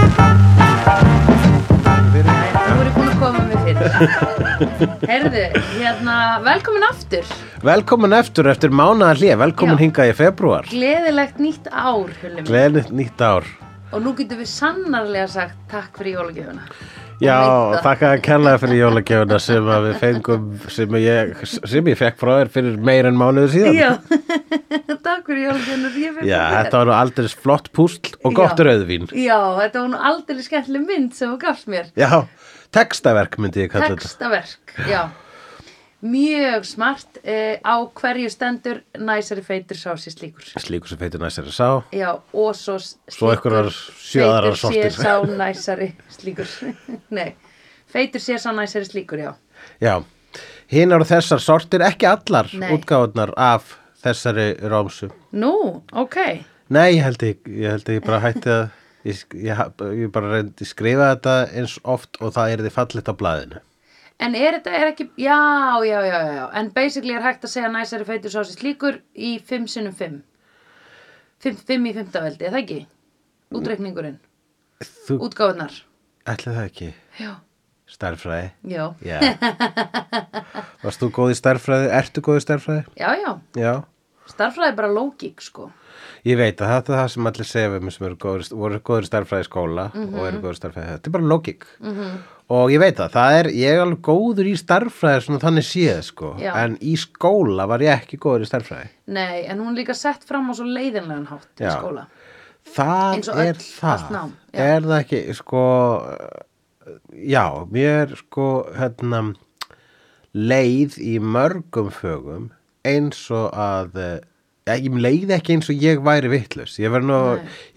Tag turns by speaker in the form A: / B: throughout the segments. A: hérna, aftur
B: Velkomin eftir eftir mánaðar hlið, velkomin
A: Já.
B: hingað í februar
A: Gleðilegt nýtt ár, Hulli minn
B: Gleðin nýtt ár
A: Og nú getum við sannarlega sagt takk fyrir jólagjöfuna
B: Já,
A: veit það.
B: þakka að kenna fyrir jólagjöfuna sem að við fengum sem ég, sem ég fekk frá þér fyrir meir en mánuðu síðan
A: Já, takk fyrir jólagjöfuna ég fékk
B: Já,
A: frá þér.
B: þetta var nú aldrei flott púsl og gott
A: Já.
B: rauðvín
A: Já, þetta var nú aldrei skemmtileg mynd sem þú gafst mér
B: Já, textaverk myndi ég kalla þetta
A: Textaverk, já Mjög smart eh, á hverju stendur næsari feitur sá sér slíkur
B: Slíku sem feitir næstari sá
A: Já, og svo
B: Svo einhverjar sjö aðrar sortir.
A: Feitur sér sá næsari slíkur Nei, feitur sér sá næsari slíkur, já
B: Já, hinn eru þessar sortir ekki allar
A: Nei.
B: útgáðunar af þessari rámsu
A: Nú, ok
B: Nei, ég held ég, ég held ég bara hætti að ég, ég, ég bara reyndi skrifa þetta eins oft og það er þið fallit á blaðinu.
A: En er þetta, er ekki, já, já, já, já, já En basically er hægt að segja næsari feitur sá sér slíkur í 5 sinnum 5 5, 5 í 5. veldi, er það ekki? Útreikningurinn,
B: Þú
A: útgáðunar
B: ætlaði það ekki
A: Já,
B: stærfræði?
A: já,
B: Já. Varst þú góð í stærfræði? Ertu góð í stærfræði?
A: já, já
B: Já.
A: Starfræði er bara lógík, sko.
B: Ég veit að þetta er það sem allir segja við mér sem eru góður, voru góður í stærfræði í skóla og eru góður í stærfræði. Þetta er bara logik. -hmm. Og ég veit að það er, ég er alveg góður í stærfræði svona þannig séð sko.
A: Já.
B: En í skóla var ég ekki góður í stærfræði.
A: Nei, en hún er líka sett fram á svo leiðinlegan hátt í
B: Já.
A: skóla.
B: Það
A: Eins og
B: er
A: öll
B: það,
A: allt nám, já.
B: er það ekki, sko, já, mér sko, hérna, leið í mörgum fögum eins og að, eh, ég leið ekki eins og ég væri vitlaus, ég var nú,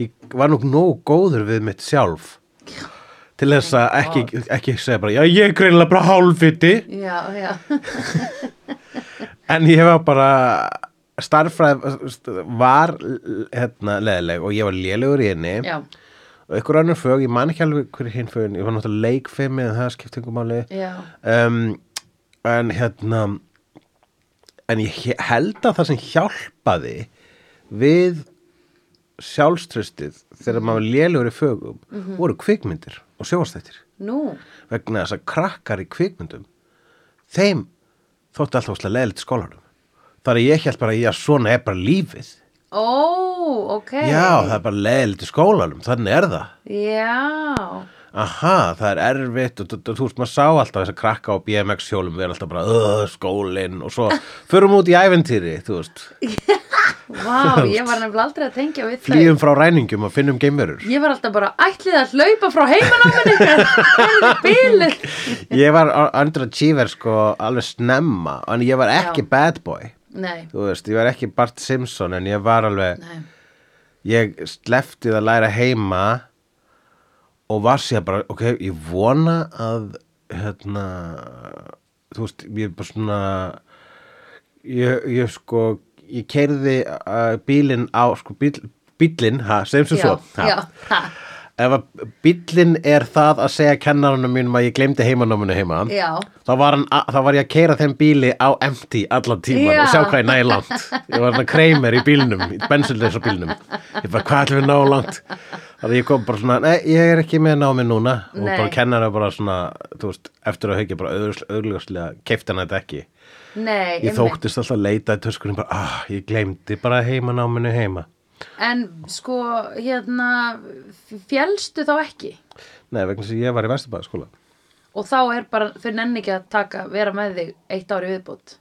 B: ég var nú nóg góður við mitt sjálf til þess að ekki, ekki segja bara, já, ég er greinilega bara hálfviti,
A: Já, já.
B: En ég var bara starffræð var hérna leðileg og ég var lélegur í henni
A: já,
B: og ykkur önnur fög, ég man ekki alveg hver er hinn fögin, ég var náttúrulega leikfimi en það skipti ykkur máli
A: já.
B: um, en hérna en ég he- held að það sem hjálpaði við sjálfströstið þegar maður var lélegur í fögum voru kvikmyndir og sjóastættir
A: Nú,
B: vegna þess að krakkar í kvikmyndum þeim þótti alltaf óslega leðilegt í skólanum þar að ég held bara já, svona er bara lífið
A: ó, ok.
B: já, það er bara leðilegt í skólanum þannig er það
A: Já,
B: aha, það er erfitt og þú- þú- þú veist, maður sá alltaf þess að krakka á BMX hjólum við erum alltaf bara, öð, skólinn og svo förum út í æventýri, þú veist
A: vá, ég var nefnilega aldrei að tengja við þau.
B: flýjum frá ræningjum og finnum geimverur
A: Ég var alltaf bara ætlið að hlaupa frá heimanáminu. Það er bílið.
B: ég var underachiever sko alveg snemma, en ég var ekki
A: Já.
B: bad boy,
A: Nei,
B: þú veist, ég var ekki Bart Simpson en ég var alveg
A: nei,
B: ég sleftið að læra heima og var sér bara, ok, ég vona að hérna þú veist, ég er bara svona ég, ég sko ég keirði uh, bílinn á sko bíl, bílinn, ha, segjum sem
A: já,
B: svo ha.
A: já, ha,
B: ef að bílinn er það að segja kennaranum mínum að ég glemdi heimanáminu heima
A: já.
B: þá var, hann, a- þá var ég að keira þeim bíli á empty allan tíman
A: Já.
B: og sjá hvað ég næði langt ég var hann að kreimer í bílnum í bensinleisa bílnum ég bara hvað ætlum við ná langt þannig að ég kom bara svona nei, ég er ekki með námi núna og
A: Nei.
B: bara kennar bara svona þú veist, eftir að haugja bara auðljóslega keift hann þetta ekki
A: Nei,
B: ég þóktist alltaf að leita í töskunum bara, ah, ég gleymdi bara heimanáminu heima
A: En sko, hérna, fjálstu þá ekki?
B: nei, vegna þess að ég var í Vesturbæðaskóla
A: Og þá er bara, þau nenni ekki að taka, vera með þig eitt ári viðbútt.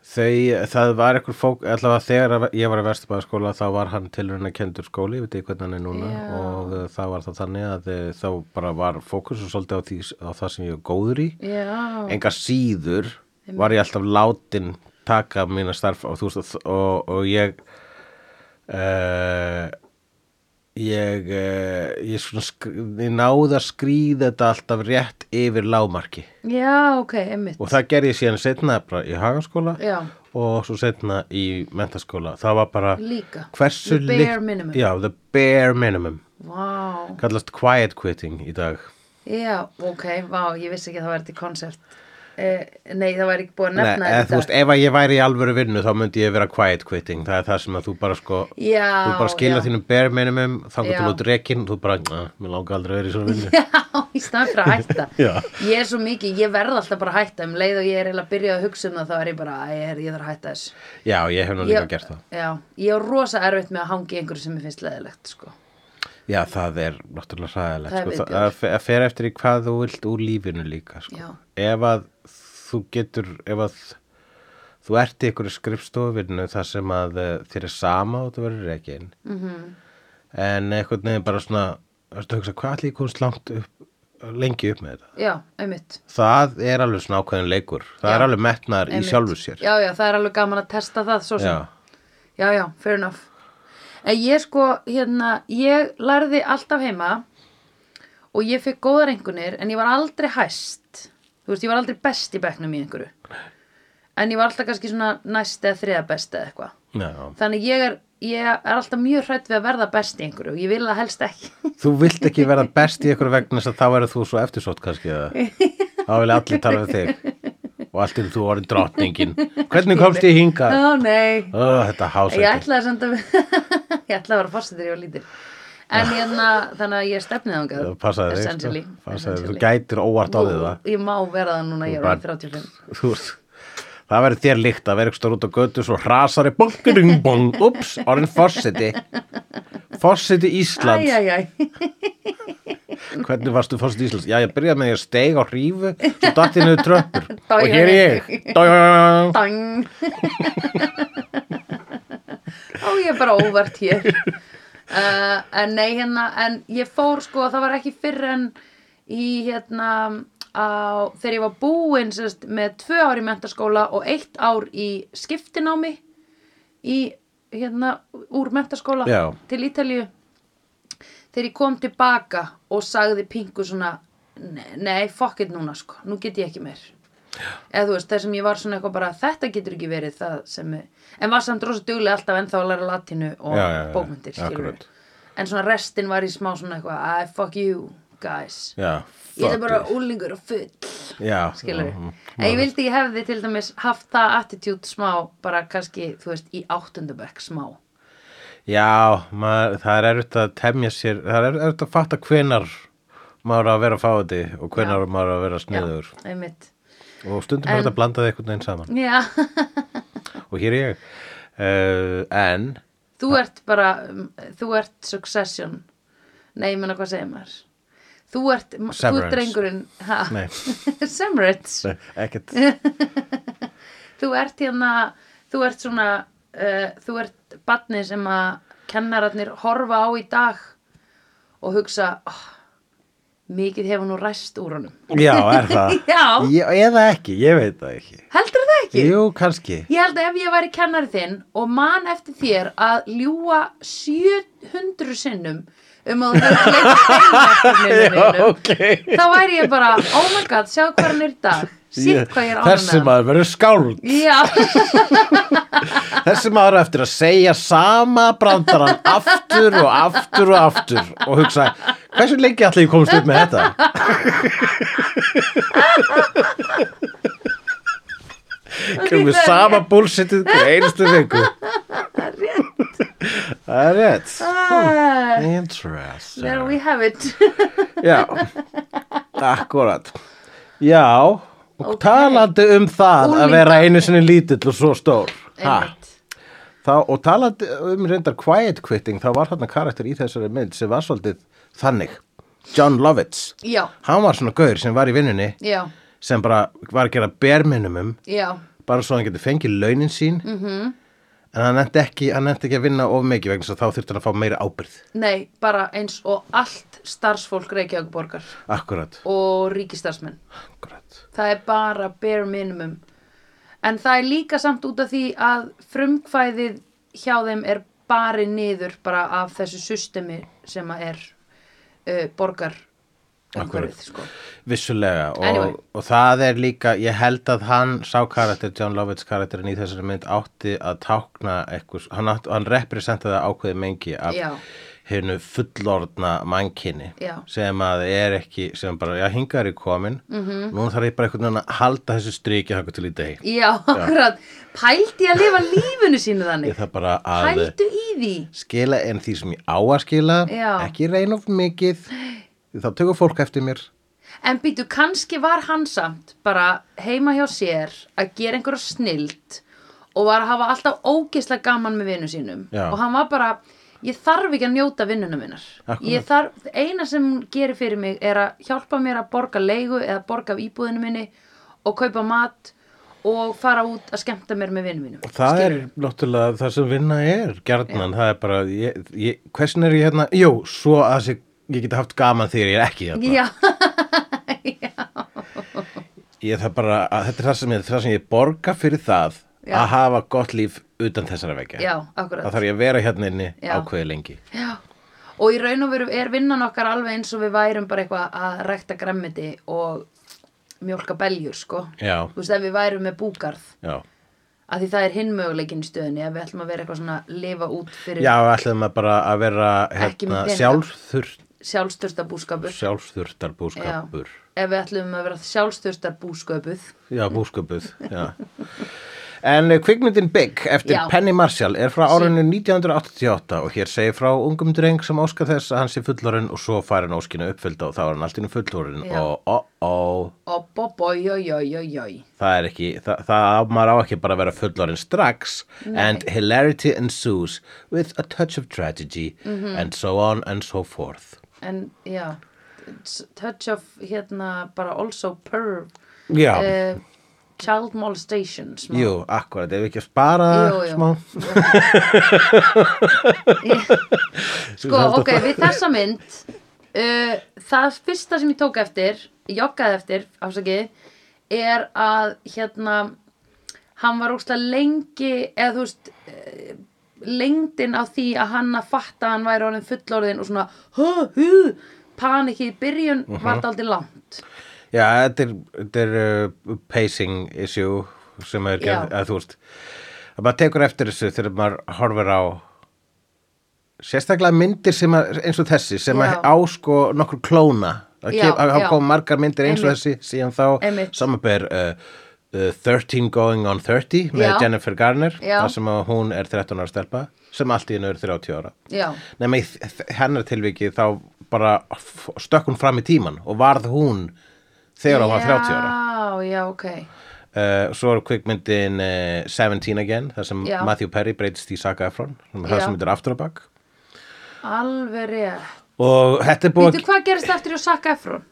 B: Þau, það var einhver fók, allavega þegar að ég var í Vesturbæðaskóla þá var hann tilruna kendur skóli, ég veit ekki hvernig hann er núna
A: Já.
B: og uh, það var það þannig að uh, þá bara var fókus og svolítið á, því, á það sem ég er góður í.
A: Já.
B: Enga síður var ég alltaf látin taka mína starf og, þú veist, að- og, og ég, uh, ég, uh, ég, svona, skr- ég náði að skrýða þetta alltaf rétt yfir lágmarki
A: Já, ok, einmitt.
B: og það gerði ég síðan setna bara í hagaskóla
A: Já.
B: og svo setna í mentaskóla það var bara
A: Líka.
B: hversu
A: The bare
B: líkt-
A: minimum.
B: já, the bare minimum
A: Vá.
B: kallast quiet quitting í dag
A: Já, ok, vá, ég vissi ekki að það var þetta konsept. eh, nei, það var ekki búið að
B: Nei,
A: nefna
B: eða,
A: þetta.
B: þú veist, ef að ég væri í alvöru vinnu þá myndi ég vera quiet quitting það er það sem að þú bara sko
A: já,
B: þú bara skila
A: já.
B: þínum bare minimum þá
A: Já.
B: getur þú drekinn þú bara, að, mér langar aldrei að vera í svona vinnu
A: Já, í staðan fyrir að hætta
B: Já.
A: Ég er svo mikið, ég verð alltaf bara að hætta um leið og ég er eiginlega að byrja að hugsa um það þá er ég bara, æ, ég, er, ég þarf að hætta þess
B: já, ég hef nú líka
A: ég,
B: gert það
A: Já, ég er rosa erfitt með að hanga í einhverju sem ég finnst leðilegt sko.
B: já, það er náttúrulega
A: Það er
B: sæðilegt sko.
A: viðbjóður.
B: það fer- það fer eftir í hvað þú vilt úr lífinu líka
A: Já.
B: sko. ef að þú getur ef að þú ert í einhverju skrifstofinu þar sem að eh, þér er sama og þú verður rekinn
A: mm
B: en einhvern veginn bara svona ertu að hugsa, hvað allir ég komst langt upp, lengi upp með þetta
A: Já, einmitt
B: það er alveg svona ákveðin leikur það
A: Já.
B: er alveg metnar í
A: Einmitt.
B: sjálfu sér
A: Já, já, það er alveg gaman að testa það svo sem
B: Já.
A: já, já, fair enough en ég sko, hérna ég lærði alltaf heima og ég fekk góðar einhvernir en ég var aldrei hæst þú veist, ég var aldrei best í bekknum í einhverju en ég var alltaf kannski svona næst eða þriða best eða eitthvað
B: Já.
A: þannig ég er, ég er alltaf mjög hrætt við að verða best í einhverju og ég vil það helst ekki
B: þú vilt ekki vera best í ykkur vegna þess að þá verður þú svo eftirsótt kannski eða. þá vil allir tala við þig og allt er þú orðin drottningin hvernig komst ég hingað
A: Ó, nei
B: oh, þetta
A: Ég
B: hásæti
A: ætlaði samt að ég ætlaði að vera fórsetir ég var lítil en hérna, þannig að ég stefnið þangað
B: passaði þig
A: essentially,
B: sko. Passaði þig. þú
A: essentially.
B: gætir óvart á þig það
A: Nú, Ég má vera það núna, ég er
B: Bara-
A: orðin 35
B: Þú ert- það verður þér líkt að vera eitthvað út á götu svo hrasari bongiring bong ups, orðin fórseti fórseti Íslands
A: Æjæjæ,
B: Hvernig varstu fórst í Íslands? Já, ég byrjaði með að ég steig á hrífu, svo datt ég niður tröppur
A: Dæ,
B: og hér er ég. Dæ,
A: dang Ó, ég er bara óvart hér uh, En nei, hérna En ég fór sko, það var ekki fyrr en Í hérna á, Þegar ég var búin sérst, Með tvö ár í mentaskóla Og eitt ár í skiptinámi Í hérna Úr mentaskóla
B: Já.
A: til Ítalíu Þegar ég kom tilbaka Og sagði pingu svona "Ne- Nei, fuck it núna sko, nú get ég ekki meir eða þú veist, þar sem ég var svona eitthvað bara þetta getur ekki verið það sem en var samt rosa duglega alltaf ennþá að læra latínu og
B: Já, já, já,
A: bókmyndir skilurðu.
B: akkurat.
A: en svona restin var í smá svona eitthvað I fuck you guys
B: Já,
A: ég er
B: fuck
A: bara
B: it.
A: úlingur og full
B: Já,
A: skilur
B: mhm.
A: en ég vildi ég hefði til dæmis haft það attitude smá bara kannski, þú veist, í áttundabökk smá
B: Já, maður, það er erfitt að temja sér, það er erfitt að fatta hvenar maður á að vera fáti og hvenar maður á að vera sniður
A: einmitt
B: og stundum er
A: En-
B: þetta að blanda það einhvern veginn saman
A: já,
B: og hér er ég. Uh, en,
A: þú ert bara um, þú ert succession nei, ég menna hvað segir maður þú ert, þú
B: Severance.
A: ert drengurinn ha?
B: nei,
A: Semrits,
B: ekkert,
A: þú ert hérna, þú ert svona, uh, þú ert batni sem að kennararnir horfa á í dag og hugsa, oh, mikið hefur nú ræst úr honum.
B: já, er það.
A: Já.
B: Ég, eða ekki, ég veit það ekki.
A: Heldur það ekki?
B: Jú, kannski.
A: Ég held að ef ég væri kennari þinn og man eftir þér að ljúa 700 sinnum um að þú hefur
B: Já,
A: gleymt
B: ok.
A: þá væri ég bara, oh my god, sjá hvað hann er í dag, sítt hvað ég er ánægð
B: Þessi
A: með hann.
B: maður verður skáld
A: Já.
B: Þessi maður á eftir að segja sama brandarann aftur og aftur og aftur og hugsa, hversu lengi allir ég komst upp með þetta? Kemur við sama búlsitið hver einustu viku Það er rétt
A: Ah, There
B: Interesting
A: we have it
B: Já, akkurat Já, og
A: Ok.
B: talandi um það að
A: Unglingar.
B: vera einu sinni lítill og svo stór Ha?
A: Einmitt.
B: Þá, og talandi um reyndar quiet quitting, þá var hann karakter í þessari mynd sem var svolítið þannig. John Lovitz.
A: Já,
B: Hann var svona gaur sem var í vinnunni
A: já,
B: sem bara var að gera berminumum
A: já
B: bara svo hann geti fengið launin sín -hmm. en hann nefndi ekki, hann nefndi ekki að vinna of mikið vegna þess að þá þurfti hann að fá meira ábyrð.
A: Nei, bara eins og allt starfsfólk Reykjavíkborgar
B: Akkurat.
A: og ríkistarfsmenn
B: Akkurat.
A: Það er bara bare minimum En það er líka samt út af því að frumkvæðið hjá þeim er bari niður bara af þessu systemi sem að er uh, borgar
B: Akkúrat.
A: sko.
B: Vissulega og,
A: Anyway.
B: og það er líka, ég held að hann sá karakter, John Lovitz karakterin í þessari mynd átti að tákna eitthvað, hann, átt, hann representaði ákveði mengi af
A: Já.
B: hennu fullorðna mannkinni
A: Já.
B: sem að er ekki, sem bara, já, hingar er ég komin
A: Mhm.
B: -hmm. nú þarf ég bara einhvern veginn að halda þessu striki þakka til í deg
A: Já, akkurat. Pældi ég að lifa lífinu sínu
B: ég
A: þannig.
B: þarf bara að
A: Pældu í því.
B: skila en því sem ég á að skila
A: Já.
B: ekki reyna of mikið þá tökur fólk eftir mér
A: En býtu, kannski var hann samt bara heima hjá sér að gera einhverja snilt og var að hafa alltaf ógeðslega gaman með vinnu sínum.
B: Já.
A: Og hann var bara, ég þarf ekki að njóta vinnuna minnar.
B: Akkúrat.
A: Ég þarf, eina sem hún gerir fyrir mig er að hjálpa mér að borga leigu eða borga af íbúðinu minni og kaupa mat og fara út að skemmta mér með vinnu mínum.
B: það
A: Skilurðu?
B: er náttúrulega það sem vinna er gjarnan, það er bara ég, ég, hversin er ég hérna, jú, svo að þessi, ég geti haft gaman þegar ég er ekki hérna
A: Já,
B: ég það bara, að, þetta er það sem, ég, það sem ég borga fyrir það
A: Já.
B: að hafa gott líf utan þessara vekja
A: já,
B: það
A: akkurat.
B: þarf ég að vera hérna inni
A: Já.
B: ákveði lengi
A: Já, og í raun og veru er vinnan okkar alveg eins og við værum bara eitthvað að rækta gremmiti og mjólka beljur, sko.
B: já,
A: Þú veist, ef við værum með búgarð,
B: já,
A: að því það er hinn möguleikin í stöðunni, að við ætlum að vera eitthvað svona lifa út fyrir
B: já, ætlaðum að bara að vera
A: Ekki með
B: hérna,
A: peninga.
B: sjálfþurft
A: sjálfstörsta búskapur.
B: sjálfþurftar búskapur
A: Ef við ætlum að vera sjálfstörstar búsköpuð.
B: Já, búsköpuð, já. En eh, kvikmyndin Big eftir
A: Já.
B: Penny Marshall er frá árinu 1988 og hér segir frá ungum dreng sem óskar þess að hann sé fullorinn og svo fær hann óskina uppfylda og þá er hann allt innu fullorinn
A: Já.
B: og ó, ó,
A: Og boboi, joi, joi, joi, joi.
B: það er ekki, það, það maður á ekki bara að vera fullorinn strax and hilarity ensues with a touch of tragedy
A: Mhm.
B: and so on and so forth.
A: En, já, it's touch of, hérna, bara also perv,
B: Já,
A: uh, child molestation, smá.
B: jú, akkurat, ef við ekki að spara það
A: Jú, jú.
B: smá.
A: Sko, ok, við þessa mynd uh, Það fyrsta sem ég tók eftir Joggaði eftir, afsakið Er að hérna Hann var ókslega lengi Eða þú veist uh, Lengdin á því að hann að fatta að Hann væri orðin fullorðin og svona hú, hú, Panikið í byrjun
B: Mhm.
A: Var það aldrei langt
B: Já, þetta er, þetta er uh, pacing issue sem er gerð,
A: Já.
B: að þú veist að maður tekur eftir þessu þegar maður horfir á sérstaklega myndir sem að, eins og þessi sem að
A: Já.
B: á sko nokkur klóna að
A: Já,
B: kef- að
A: já.
B: hafa komið margar myndir eins og
A: Einmitt.
B: þessi síðan þá
A: Einmitt.
B: samanber uh, uh, 13 Going on 30 með
A: Já.
B: Jennifer Garner
A: Já.
B: þar sem að hún er 13 ára stelpa sem allt í hennu er 30 ára
A: Já,
B: Nefna í þ- þ- hennar tilviki þá bara f- stökk hún fram í tíman og varð hún þegar hún var 30 ára.
A: Já, já, ok
B: Uh, svo er kvikmyndin uh, 17 Again, þar sem
A: Já.
B: Matthew Perry breytist í Saga Efron, sem er það
A: Já.
B: sem myndir aftur á bak.
A: Alveg rétt
B: Og þetta er búið
A: Veitu hvað gerist eftir að sakka efrún?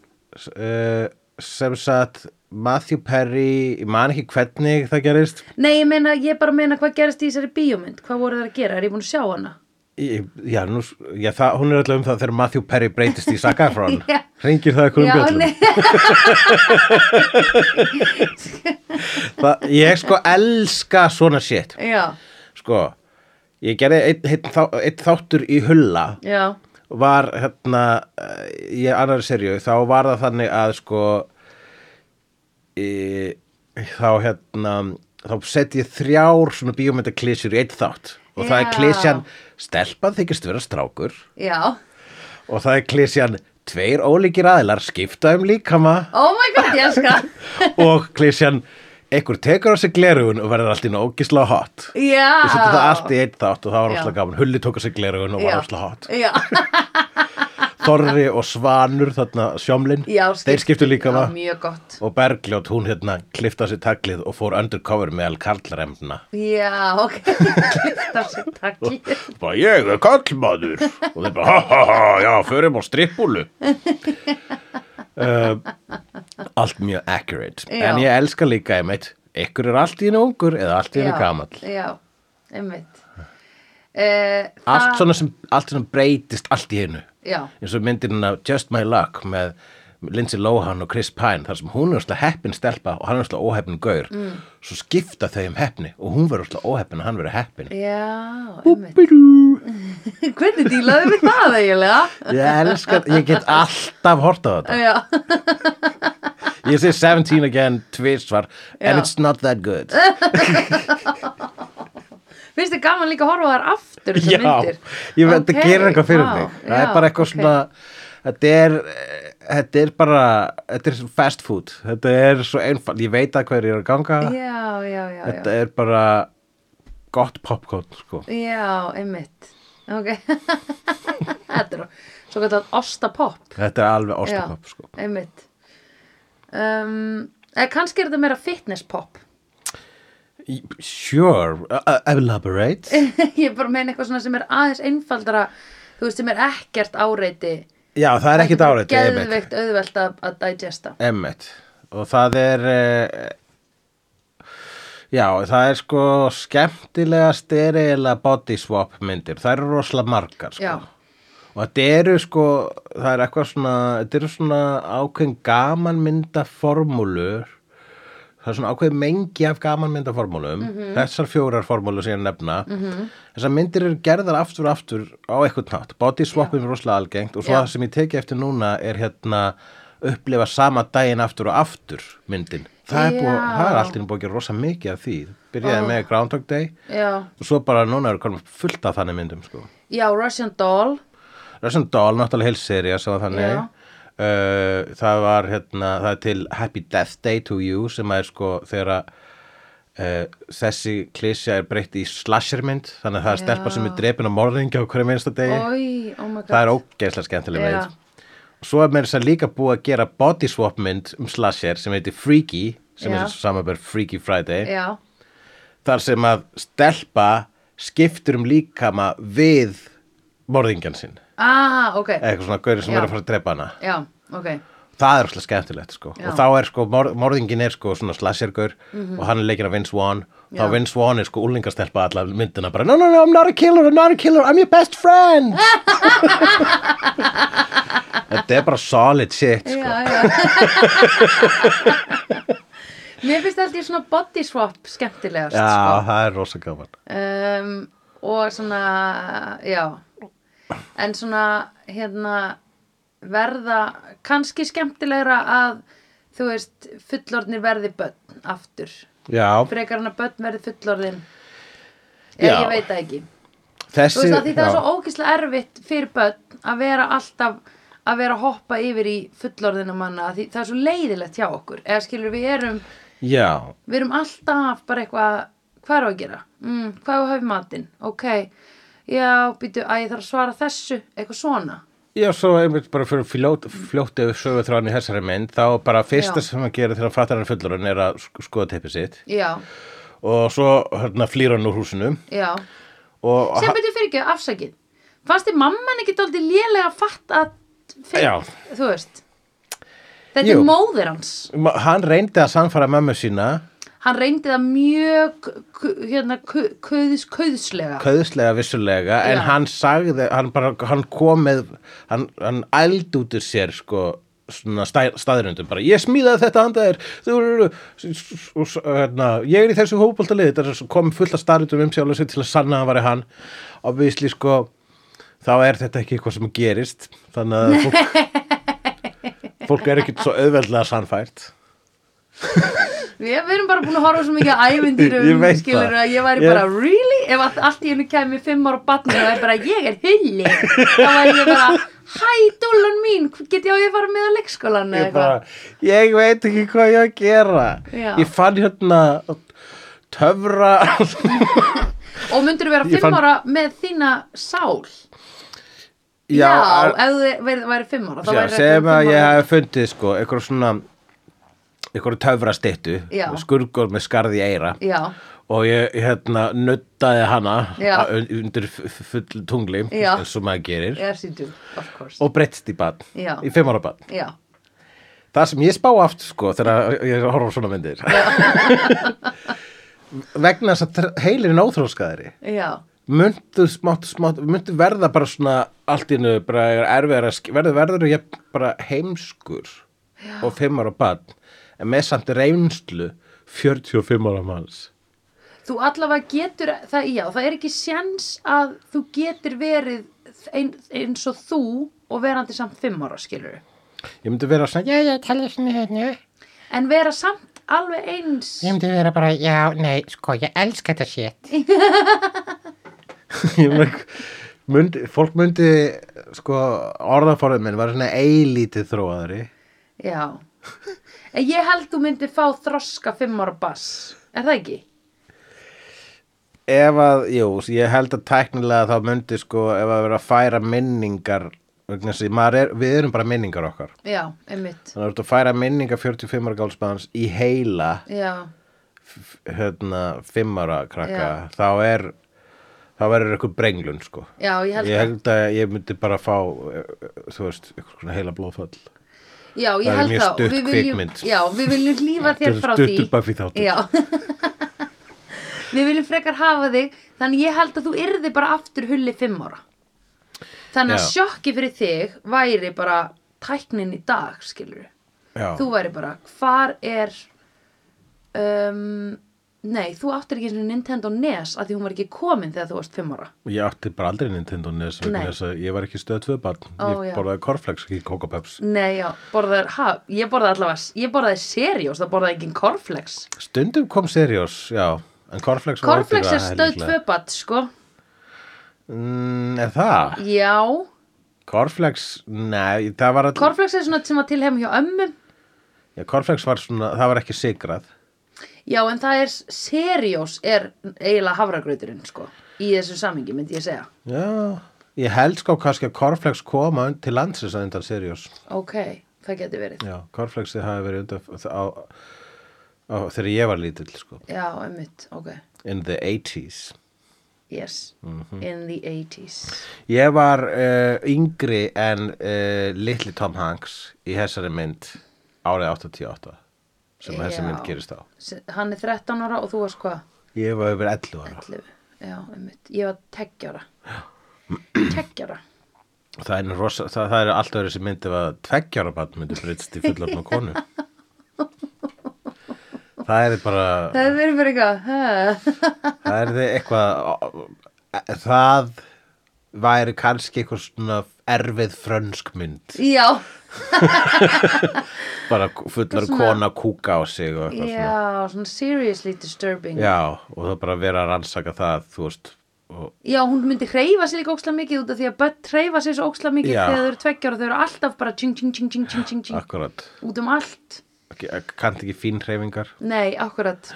B: uh, sem sagt Matthew Perry, ég man ekki hvernig það gerist.
A: Nei, ég meina, ég bara meina hvað gerist í þessari bíómynd, hvað voru það að gera, er ég búin að sjá hana?
B: Í- Já, nú, s- já það, hún er alltaf um það þegar Matthew Perry breytist í Saga Efron.
A: Já.
B: Ringir það eitthvað um bjöllum.
A: nei,
B: Það, ég sko elska svona shit.
A: já,
B: sko, ég gerði einn ein, þá, ein þáttur í hulla
A: já,
B: var hérna eh, í annari serju, þá var það þannig að sko e, þá hérna þá sett ég þrjár svona bíómyndaklísjur í einn þátt og það er
A: Já.
B: klísjan stelpan þykist vera strákur
A: já,
B: og það er klísjan tveir ólíkir aðilar skipta um líkama
A: oh my god, ég elska,
B: og klísjan einhver tekur á sig glerugun og verður allt í nógisla hot
A: já,
B: Ég seti það allt í einn þátt og það var
A: Já.
B: rosalega gaman. Hulli tók að sig glerugun og var rosalega hot.
A: já,
B: Þorri og Svanur, þarna sjómlinn,
A: já,
B: þeir skiptu líka
A: það,
B: maður.
A: mjög gott,
B: Og Bergljót, hún hérna, klifta sér taglið og fór undercover meðal karlremna.
A: já, ok, klift á sér takli,
B: Bara, ég er karlmaður. og þeir bara, ha ha ha, já, förum á strippúlu. uh, allt mjög accurate.
A: Já.
B: En ég elska líka, einmitt, ykkur er allt í henni ungur eða allt í henni gamall.
A: já, einmitt, uh,
B: Allt svona sem, allt sem breytist allt í hennu.
A: já,
B: eins og myndin af Just My Luck með Lindsay Lohan og Chris Pine þar sem hún er slá heppin stelpa og hann er slá óheppin gaur mm. svo skipta þau um heppni og hún verður slá óheppin og hann verður heppin
A: já, einmitt,
B: Bidú.
A: hvernig dílaðu við það eiginlega,
B: ég elskar, ég get alltaf hort á þetta
A: já,
B: ég sé 17 again, tvisvar
A: Já.
B: and it's not that good
A: finnst þið gaman líka að horfa á þær aftur þessar
B: Já,
A: myndir?
B: ég veit, þetta
A: Ok,
B: gerir eitthvað fyrir
A: vá,
B: mig Það er
A: já,
B: bara eitthvað
A: ok.
B: svona Þetta er, eh, þetta er bara Þetta er fast food Þetta er svo einfald, ég veit að hver ég er að ganga
A: já, já, já, já.
B: Þetta er bara gott popcorn sko.
A: Já, einmitt Ok Þetta er svo kallar ostapopp
B: Þetta er alveg
A: Já,
B: ostapopp sko.
A: Einmitt um, eða Kannski er þetta meira fitnesspopp
B: Í- Sure, uh, elaborate
A: Ég bara meina eitthvað svona sem er aðeins einfaldara Þú veist, sem er ekkert áreiti
B: Já, það er ekkit áreitt einmitt.
A: Geðveikt auðvelt að, að digesta
B: Einmitt. Og það er eh, Já, það er sko skemmtilegast er eiginlega body swap myndir Það eru rosalega margar sko.
A: Já.
B: Og þetta eru sko, það er eitthvað svona, þetta eru svona ákveðin gamanmynda formúlur, það er svona ákveðin mengi af gamanmynda formúlum,
A: Mhm.
B: þessar fjórar formúlur sem ég er að nefna, þessar myndir eru gerðar aftur og aftur á eitthvað nátt, body swapping er rosalega algengt og svo
A: Já.
B: það sem ég teki eftir núna er hérna upplifa sama daginn aftur og aftur myndin. Það er, búið,
A: Já.
B: það er alltaf búið að gera rosa mikið af því, byrjaði
A: Ó.
B: með Groundhog Day
A: Já,
B: og svo bara núna eru komin fullt af þannig myndum sko.
A: já Russian Doll
B: Russian Doll, náttúrulega heil seria sem var þannig
A: Já.
B: uh, það var hérna, það er til Happy Death Day to You sem er sko þegar að uh, þessi klísja er breytt í slashermynd þannig að það er
A: Já.
B: stelpa sem er drepin á morðingi á hverju minnsta degi
A: Oi, oh my god
B: Eh. það er ógeðslega skemmtileg
A: Já.
B: mynd og svo er mér þess að segja líka búið að gera body swap mynd um slasher sem heitir Freaky sem
A: Já.
B: er samanbær Freaky Friday
A: Já,
B: þar sem að stelpa skiptur um líkama við morðingjan sinn
A: ah, ok
B: eitthvað svona gaurið
A: Já.
B: sem er að fara að drepa hana
A: Já, ok
B: það er svolítið skemmtilegt sko
A: Já. Mhm.
B: og þá er sko, mor morðingin er sko svona slashergur og hann er leikinn af Vince Vaughn
A: Já.
B: þá Vince Vaughn er sko úlingastelpa allar myndina bara no no no I'm not a killer, I'm not a killer, I'm your best friend þetta er bara solid shit sko
A: Já, já. Mér finnst held ég svona body swap skemmtilegast
B: Já, það er rosa gaman
A: sko. um, og svona já en svona hérna verða kannski skemmtilegra að þú veist fullorðnir verði börn aftur
B: Já,
A: frekar hann að börn verði fullorðin
B: Já.
A: eða ég veit það ekki þú
B: þessi
A: veist að því það er
B: já.
A: svo ógeðslega erfitt fyrir börn að vera alltaf að vera að hoppa yfir í fullorðina manna af því það er svo leiðilegt hjá okkur eða skilur við erum,
B: já,
A: við erum alltaf bara eitthvað hvað er á að gera, mm, hvað er að hafa matinn ok, já, býtu að ég þarf að svara þessu, eitthvað svona
B: Já, svo einmitt bara fyrir fljótt, fljótt ef sögu þráðan í þessari mynd þá bara fyrsta
A: Já.
B: sem hann gerir þegar hann fattar hann er fullorinn er að sk- skoða teppið sitt
A: já,
B: og svo hérna flýr hann úr húsinu
A: já
B: og
A: sem býtu fyrir ekki afsakið fannst þið mamman ekki dóldi lélega að fatta fyrir,
B: Já.
A: þú veist þetta
B: Jú.
A: er móðir hans
B: Ma- hann reyndi að sannfara mömmu sína
A: hann reyndi það mjög ku- hérna, ku- kuðs, kuðslega
B: köðslega vissulega en
A: Já.
B: hann sagði, hann bara hann kom með, hann, hann ældi út úr sér sko svona stæ, staðrundum bara, ég smíðaði þetta handa þér þú eru og s- hérna, ég er í þessu hópultalið þetta er svo- kom fullt af staðrundum um sjálf sig til að sanna að hann var hann og visli sko þá er þetta ekki eitthvað sem gerist þannig að fólk, fólk er ekkert svo auðveldlega sannfært
A: Við, við erum bara búin að horfa svo mikið að ævindýrum
B: Ég veit
A: skilur
B: það.
A: að ég væri
B: Ég-
A: bara really? Ef all- allt í hennu kæmi fimm ára batni og er bara ég er hilli þá væri ég bara hæ dúllan mín get ég á ég að fara með á leikskólan eða
B: ég,
A: eitthvað
B: bara, ég veit ekki hvað ég á að gera
A: Já.
B: ég fann hérna töfra
A: og myndur vera
B: Ég
A: fimm
B: fann-
A: ára með þína sál já,
B: já,
A: ef þú væri, væri fimm ára þá
B: já
A: væri
B: sem
A: fimm
B: að ég
A: ára.
B: hef fundið sko eitthvað svona eitthvað töfra styttu
A: Já.
B: skurgur með skarði í eira
A: já,
B: og ég hérna nuttaði hana
A: Já.
B: að- undir f- f- full tungli
A: Já.
B: eins og maður gerir
A: yes you do, of course
B: og breyttist í bann,
A: Já.
B: í fimm ára bann
A: já,
B: það sem ég spá aftur sko þegar ég horfa á svona myndir vegna þess að heilin óþróskaðari
A: já,
B: myndu smátt, smátt, myndu verða bara svona allt í nöðu, bara er erfiðar að sk- verður, verður ég bara heimskur Já. og fimm ára bann en með samt reynslu 45 ára manns
A: þú allavega getur það, já, það er ekki séns að þú getur verið ein, eins og þú og verandi samt fimm ára skilur
B: ég myndi vera svona, já, já, tala svona hérna
A: en vera samt alveg eins
C: Ég myndi vera bara, já, nei, sko, ég elska þetta shit.
B: Ég meina, myndi, fólk myndi sko orðaforðin minn var svona eilítið þróaðari
A: Já En ég held þú myndir fá þroska fimm ára bass Er það ekki?
B: ef að, jú, ég held að tæknilega þá myndi sko ef að vera að færa minningar vegna þess að maður er, við erum bara minningar okkar
A: Já, einmitt
B: þannig að þú ert að færa minningar 45 ára gálsmanns í heila
A: Já,
B: f- hérna 5 ára krakka þá er þá verður eitthvað brenglun sko
A: já ég held
B: ég
A: það
B: held að ég myndi bara fá eh, eh, þú veist, eitthvað svona heila blóðfall
A: Já, ég
B: það er
A: held
B: mjög
A: það og
B: stutt
A: við viljum,
B: kvikmynd. sko.
A: Já, við viljum lífa þér
B: Þetta er
A: frá því
B: stuttur Buffy-þáttur.
A: Já Við viljum frekar hafa þig Þannig ég held að þú yrði bara aftur hulli fimm ára Þannig að
B: Já.
A: sjokki fyrir þig væri bara tæknin í dag, skilur
B: Já.
A: Þú væri bara, hvar er um, Nei, þú áttir ekki einu sinni Nintendo NES að því hún var ekki komin þegar þú varst fimm ára
B: ég átti bara aldrei Nintendo NES vegna
A: Nei.
B: þess að ég var ekki stöð tvö barn
A: Ó, já.
B: ég borðaði korflex ekki kokopeps
A: Nei, já, borðar, ha, ég borðaði allavega Ég borðaði seriós, það borðaði engin korflex
B: stundum kom seriós, já en korflex var
A: Korflex
B: ódýra,
A: er stöð
B: líklega.
A: tvö batt, sko
B: mm, er það?
A: Já,
B: korflex, nei, það var all...
A: korflex er svona sem að tilhefum hjá ömmum
B: já, korflex var svona, það var ekki sigrað
A: Já, en það er seriós er eiginlega hafragrauturinn, sko Í þessu samhengi, myndi ég segja
B: Já, ég held sko kannski að Corflex koma und- til landsins að undan Sirius.
A: Ok, það geti verið
B: Já, Corflexið hafi verið undan á, á, þegar ég var lítill sko,
A: Já, ömmut, ok
B: in the 80s.
A: Yes, in the 80s
B: Ég var uh, yngri en uh, litli Tom Hanks í þessari mynd árið 88 sem
A: Já.
B: þessi mynd gerist á.
A: Se- Hann er 13 ára og þú varst hvað?
B: Ég var yfir 11 ára.
A: 11. Já, einmitt. Ég var teggjara. Teggjara.
B: Það er, rosa, það, það er alltaf þessi mynd ef að tveggjára barn myndi breytst í fullofna konu. Það er bara...
A: Það er verið fyrir eitthvað. ha?
B: Það er þið eitthvað, það væri kannski eitthvað svona erfið frönsk mynd,
A: Já,
B: bara fullar
A: Svona-
B: kona kúka á sig og eitthvað svona.
A: já, svona seriously disturbing.
B: Já, og það bara vera að rannsaka það, þú veist, og,
A: Já, hún myndi hreyfa sér líka óksla mikið út af því að börn hreyfa sér svo óksla mikið
B: Já.
A: þegar þau eru tveggjára. Þau eru alltaf bara tjing, tjing, tjing, tjing, tjing, tjing, tjing.
B: akkurat,
A: Út um allt.
B: kannti eh, ekki fín hreyfingar.
A: Nei, akkurat.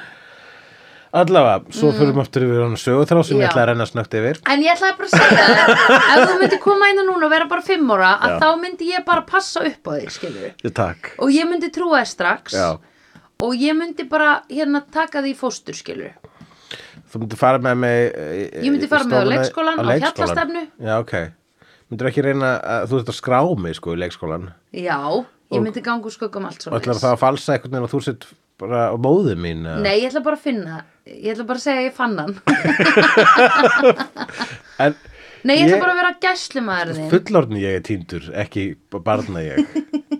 B: Allavega, svo fyrir við aftur yfir hann söguþrá sem
A: Mm. Já.
B: ég ætla að renna snögt yfir.
A: En ég ætlaði bara að segja það, ef þú myndi koma inn núna og vera bara fimm ára, að
B: Já.
A: þá myndi ég bara passa upp á þig, skilur
B: Já, Takk.
A: og ég myndi trúa þér strax
B: Já.
A: og ég myndi bara hérna taka því fóstur skilur
B: Þú myndir fara með mig eh,
A: Ég myndi fara með á
B: stofuna-
A: leikskólann, á hjallastefnu.
B: Já, ok. Myndir ekki reyna að, þú ert að skrá mig, sko, í leikskólan.
A: já, ég myndi ganga úr skuggum allt
B: Og
A: svo
B: ætlar það að falsa einhvern veginn að þú sett bara á móðu mín? eða?
A: nei, ég ætla bara að finna ég ætla bara að segja að ég fann hann
B: En
A: nei, ég ætla
B: Ég-
A: bara að vera gæslumaður þinn
B: fullorðni ég er týndur, ekki b- barna ég.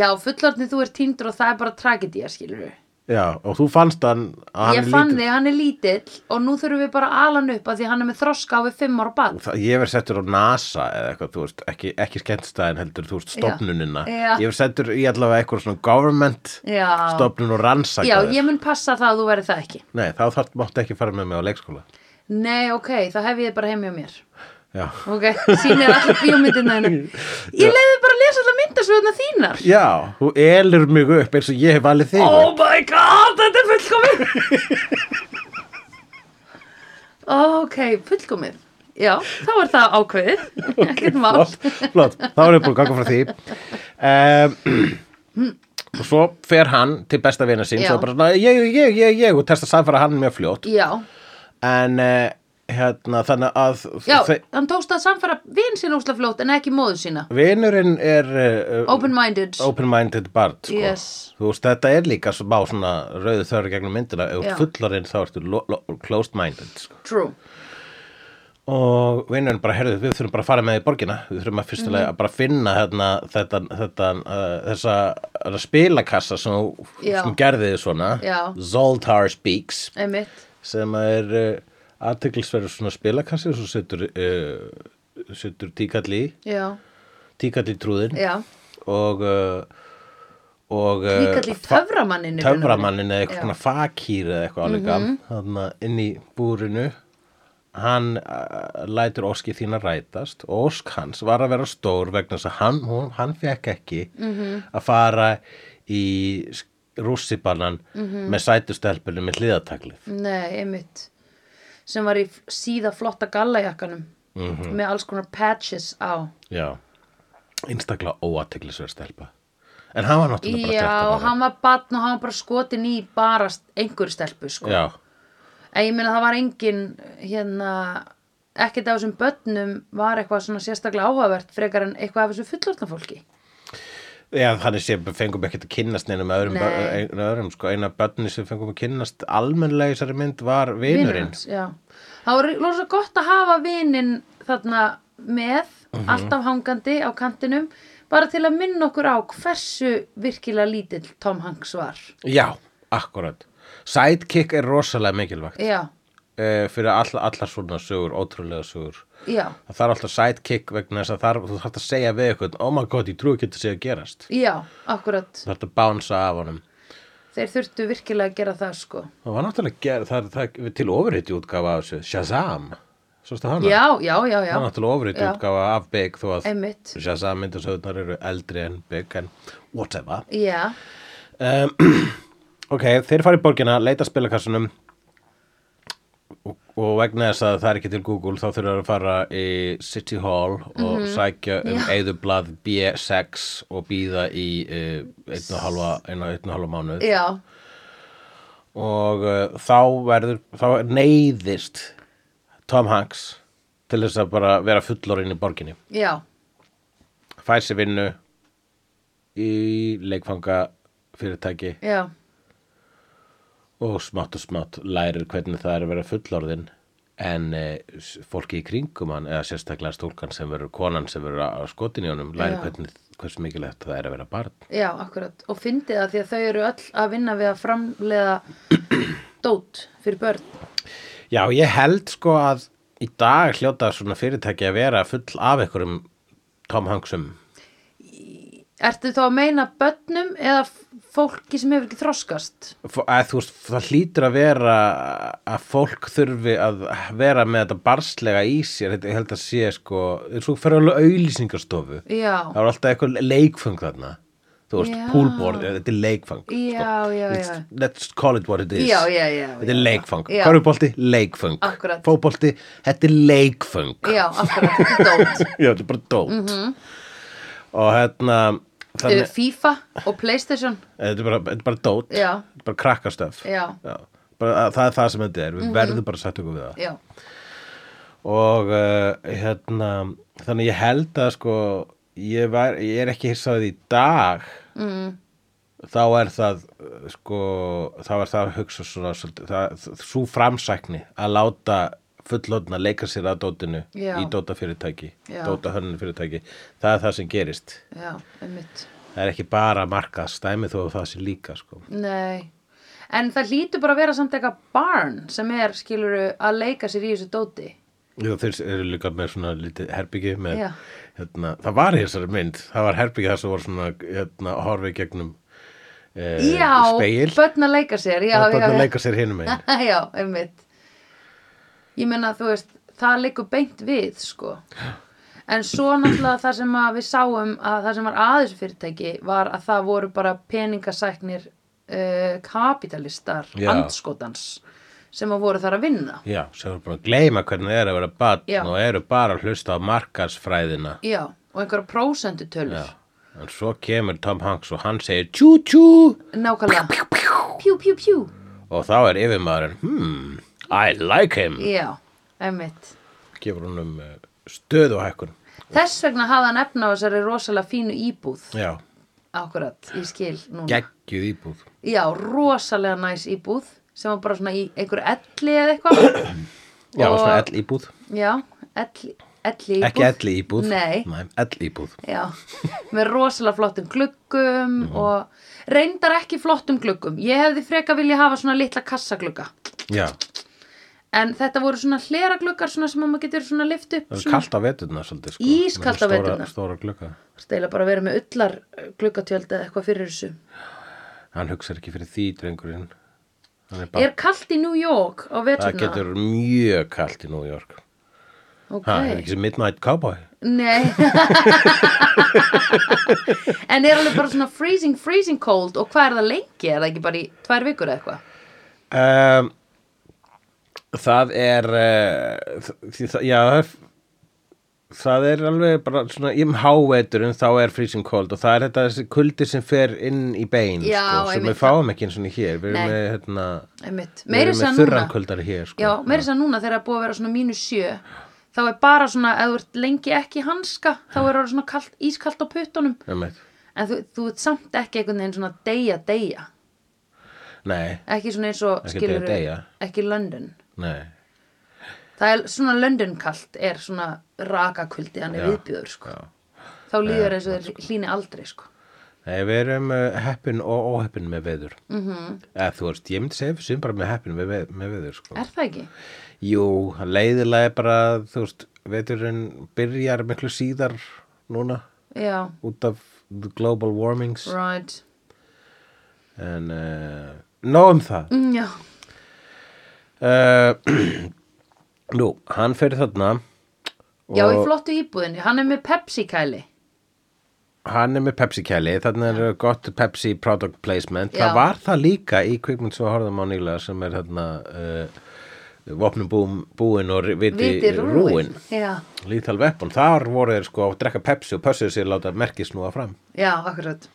A: já, fullorðni þú er týndur og það er bara tragedía skilur
B: Já, og þú fannst hann að hann
A: ég fann
B: lítill.
A: þig, hann er lítill og nú þurfum við bara að ala hann upp að því hann er með þroska á við fimm ára bad
B: Það, ég verð settur á NASA eða eitthvað, þú veist, ekki, ekki skemmtstæðin heldur, þú veist, stofnunina.
A: Já.
B: Ég verð settur í allavega eitthvað svona government
A: Já.
B: stofnun og rannsaka
A: já,
B: þér.
A: ég mun passa það að þú verið það ekki
B: Nei, þá þarf, máttu ekki fara með mig á leikskóla.
A: nei, ok, þá hef ég þið bara heimja mér
B: Já.
A: Ok, sýnir allir bíómyndina hennar. Ég leiði bara að lesa allar myndasöguna þínar.
B: Já, þú elur mig upp eins og ég hef valið þig.
A: Oh my god, þetta er fullkomið. ok, fullkomið. Já, þá er það ákveðið. Ekkert mál.
B: flott, flott, þá erum við búin að ganga frá því um, og svo fer hann til besta vina sín,
A: Já.
B: svo bara svona, ég, ég, ég, ég og testa að samfæra hann mjög fljótt
A: Já,
B: en uh, hérna þannig að
A: já,
B: þe-
A: hann tókst að samfara vin sín ósla fljótt en ekki móðu sína.
B: vinurinn er uh,
A: Open-minded.
B: open-minded barn sko.
A: Yes.
B: þú veist, þetta er líka svo bá svona rauðu þörur gegnum myndina, ef þú
A: Já.
B: ert fullorinn þá ertu lo- lo- closed-minded sko.
A: True.
B: og vinnurinn bara, herðu, við þurfum bara að fara með í borgina við þurfum að fyrstulega
A: Mhm.
B: að bara finna hérna, þetta, þetta, uh, þessa uh, spilakassa sem, þú-
A: Já.
B: sem gerði þið svona
A: Já.
B: Zoltar Speaks
A: Einmitt.
B: sem er uh, aðteglisverður svona spilakassi og svo setur, uh, setur tíkall í
A: Já,
B: tíkall í trúðin
A: já,
B: og, uh, og
A: Líkall í töframanninu
B: töframannin eða eitthvað
A: Já. Mhm.
B: svona fakýr eða eitthvað álíka mm inn í búrinu hann uh, lætur óskið þín að rætast og ósk hans var að vera stór vegna þess að hann, hún, hann fekk ekki -hmm.
A: Mhm.
B: að fara í rússibannan
A: Mhm.
B: með sætustelpunum með hliðataklið
A: Nei, einmitt sem var í f- síða flotta gallajakkanum
B: Mhm.
A: með alls konar patches á
B: já, einstaklega óateglisverð stelpa en hann var náttúrulega bara 13
A: Já,
B: ára.
A: og hann var batn og hann var bara skotin í bara st- einhverju stelpu sko.
B: já,
A: En ég meina það var engin hérna, ekkert af þessum börnum var eitthvað svona sérstaklega áhugavert frekar en eitthvað af þessu fullorðna fólki.
B: Já, þannig sé fengum ekkert að kynnast neinum öðrum,
A: Nei.
B: bör- ein- öðrum sko, eina börni sem fengum að kynnast almennlega í þessari mynd var
A: Vinur
B: vinurinn
A: hans, Já. Það var lósa gott að hafa vininn þarna með, alltaf hangandi á kantinum, bara til að minna okkur á hversu virkilega lítill Tom Hanks var.
B: Já, akkurat Sidekick er rosalega mikilvægt
A: Já,
B: e, fyrir all, allar svona sögur, ótrúlega sögur
A: já,
B: Það þarf alltaf sidekick vegna þess að þar, þú þarf að segja við eitthvað Oh my god, ég trúi ekki þetta sé að gerast
A: já, akkurat.
B: Þú þarf að bánsa af honum
A: Þeir þurftu virkilega að gera það sko.
B: Það var náttúrulega ger, það, það, það, til ofurhýtti útgáfa af þessu Shazam, svo stu hana
A: Já, já, já, já.
B: Það var náttúrulega ofurhýtti
A: Já.
B: útgáfa af Big þó að
A: Einmitt.
B: Shazam myndasögurnar eru eldri en Big en whatever
A: Já,
B: um, ok, þeir fara í borgina leita að spilakassunum og, og vegna þess að það er ekki til Google þá þurfa þeir að fara í City Hall og
A: Mhm.
B: sækja um eðublað B6 og býða í uh, einn og halva, einn og- einn og halva mánuð
A: já,
B: og uh, þá verður þá neyðist Tom Hanks til þess að bara vera fullorinn í borginni
A: já,
B: fær sér vinnu í leikfanga fyrirtæki
A: já,
B: og smátt og smátt lærir hvernig það er að vera fullorðin en e, fólki í kringum hann eða sérstaklega stúlkan sem verður konan sem verður á skotin í honum lærir
A: Já.
B: hvernig, hversu mikilvægt það er að vera barn
A: já, akkurat. Og fyndið það því að þau eru öll að vinna við að framleiða dót fyrir börn.
B: Já, ég held sko að í dag hljóta svona fyrirtæki að vera full af einhverjum Tom Hanksum
A: Ertu þá að meina börnum eða f- fólki sem hefur ekki þroskast?
B: F- að þú veist, það hlýtur að vera að fólk þurfi að vera með þetta barslega í sér Þetta- ég held að sé sko, svo fyrir alveg auðlýsingarstofu
A: Já,
B: það var alltaf eitthvað leikfang þarna þú veist,
A: Já.
B: poolboard, þetta er leikfang
A: já, já, já.
B: Let's, let's call it what it is
A: Já, já, já,
B: þetta er
A: já.
B: leikfang,
A: Já.
B: körfubolti, leikfang
A: Akkúrat.
B: fótbolti, þetta er leikfang
A: Já, Mhm. akkurat, þetta er dót.
B: já, þetta er bara dót og hérna
A: Þau eru
B: þannig,
A: FIFA og Playstation.
B: þetta er bara, þetta er bara dót
A: Já.
B: þetta er bara krakkastöf
A: Já.
B: Bara, að, það er það sem þetta er,
A: Mhm.
B: við verðum bara að setja okkur við það
A: Já,
B: og uh, hérna þannig ég held að sko ég, var, ég er ekki hissaðið í dag mm. þá er það uh, sko þá er það að hugsa svona svolítið- það, svo framsækni að láta fullotna leika sér að dótinu
A: Já.
B: í dóta fyrirtæki
A: Já.
B: dóta hönnun fyrirtæki, það er það sem gerist
A: já, einmitt.
B: það er ekki bara markað stæmi þó að það sé líka sko
A: Nei. En það hlýtur bara að vera samt eitthvað barn sem er, skiluru, að leika sér í þessu dóti.
B: Já, þeir eru líka með svona lítið herbyggi með,
A: Já.
B: hérna, það var í þessari mynd það var herbyggi þar sem voru svona hérna, horfið gegnum eh,
A: Já,
B: speil
A: börn að leika sér. Já,
B: og
A: já,
B: bönn
A: já.
B: að leika sér hinum einn
A: Já, einmitt. Ég meina, þú veist, það leikur beint við, sko. En svo náttúrulega það sem að við sáum að það sem var aðeins fyrirtæki var að það voru bara peningasæknir uh, kapitalistar,
B: Já.
A: andskotans, sem að voru þar að vinna.
B: Já, sem voru búin að gleyma hvernig það er að vera batn
A: Já.
B: og eru bara að hlusta á markarsfræðina
A: Já, og einhverja prósendutölur.
B: Já. en svo kemur Tom Hanks og hann segir tjú tjú
A: Nákvæmlega. Pjú, pjú, pjú.
B: og þá er yfirmaðurinn hmm, I like him
A: Já, einmitt.
B: gefur hún um stöðuhækkun
A: Þess vegna hafði hann efna á þessari rosalega fínu íbúð.
B: Já,
A: Akkurat, ég skil núna.
B: geggjuð íbúð
A: Já, rosalega næs íbúð sem var bara svona í einhverju elli eða eitthvað.
B: Já,
A: Og-
B: svona ell íbúð
A: Já, elli, elli íbúð.
B: Ekki elli íbúð
A: Nei,
B: ell íbúð
A: já. Með rosalega flottum gluggum
B: Mhm.
A: og reyndar ekki flottum gluggum. Ég hefði freka vilja hafa svona litla kassaglugga.
B: Já,
A: en þetta voru svona hlera gluggar svona sem að maður getur svona lift upp
B: Það er
A: svona.
B: kallt á veturna svolítið sko.
A: Ískalt á
B: Með stóra-
A: veturna.
B: Stóra glugga.
A: Stela bara að vera með ullar eh, gluggatjöld eða eitthvað fyrir þessu
B: Hann hugsa ekki fyrir því drengurinn. Hann er bara,
A: Er kalt í New York á veturna?
B: það getur mjög kallt í New York.
A: Ok.
B: Ha, er ekki sem Midnight Cowboy?
A: Nei En er alveg bara svona freezing, freezing cold og hvað er það lengi? Er það ekki bara í tvær vikur eða eitthvað?
B: Um, það er, uh, það, já, það er- það er alveg bara svona í um háveturinn þá er freezing cold og það er þetta þessi kuldi sem fer inn í bein
A: Já,
B: sko, sem
A: einmitt.
B: við fáum ekki eins og hér. Við
A: Nei.
B: erum með, hérna,
A: Einmitt.
B: við
A: Meiri
B: erum
A: þess
B: með
A: að núna
B: þurran kuldar hér sko.
A: Já, meiri þess að núna þegar það er búið að vera svona mínus sjö þá er bara svona, ef þú ert lengi ekki í hanska þá er það svona kalt, ískalt á puttunum
B: Einmitt.
A: en þú, þú ert samt ekki einhvern veginn svona deyja, deyja
B: Nei,
A: ekki svona eins og
B: Ekki
A: skilurðu,
B: deyja, deyja.
A: ekki London
B: nei.
A: það er svona London kalt er svona rakakuldi, hann er
B: Já,
A: viðbjöður sko.
B: já.
A: þá líður eins og þeir hlýni aldrei sko.
B: Nei, við erum uh, heppin og óheppin með veður. Mm -hmm.
A: Mhm.
B: Eða þú veist, ég myndi segja fyrir sem bara með heppin með, veð- með veður, sko.
A: er það ekki?
B: Jú, hann leiðilega er bara, þú veist, veturinn byrjar miklu síðar núna
A: já,
B: út af the global warmings.
A: right
B: En, uh, nóg um það.
A: mm, já,
B: Uh, nú, hann fyrir þarna.
A: já, í
B: og
A: flottu íbúðinni hann er með Pepsi kæli
B: Hann er með Pepsi kæli, þannig er gott Pepsi product placement.
A: Já.
B: Það var það líka í kvikmynd svo horfðum á nýlega sem er þarna uh, vopnum búin, búin og viti,
A: viti
B: rúin.
A: rúin já,
B: Lethal Weapon, þar voru þeir sko að drekka Pepsi og pössuðu sér að láta merkið snúa fram.
A: já, akkurat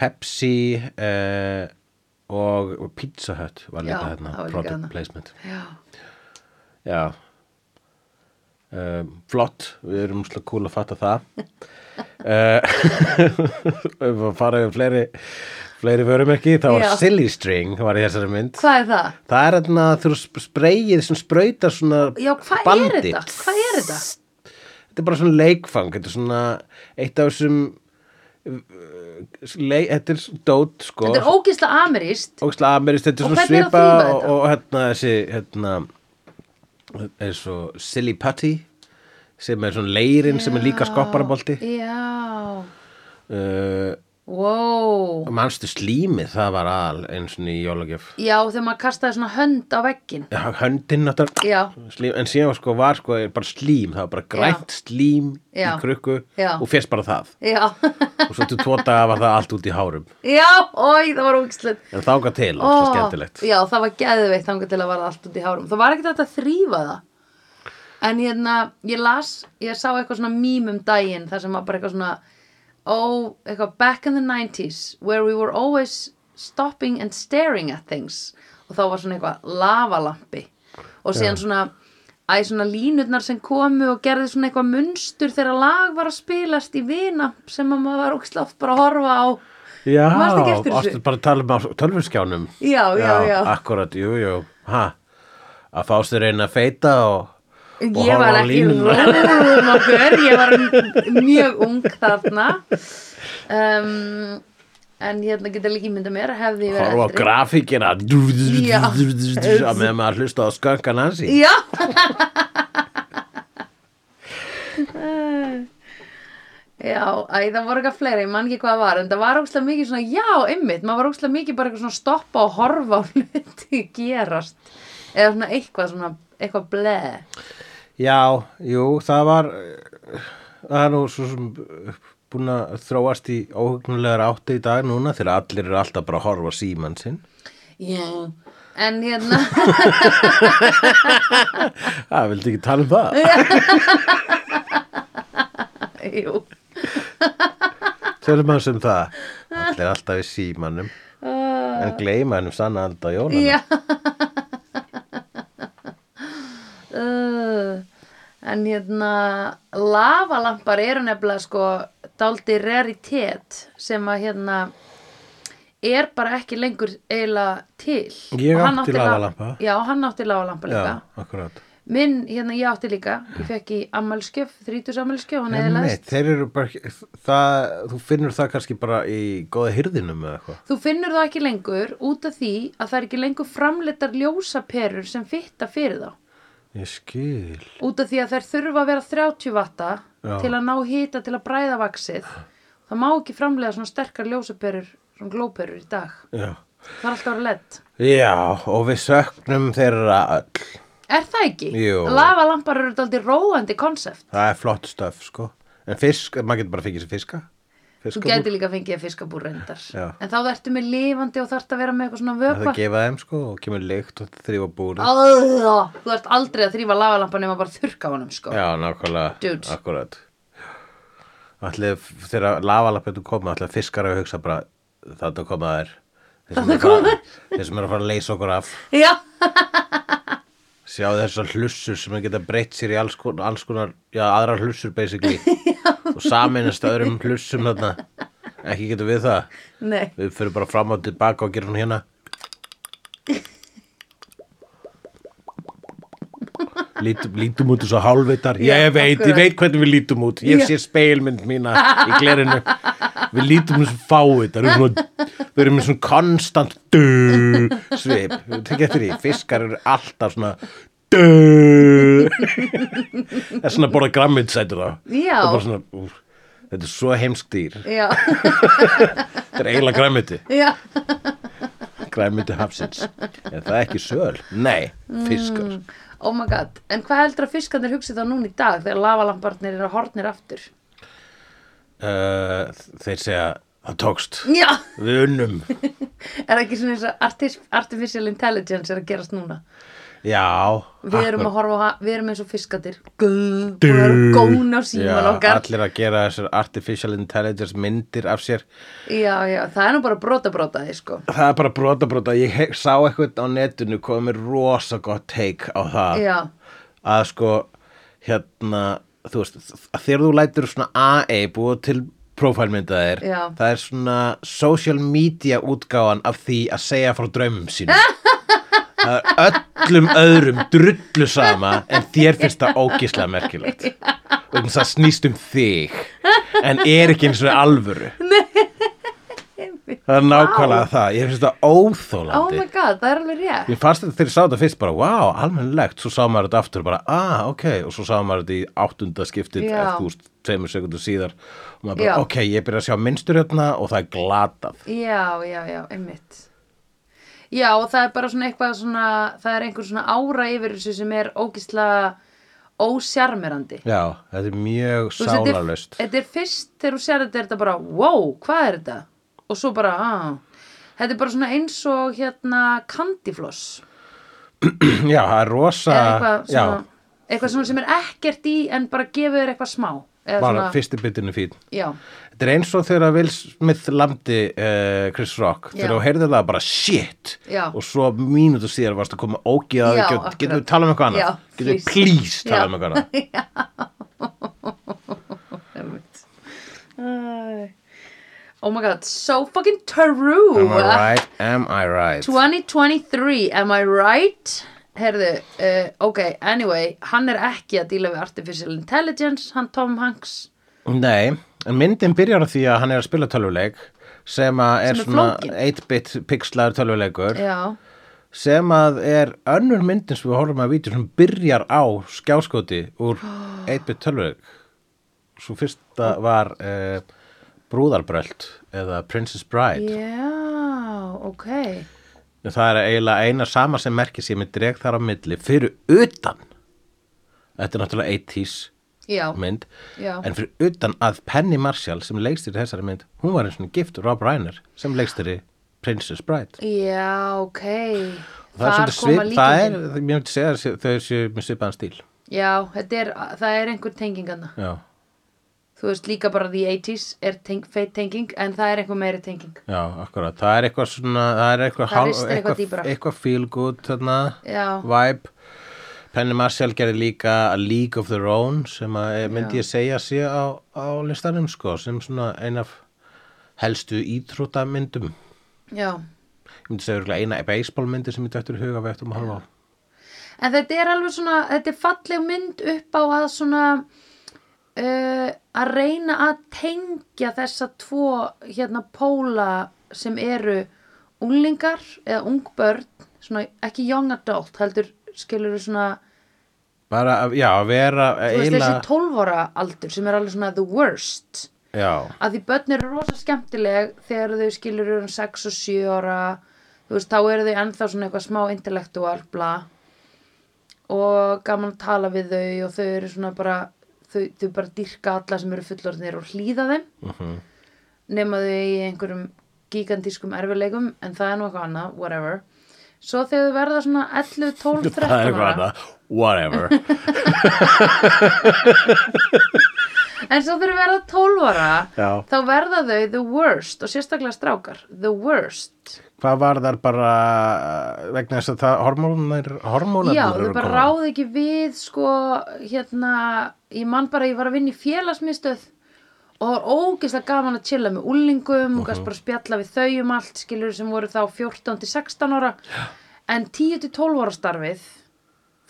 B: Pepsi uh, og og Pizza Hut var líka
A: Já,
B: þarna,
A: það var líka
B: product
A: þarna.
B: placement.
A: já,
B: Já, um, flott, við erum slá kúl að fatta það. uh, við erum að fara yfir fleiri, fleiri vörumerki, það var
A: Já.
B: Silly String, var í þessari mynd.
A: hvað er það?
B: Það er þarna þú sp- spreyið sem sprautar svona
A: já, hvað
B: bandi.
A: er þetta? hvað er þetta?
B: þetta er bara svona leikfang þetta er svona eitt af þessum uh, leik, þetta er svona dót sko,
A: þetta er ógisla ameríst
B: ógæslega amerist þetta
A: Og
B: er svona
A: hvernig er að
B: svipa
A: þýða
B: og,
A: þetta?
B: og hérna þessi hérna er svo silly putty sem er svona leirinn sem er líka skopparabolti
A: já,
B: uh,
A: wow
B: manstu slímið það var al eins og í jólagjöf
A: Já, þegar maður kastaði svona hönd á veggin
B: höndin náttúrulega
A: Já,
B: slím, en síðan sko var sko bara slím það var bara grænt slím
A: Já.
B: í krukku
A: Já.
B: og fyrst bara það
A: já,
B: og svo til tvo daga var það allt út í hárum
A: já, oi, það var ógislegt
B: en þáka til, alltaf skemmtilegt
A: Já, það var geðveitt þangað til að varða allt út í hárum Það var ekkert hægt að þrýfa það En hérna, ég las, ég sá eitthvað svona mím um daginn þar sem var bara eitthvað svona Oh, eitthvað back in the 90s where we were always stopping and staring at things og þá var svona eitthvað lavalampi og síðan svona Æ, svona línurnar sem komu og gerði svona eitthvað munstur þegar lag var að spilast í vina sem að maður var ókslátt bara að horfa á.
B: Já,
A: Manstu ekki eftir þessu?
B: varstu bara að tala um á tölvurskjánum
A: Já, já, já.
B: Akkurat, jú, jú, ha að fást þér einn að feita og, og
A: ég var
B: horfa á
A: ekki
B: línuna.
A: rúðum okkur, ég var m- mjög ung þarna um, en hérna geta líka ímynda mér hefði ég verið
B: horfa á grafíkina
A: Já.
B: að með maður hlusta á skönkan hans í
A: Já Já, æ, það voru eitthvað fleira, ég man ekki hvað það var, en það var ókslega mikið svona, já, einmitt, maður var ókslega mikið bara eitthvað svona stoppa og horfa á hluti gerast, eða svona eitthvað svona, eitthvað bleð.
B: Já, jú, það var eh, það er nú svo sem eh, búin að þróast í óhugnulegar átti í dag núna þegar allir eru alltaf bara að horfa á símann sinn
A: Já. En hérna...
B: Það vildi ekki tala um það
A: Jú.
B: Tölum hans um það Allir alltaf í símanum En gleyma hennum sanna alltaf jólana
A: Já. uh, en hérna, lavalampar eru nefnilega sko daldi raritet sem að hérna er bara ekki lengur eiginlega til.
B: Ég
A: Og hann
B: átti
A: la-
B: lavalampa.
A: Já, hann átti lavalampa líka.
B: akkurat
A: minn, hérna, ég átti líka ég fekk í ammælskjöf, þrítus ammælskjöf og
B: Einmitt,
A: neðilegst
B: Þeir eru bara, það, þú finnur það kannski bara í góða hirðinum eða eitthvað.
A: Þú finnur það ekki lengur út af því að það er ekki lengur framleitar ljósaperur sem fitta fyrir þá.
B: Ég skil.
A: Út af því að þær þurfa að vera 30 vatta
B: Já.
A: til að ná hita til að bræða vaksið. Það má ekki framlega svona sterkar ljósaperur, svona glóperur í dag.
B: Já.
A: Það er alltaf að vera lett.
B: Já, og við söknum þeirra öll.
A: Er það ekki?
B: Jú.
A: Lavalampar eru þetta aldrei róandi konsept.
B: Það er flott stöf, sko. En fisk, maður getur bara fengið sér fiska.
A: Þú
B: Fiskabúr.
A: gæti líka að fengið fiskabúr reyndar.
B: Já.
A: En þá ertu með lifandi og þarft að vera með eitthvað svona
B: Það er
A: vökva.
B: að gefa þeim, sko, og kemur lykt og þrýfa búrið.
A: Æða, Þú ert aldrei að þrýfa lavalampan nema bara þurrka á honum sko.
B: Já, nákvæmlega.
A: Dudes.
B: Akkurat. Allir, þegar lavalapetu koma, allir fiskar að hugsa bara, þetta koma þær. Þetta koma þær. Þeir sem eru að fara að leysa okkur af.
A: Já.
B: Sjá þessar hlussur sem að geta breytt sér í alls konar, alls konar já, aðrar hlussur basically og saminast öðrum hlussum þarna. Ekki getum við það.
A: Nei.
B: Við fyrir bara fram og tilbaka og gerum svona hérna. Lítum, lítum út eins og hálfveitar.
A: Já,
B: ég veit,
A: akkurat.
B: ég veit hvernig við lítum út. Ég
A: Já.
B: sé speilmynd mína í glerinu. Við lítum eins og fáveitar. Við erum svona, við erum með svona konstant dö svip. Við tekja eftir því. Fiskar eru alltaf svona dö. Það er svona að borða grammitsætur þá.
A: Já.
B: Og bara svona, úr, þetta er svo heimskdýr.
A: Já,
B: Þetta er eiginlega grammiti.
A: já,
B: græmyndi hafsins er það ekki söl? Nei, fiskar
A: oh my god En hvað heldur að fiskarnir hugsi þá núna í dag þegar lavalambarnir eru hornir aftur?
B: uh, þeir segja það tókst,
A: Já,
B: við unnum
A: er það ekki svona eins og artis- artificial intelligence er að gerast núna
B: já,
A: Við erum að horfa á, ha- við erum eins og fiskarnir Guð,
B: Dú.
A: við erum góna á síman
B: Já,
A: okkar
B: allir að gera þessar artificial intelligence myndir af sér
A: Já, já, það er nú bara brota brota því sko
B: það er bara brota brota, ég he- sá eitthvað á netinu komið mér rosa gott take á það
A: Já,
B: að sko hérna, þú veist að þegar þú lætur svona AA búið til prófælmynda þér,
A: Já.
B: það er svona social media útgáfan af því að segja frá draumum sínum það er öllum öðrum drullu sama en þér finnst það ógislega merkilegt og það snýst um þig en er ekki eins og alvöru það er nákvæmlega það, ég finnst það óþólandi
A: oh my god, það er alveg rétt
B: Mér fannst þetta þegar ég sá þetta fyrst bara, wow, almennilegt, svo sá maður þetta aftur bara, ah, ok, og svo sá maður þetta í áttunda skiptið,
A: Já.
B: eftir þú veist, tveimur sekundu síðar, og maður bara,
A: Já.
B: ok, ég byrja að sjá minnstur hérna og það er glatað.
A: Já, já, já, einmitt Já, og það er bara svona eitthvað svona, það er einhver svona ára yfir þessu sem er ógisla ósjarmerandi
B: Já, þetta er mjög
A: Þú veist, þetta er-
B: sálarlaust.
A: Þetta er fyrst þegar þú sér þetta er þetta bara wow, hvað er þetta? Og svo bara, ah, þetta er bara svona eins og hérna kandifloss
B: Já, það er rosa,
A: eða eitthvað
B: Ah, já,
A: svona, eitthvað svona sem er ekkert í en bara gefur þér eitthvað smá eða
B: bara
A: svona,
B: fyrsti bitinu fín.
A: Já,
B: Þetta er eins og þegar Will Smith landi uh, Chris Rock,
A: Já.
B: þegar þú heyrði það bara shit
A: Já.
B: og svo mínútu síðar varst að koma ógið
A: Já,
B: að
A: akkurat.
B: getum við talað um eitthvað annað,
A: Já,
B: getum við
A: please.
B: please
A: Já.
B: talað um eitthvað annað.
A: einmitt Æ. Oh my god, so fucking true
B: Am I right? Am I right?
A: 2023, am I right? Herðu, uh, ok, anyway, hann er ekki að díla við Artificial Intelligence, hann Tom Hanks.
B: Nei, en myndin byrjar á því að hann er að spila tölvuleik sem að er,
A: Sem er
B: svona
A: flókin.
B: 8-bit pixlaður tölvuleikur
A: Já,
B: sem að er önnur myndin sem við horfum að vítja sem byrjar á skjáskoti úr 8-bit tölvuleik Svo fyrsta var eh, Brúðarbröld eða Princess Bride
A: já, ok.
B: Það er eiginlega eina sama sem merkir sem ég dreg þar á milli fyrir utan Þetta er náttúrulega 80s
A: Já,
B: mynd
A: Já.
B: en fyrir utan að Penny Marshall sem leikstir þessari mynd, hún var eins og gift Rob Reiner sem leikstir Princess Bride
A: já, ok.
B: svolítið svip, það er, ég myndi segja að þau séu með svipaðan stíl
A: Já, þetta er, það er einhver tengingana.
B: já,
A: Þú veist, líka bara The 80s er teng, feit tenging, en það er einhver meiri tenging.
B: já, akkurat, það er eitthvað svona það er eitthvað,
A: Það
B: hál-
A: ristir eitthvað dýpra.
B: eitthvað feel good þarna,
A: Já.
B: vibe Penny Marshall gerði líka A League of Their Own sem að, eh, myndi ég segja sé á, á listanum sko, sem svona ein af helstu ítrútamyndum
A: Já.
B: ég myndi segja örugglega eina baseballmyndi sem ég dættur í huga við eftir um halva á
A: en þetta er alveg svona, þetta er falleg mynd upp á að svona uh, að reyna að tengja þessa tvo hérna póla sem eru unglingar eða ungbörn svona ekki young adult heldur skilur svona
B: bara, að- já, að vera
A: þú veist,
B: eila,
A: þessi 12 ára aldur sem er alveg svona the worst
B: já,
A: að því börn eru rosa skemmtileg þegar þau skilur um 6 og 7 ára þú veist, þá eru þau ennþá svona eitthvað smá intellektual, bla og gaman að tala við þau og þau eru svona bara þau, þau bara dyrka alla sem eru fullorðnir og hlýða þeim uh
B: Mhm.
A: -huh. nema þau í einhverjum gigantískum erfileikum en það er nú eitthvað annað, whatever svo þegar þau verða svona 11, 12, 13
B: það er
A: ára
B: hana whatever,
A: En svo þegar þau verða 12 ára
B: Já.
A: þá verða þau the worst og sérstaklega strákar, the worst
B: hvað var þar bara uh, vegna þess að það hormónar hormónar
A: Já, þau bara ráð ekki við sko, hérna ég man bara, að ég var að vinna í félagsmiðstöð og það var ógeðslega gaman að chilla með úlingum og gæst bara að spjalla við þau um allt skilur sem voru þá 14-16 ára Já. en 10-12 ára starfið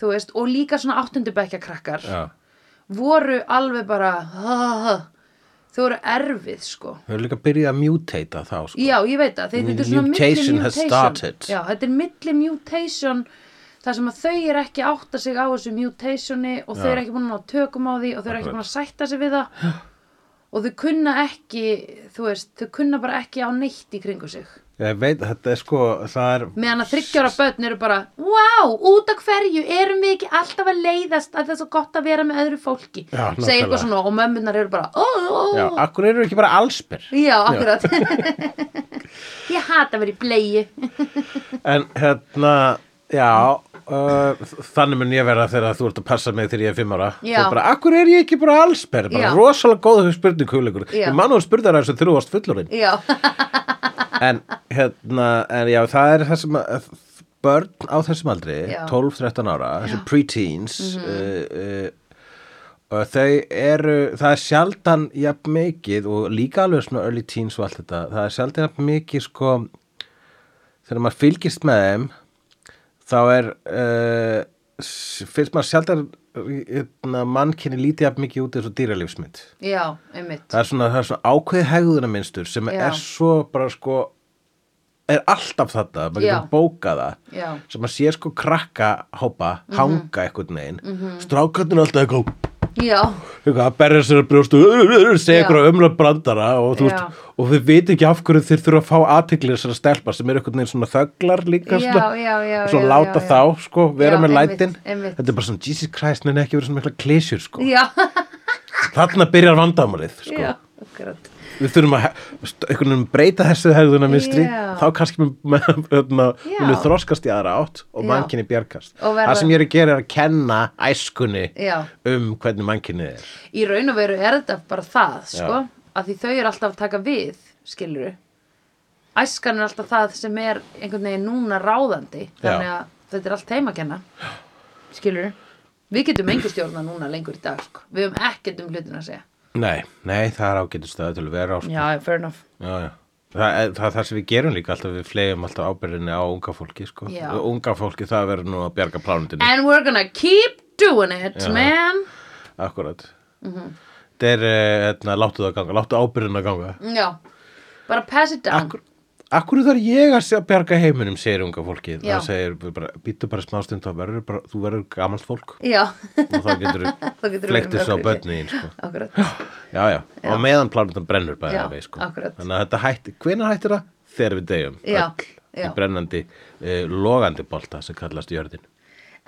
A: þú veist, og líka svona 8. bekkja krakkar
B: já,
A: voru alveg bara þau voru erfið sko
B: þau eru líka að byrja að mutate þá, sko
A: Já, ég veit það, þeir- þetta er svona
B: Mutation
A: milli
B: has
A: mutation.
B: started.
A: Já, þetta er milli mutation þar sem að þau er ekki að átta sig á þessu mutationi og þau er ekki búin að ná tökum á því og þau er ekki búin að sætta sig við það og þau kunna ekki, þú veist, þau kunna bara ekki á neitt í kringu sig
B: ég veit, þetta er sko, það er
A: meðan að þryggjára börn eru bara Vá, út af hverju, erum við ekki alltaf að leiðast að það er svo gott að vera með öðru fólki
B: Já,
A: segir
B: nákvæmlega.
A: eitthvað svona og mömmunar eru bara ó, ó,
B: já, akkur eru ekki bara allsbyr
A: já, akkurat Ég hata að vera í bleiu
B: En hérna, já, uh, þannig mun ég vera þegar þú ert að passa mig þegar ég er fimm ára.
A: Já.
B: Þú bara, akkur er ég ekki bara allsberð, bara
A: Já.
B: rosalega góðu spurning hugleikur.
A: Já.
B: Ég man hún spurði þar þessu þegar þú varst fullorinn.
A: Já,
B: En hérna, en já, það er það sem að börn á þessum aldri,
A: Já. Mhm.
B: 12-13 ára, þessi preteens, uh, uh, og þau eru, það er sjaldan jafn mikið og líka alveg svona early teens og allt þetta, það er sjaldan jafn mikið sko þegar maður fylgist með þeim þá er uh, s- finnst maður sjaldan hérna, mannkinni lítið jafn mikið út eins og dýralífsmynd
A: já, einmitt
B: það er svona, það er svona ákveðið hegðunarmynstur sem
A: Já.
B: er svo bara sko er alltaf þetta, maður
A: Já.
B: getur bókað það
A: Já. Mhm.
B: sem maður sé sko krakka hópa, hanga einhvern veginn mm -hmm. strákarnir alltaf eitthvað
A: Já,
B: eitthvað að berja sér að brjóstu segja
A: Já.
B: eitthvað umlega brandara og, þú veist,
A: Já.
B: og þau veit ekki af hverju þeir þurfa að fá aðteglir þessara stelpa sem eru einhvern veginn svona þögglar líka
A: Já,
B: svona,
A: já, já,
B: svona
A: já,
B: láta
A: já, já.
B: þá sko, vera
A: Já,
B: með
A: einmitt,
B: lætin
A: einmitt.
B: þetta er bara svona Jesus Christ en ekki verið svona mikla klesjur sko.
A: já,
B: þarna byrjar vandamálið sko.
A: já, akkurat
B: við þurfum að he- st- einhvern veginn breyta þessu hegðuna minnstri
A: Já.
B: þá kannski mun- mun- hérna,
A: Já.
B: munu þroskast í aðra átt og
A: Já.
B: mannkinni bjargast
A: Og verða-
B: það sem ég er að gera er að kenna æskunni
A: Já.
B: um hvernig mannkinni er
A: Í raun og veru er þetta bara það, sko
B: Já.
A: að því þau eru alltaf að taka við, skilur Æskan er alltaf það sem er einhvern veginn núna ráðandi þannig
B: Já.
A: að þetta er allt heima að kenna skilur Við getum engu stjórna núna lengur í dag, sko Við höfum ekkert um hlutin að segja
B: Nei, nei, það er ágættu stöðu til að vera á sko.
A: Já, fair enough
B: já, já. Það, er, það er það sem við gerum líka alltaf við flegjum alltaf ábyrðinni á unga fólki sko.
A: Já.
B: Og unga fólki það verður nú að bjarga plánundinni
A: And we're gonna keep doing it, man
B: Akkurat
A: Mhm.
B: Þeir, hérna, láttu það ganga, láttu ábyrðin að ganga
A: Já, bara pass it down
B: Akkur, akkur þarf ég að se- bjarga heiminum segir unga fólkið
A: Já.
B: það segir, við bara, býttu bara smástund þá verður bara, þú verður gamalt fólk
A: Já,
B: og þá getur
A: Þá geturðu verið
B: þú flektir
A: með
B: svo á
A: okkur,
B: börnin þín, sko.
A: akkurat
B: já, já, og meðan plánutan brennur bæði
A: Já,
B: að veið, sko.
A: akkurat.
B: þannig að þetta hætti, hvenær hættir það? þegar við deyjum,
A: Já,
B: í
A: já.
B: brennandi uh, logandi bolta sem kallast jörðin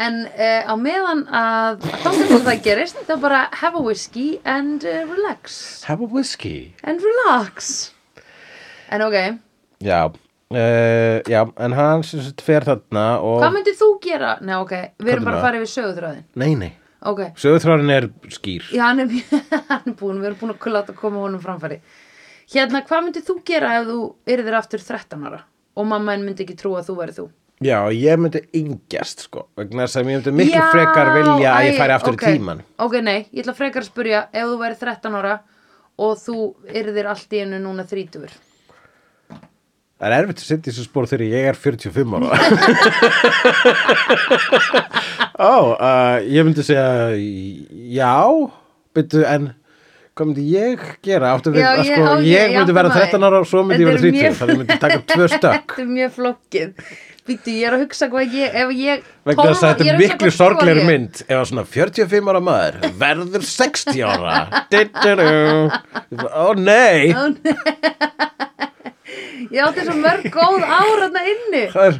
A: En uh, á meðan að þangum til það gerist, þá bara have a whiskey and uh, relax.
B: have a whiskey
A: And relax. En ok,
B: já, uh, já en hann sem sagt fer þarna og
A: hvað myndir þú gera? Nei ok, við
B: Hvað er
A: erum bara
B: það?
A: að fara yfir sögutræðin.
B: nei, nei,
A: Ok,
B: sögurþrárin er skýr
A: já hann er, hann er búin, við erum búin að láta koma honum framfæri. Hérna, hvað myndir þú gera ef þú yrðir aftur 13 ára? Og mamma en myndi ekki trúa að þú væri þú.
B: já, ég myndi yngjast sko vegna þess að ég myndi miklu
A: Já,
B: frekar vilja að
A: æ,
B: ég færi aftur
A: ok.
B: í tíman
A: Ok, nei, ég ætla frekar að spurja ef þú væri 13 ára og þú yrðir allt í einu núna þrítugur.
B: Það er erfitt að setja í þessu spór þegar ég er 45 ára. Ó, uh, ég myndi segja, já, byrju, en hvað myndi ég gera? Áttu við,
A: Já,
B: að
A: ég-
B: sko,
A: á, ég-
B: ég,
A: ég átta
B: myndi vera
A: mig.
B: 13 ára og svo myndi ég
A: Þetta
B: vera
A: er
B: 30.
A: mjög-
B: Þannig myndi ég taka tvö stökk.
A: Þetta er mjög flokkið. Býttu, ég er að hugsa hvað ég, ef ég...
B: Vegna þess að
A: ég
B: þetta
A: er
B: er
A: að hugsa
B: miklu
A: hvað sko
B: sorglegri
A: ég-
B: mynd ef að svona 45 ára maður verður 60 ára. Du-du-du. Ó nei,
A: Ó, nei. Ég átti svo mörg góð ár þarna inni.
B: það er,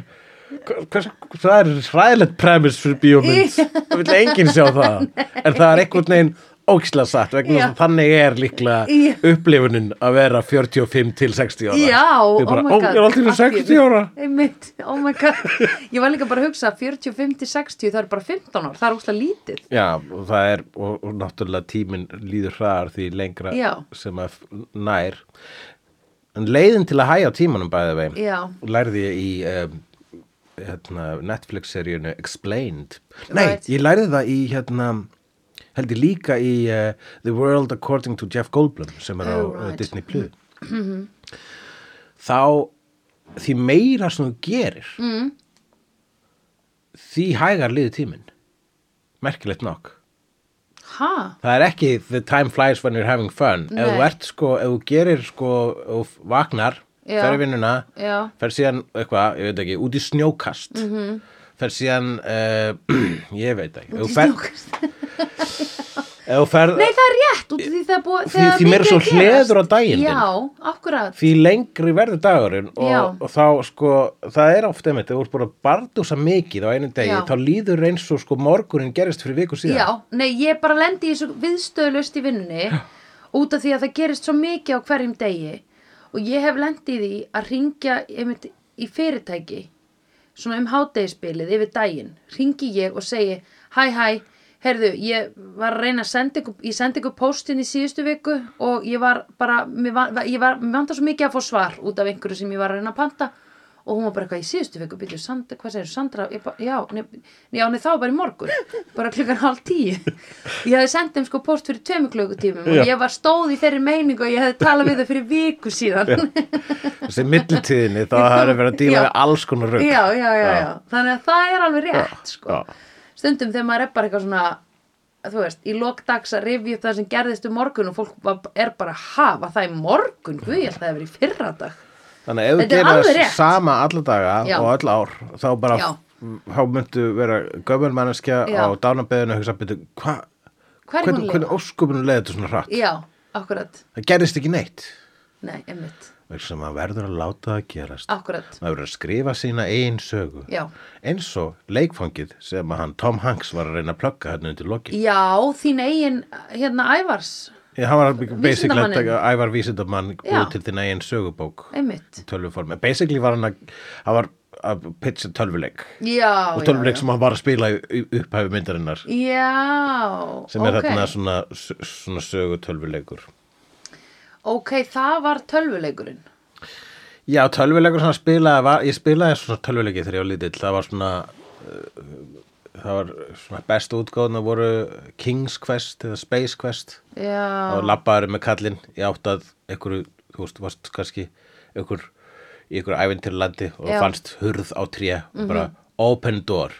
B: hvers, það er hræðilegt premiss fyrir bíómynd. Það vil enginn sjá það. En það er einhvern veginn ógislega satt vegna þess að
A: Já.
B: þannig er líklega
A: Já.
B: upplifunin að vera 45 til 60 ára.
A: Já, oh
B: Ég bara, ó, ég er alltaf í 60 ára.
A: Einmitt, oh my god. Ég var líka bara að hugsa 45 til 60, það er bara 15 ár, það er úslega lítið.
B: Já, og það er, og, og náttúrulega tíminn líður hraðar því lengra
A: Já.
B: sem að f- nær. En leiðin til að hæja á tímanum bæði veginn.
A: Já.
B: lærði ég í um, hérna, Netflix-seríunu Explained Nei,
A: Right.
B: ég lærði það í hérna, held ég líka í uh, The World According to Jeff Goldblum sem
A: Oh,
B: er á
A: right. Mm-hmm.
B: uh, Disney Plus þá því meira sem þú gerir
A: Mm.
B: því hægar liði tíminn merkilegt nokk
A: Ha?
B: Það er ekki the time flies when you're having fun ef
A: Nei.
B: þú ert sko, ef þú gerir sko ef þú vagnar,
A: Já.
B: fer í vinnuna
A: Já.
B: fer síðan eitthvað, ég veit ekki, út í snjókast mm -hmm. fer síðan uh, ég veit ekki
A: Mhm. Út í
B: Ef þú fer-
A: snjókast.
B: ef þú ferð
A: Nei, það er rétt, út af því það er búið,
B: Því- því meira svo hleður á daginn þinn.
A: Já, akkurat.
B: því lengri verður dagurinn
A: Já.
B: og, og þá sko, það er ofta einmitt, ef þú ert búin að bardúsa mikið á einu degi,
A: Já.
B: þá líður eins og sko morgunin gerist fyrir viku síðan
A: Já, nei, ég bara lendi í þessu viðstöðlust í vinnunni út af því að það gerist svo mikið á hverjum degi og ég hef lendið í því að ringja einmitt í fyrirtæki svona um hádegisbilið yfir daginn ringi ég og segi hæ hæ, heyrðu, ég var að reyna að senda ykkur, ég sendi ykkur postin í síðustu viku og ég var bara mér, var, ég var, mér vantar svo mikið að fá svar út af einhverju sem ég var að reyna að panta og hún var bara eitthvað í síðustu viku byrju, Sandra, hvað segir Sandra, ég bara, já, ne, já nei, þá var bara í morgun, bara klukkan hálf tíu ég hafði sendið þeim sko post fyrir tveimur klukkutímum
B: Já.
A: og ég var stóð í þeirri meiningu og ég hefði talað við þau fyrir viku síðan
B: þessi millitíðinni, þá það er verið að díla
A: Já.
B: við alls konar rugg
A: já, já, já,
B: Já.
A: já, þannig að það er alveg rétt sko.
B: já.
A: stundum þegar maður er bara eitthvað svona þú veist, í lokdags að rifja upp það sem gerðist um morgun og fólk var, er bara ha, var það í morgun, guð, ég held að það hefur í fyrradag
B: Þannig að ef þú
A: Þetta er
B: gerir
A: alveg
B: það
A: rétt.
B: sama alla daga
A: Já.
B: og öll ár þá bara,
A: Já.
B: þá myndu vera gömur manneskja
A: Já.
B: á dánabeðinu og hugsa, betur, hva,
A: hver er hún
B: hvernig,
A: leið?
B: hvernig ósköpunum leiði þetta svona hratt?
A: Já, akkurat,
B: Það gerist ekki neitt.
A: nei, emmitt
B: Vegna sem maður verður að láta það gerast.
A: akkurat,
B: Maður verður að skrifa sína eigin sögu.
A: Ah. já
B: Eins og leikfangið sem að hann Tom Hanks var að reyna að plugga hérna undir lokin.
A: Já, þín eigin, hérna, Ævars
B: Ég, hann var basically að
A: Vísindamanninn.
B: taka ævar vísindamann
A: Já.
B: búið til þinn eigin sögubók
A: einmitt
B: í tölvuformi. Basically var hann að, hann var að pitcha tölvuleik.
A: Já,
B: og
A: já,
B: tölvuleik
A: já
B: sem hann var að spila í upphæfi myndarinnar
A: Já,
B: sem er
A: ok.
B: þarna svona, svona sögu tölvuleikur
A: Ok, það var tölvuleikurinn
B: Já, tölvuleikur sem hann spilaði var, ég spilaði svona tölvuleiki þegar ég var lítill það var svona uh, það var svona bestu útgáðuna voru King's Quest eða Space Quest
A: Já,
B: og labbaður með kallinn í átt að einhverju, þú veist, varst kannski einhver, í einhverju ævintýrlandi og
A: Já. Mhm.
B: fannst hurð á tré og bara open door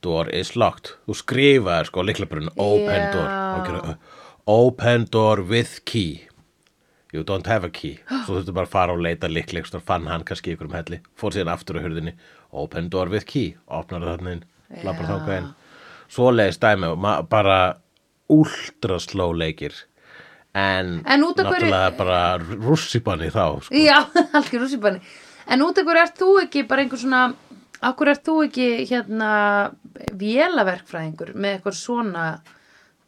B: door is locked þú skrifaði sko líklabrun open
A: Já.
B: door og gera, uh, open door with key you don't have a key svo þurftu bara að fara og leita líklegst og fann hann kannski í einhverjum helli fór síðan aftur á hurðinni open door with key opnar þarna inn, labbar
A: Já.
B: þangað inn svo leiðist dæmi og ma- bara ultra slow leikir en,
A: En út af hverju-
B: náttúrulega bara rússipanni þá sko.
A: já, algjör rússipanni En út af hverju ert þú ekki bara einhver svona Akkur ert þú ekki hérna Vélaverkfræðingur með eitthvað svona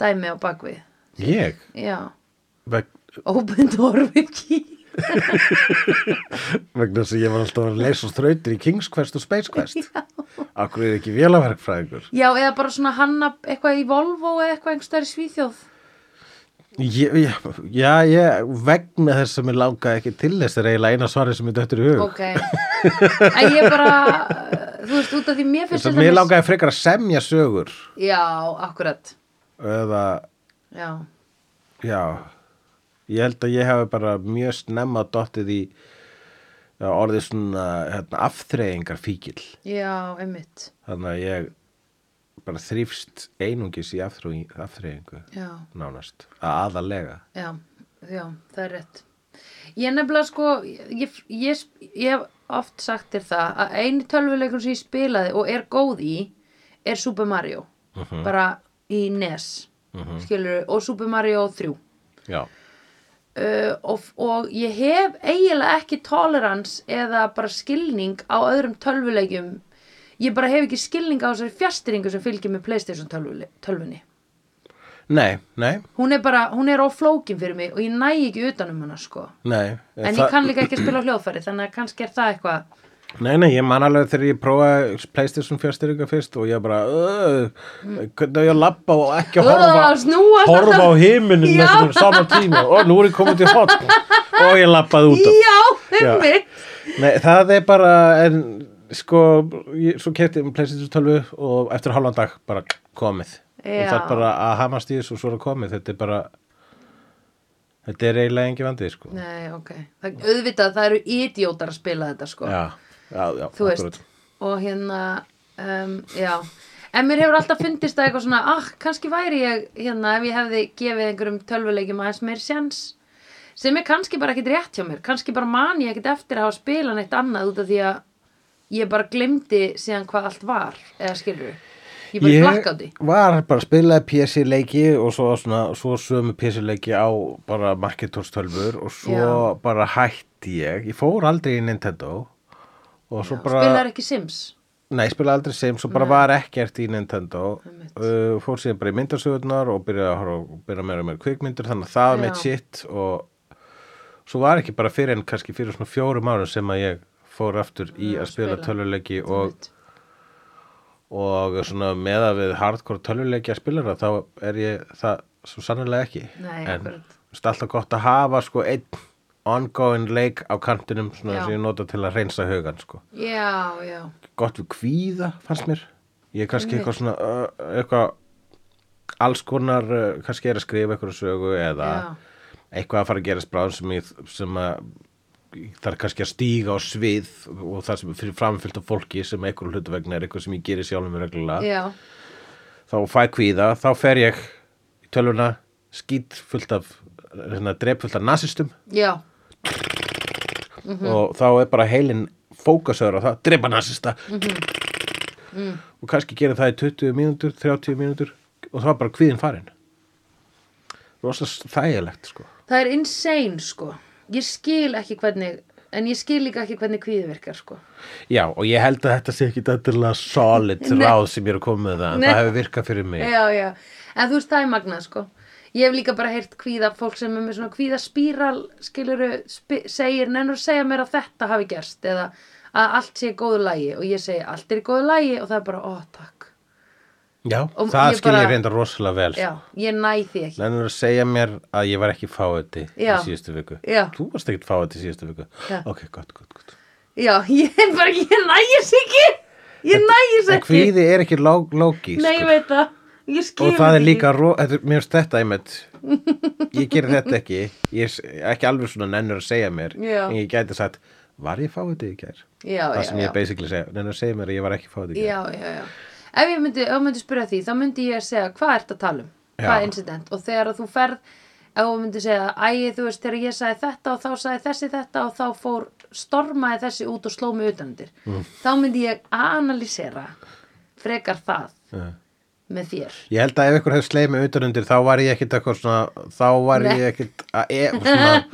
A: dæmi á bakvið
B: ég
A: Já,
B: veg,
A: open door with key
B: vegna þess að ég var alltaf að leysa þrautir í King's Quest og Space Quest akkur er ekki vélaverkfræðingur
A: Já, eða bara svona hanna eitthvað í Volvo eða eitthvað einhverstaðar í Svíþjóð
B: ég, ég, já, ég vegna þess að mér langaði ekki til þess er eiginlega eina svarið sem mér döttur í hug
A: Ok En ég bara, þú veist, út af því mér finnst
B: þess að
A: til
B: mér
A: dæmis-
B: langaði frekar að semja sögur
A: Já, akkurat
B: eða,
A: Já,
B: já ég held að ég hefði bara mjög snemma dottið í já, orðið svona hérna, afþreyingar fíkil
A: já, einmitt
B: þannig að ég bara þrýfst einungis í afþreying- afþreyingu
A: já,
B: nánast, að aðalega
A: já, já, það er rétt ég nefnilega sko ég, ég, ég hef oft sagt þér það að eini tölvuleikur sem ég spilaði og er góð í er Super Mario bara í NES uh og Super Mario 3
B: já,
A: uh, og, og ég hef eiginlega ekki tolerans eða bara skilning á öðrum tölvuleikjum ég bara hef ekki skilning á þessari fjastringu sem fylgir með Playstation tölvule- tölvunni
B: nei, nei,
A: hún er bara, hún er oflókin fyrir mig og ég næ ekki utanum hana sko
B: nei
A: en ég kann líka ekki að spila á hljóðfæri þannig að kannski er það eitthvað
B: Nei, nei, ég man alveg þegar ég prófaði Playstation fjárstyringa fyrst og ég bara "Ugh, hvernig á ég að labba og ekki að
A: Ugh,
B: horfa,
A: snúast
B: horfa á
A: alltaf." Já.
B: heiminin með svona sama tíma og nú er ég komið til hot og ég labbaði út af
A: já, einmitt
B: Nei, það er bara en sko, ég, svo kefti ég Playstation 12 og eftir halvan dag bara komið og
A: Já.
B: það er bara að hamast í þessu og svo er það komið þetta er bara þetta er eiginlega engi vandið sko
A: nei, ok, það, auðvitað það eru idiotar að spila þetta sko
B: Já, já, já,
A: þú
B: akkúrat.
A: veist og hérna um, já En mér hefur alltaf fundist það eitthvað svona, ah, kannski væri ég, hérna, ef ég hefði gefið einhverjum tölvuleikjum aðeins meir sjans, sem er kannski bara ekkit rétt hjá mér, kannski bara man ég ekkit eftir að hafa spilað neitt annað út af því að ég bara glemdi síðan hvað allt var, eða skilur ég bara flakka á því.
B: var bara að spila PC leiki og svo, svona, svo sömu PC leiki á bara Marketors tölfur og svo
A: Já.
B: bara hætti ég ég fór aldrei í Nintendo og svo bara,
A: Spilaðir ekki Sims?
B: nei, spila aldrei Sims og bara var ekkert í Nintendo
A: Einmitt.
B: uh, fór síðan bara í myndasögurnar og byrjaði að horfa- byrja meira og meira kvikmyndir þannig að það
A: Já.
B: var mitt sitt og svo var ekki bara fyrir en kannski fyrir svona fjórum árum sem að ég fór aftur í
A: Já,
B: að spila,
A: spila.
B: tölvuleiki og og svona með að við hardcore tölvuleikja spilara þá er ég það svo sannlega ekki
A: Nei,
B: en
A: akkurat.
B: það er alltaf gott að hafa sko einn ongoing leik á kantinum svona
A: Já.
B: sem ég nota til að reynsa hugan sko.
A: Já, já,
B: gott við kvíða fannst mér ég er kannski
A: Einmitt.
B: eitthvað svona uh, eitthvað alls konar uh, kannski er að skrifa eitthvað sögu eða
A: Já.
B: eitthvað að fara að gera spráðum sem, ég, sem að það er kannski að stíga á svið og það sem er fyrir framfyllt af fólki sem eitthvað hlutu vegna er eitthvað sem ég gerir sjálfum mér reglulega
A: já,
B: þá fæ kvíða, þá fer ég í tölvuna skýt fullt af hérna, drep fullt af nasistum
A: já, Mhm.
B: og þá er bara heilin fókasaður á það, drepa nasista
A: Mhm. Mm.
B: og kannski gera það í 20 mínútur, 30 mínútur og þá er bara kvíðin farin rosa þægilegt sko
A: það er insane, sko. Ég skil ekki hvernig, en ég skil líka ekki hvernig kvíði virkar, sko.
B: já og ég held að þetta sé ekki dættilega solid ráð sem ég er að koma með það en
A: Nei.
B: það hefur virkað fyrir mig
A: já, já, en þú veist það er magnað sko ég hef líka bara heyrt kvíða fólk sem er með svona kvíða spíral skiluru, spi, segir, nennur að segja mér að þetta hafi gerst eða að allt sé í góðu lægi og ég segi allt er í góðu lægi og það er bara, ó takk
B: já,
A: Og
B: það
A: ég
B: skil ég
A: bara-
B: reynda rosalega vel
A: já, ég næ því ekki
B: Lennur að segja mér að ég var ekki fáiði í
A: Já.
B: síðustu viku.
A: Já.
B: Þú varst ekkert fáiði í síðustu viku.
A: Já.
B: Ok, gott, gott, gott.
A: já, ég er bara, ég næ þess ekki ég næ þess
B: En
A: ekki
B: kvíði er ekki ló lógískur.
A: nei, ég veit það, ég skil
B: Og það er
A: ekki.
B: líka, ro- þetta, mér finnst þetta einmitt, ég gerir þetta ekki, ég er s- ekki alveg svona nennur að segja mér,
A: Já.
B: en ég gæti sagt, var ég fáiði í gær?
A: já,
B: það
A: já,
B: sem
A: já.
B: ég basically segja, nennur að segja mér að ég var ekki fáiði í gær.
A: já, já, já ef ég myndi, ef ég myndi spyrja því, þá myndi ég að segja hvað ert að tala um,
B: Já.
A: hvað er incident og þegar að þú ferð, ef þú myndi segja æ, þú veist, þegar ég sagði þetta og þá sagði þessi þetta og þá fór stormaði þessi út og sló mig utanundir mm. þá myndi ég að analýsera frekar það
B: Já.
A: með þér
B: Ég held að ef ykkur hefði sleið mig utanundir þá var ég ekkit eitthvað svona, þá var
A: Nei.
B: ég ekkit að, e, svona,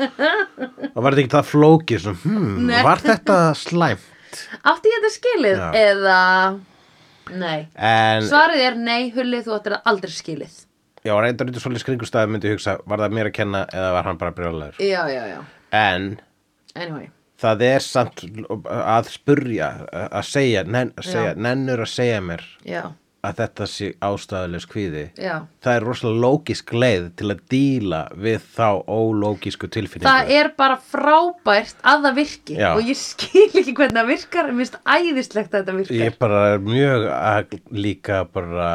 B: þá var þetta ekkit það flókið, svona, hmm, var þetta slæmt?
A: átti ég þetta skilið
B: Já.
A: eða nei
B: En,
A: svarið er nei, hulli, þú áttir það aldrei skilið
B: já, reyndar út í svolítið skringustæði myndi ég hugsa, var það mér að kenna eða var hann bara brjóðlegur?
A: já, já, já,
B: En,
A: anyway
B: það er samt að spurja, að segja, nenn, að segja
A: Já.
B: nennur að segja mér
A: já,
B: að þetta sé ástæðulegs kvíði.
A: já
B: Það er rosalega lógisk leið til að díla við þá ólógisku tilfinningu.
A: það er bara frábært að það virki
B: Já.
A: og ég skil ekki hvernig það virkar en minnst æðislegt að þetta virkar
B: Ég bara er mjög að, líka bara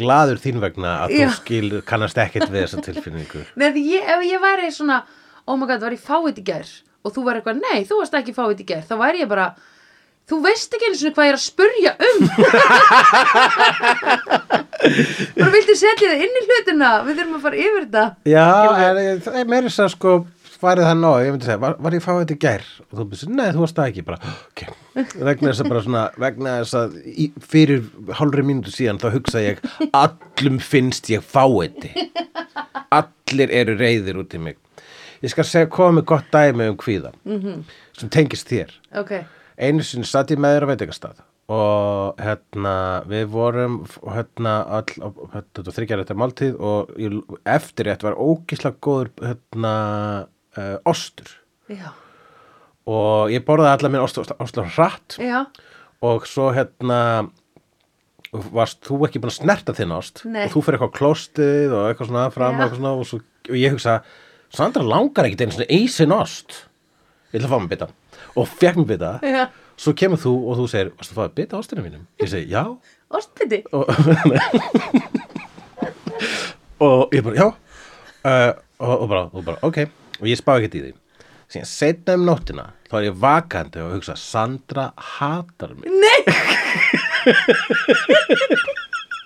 B: gladur þín vegna að
A: Já.
B: þú skil kannast ekkert við þessa tilfinningu.
A: Nei, því ég, ef ég væri svona oh my god, var ég fáið í gær og þú var eitthvað, nei, þú varst ekki fáviti í gerð þá væri ég bara, þú veist ekki einu sinni hvað ég er að spurja um bara viltu setja það inn í hlutina við þurfum að fara yfir þetta
B: Já, en ég- það er meira þess að sko farið það nóg, ég myndi segja, var, var ég fáið þetta í gær? Og þú myndi, nei, þú varst það ekki, bara, ok, vegna þess að bara svona, vegna þess að í, fyrir hálfri mínútu síðan þá hugsa ég, allum finnst ég fáið þetta. Allir eru reyðir út í mig. Ég skal segja, koma með gott dæmi um kvíða, sem tengist þér.
A: ok,
B: einu sinni satt ég með þér á veitingastað og hérna við vorum hérna all hérna, þryggjar þetta máltíð og ég, eftir þetta var ógislega góður hérna uh, ostur
A: já,
B: og ég borðaði allar minn ostur, ostur, ostur hratt
A: já
B: og svo hérna varst þú ekki búin að snerta þinn ást
A: Nei.
B: og þú fyrir eitthvað klóstið og eitthvað svona
A: Já.
B: fram og eitthvað svona og, svo, og ég hugsa Sandra langar ekkit einu svona eisin ást ég ætla að fá mig bita og fekk mig bita
A: Já.
B: svo kemur þú og þú segir varst þú að fá að bita ástinu mínum ég segi já
A: Ostbytti,
B: og ég bara já uh, og, og, bara, og bara ok og ég spá ekkert í því síðan setna um nóttina þá er ég vakandi og hugsa Sandra hatar mig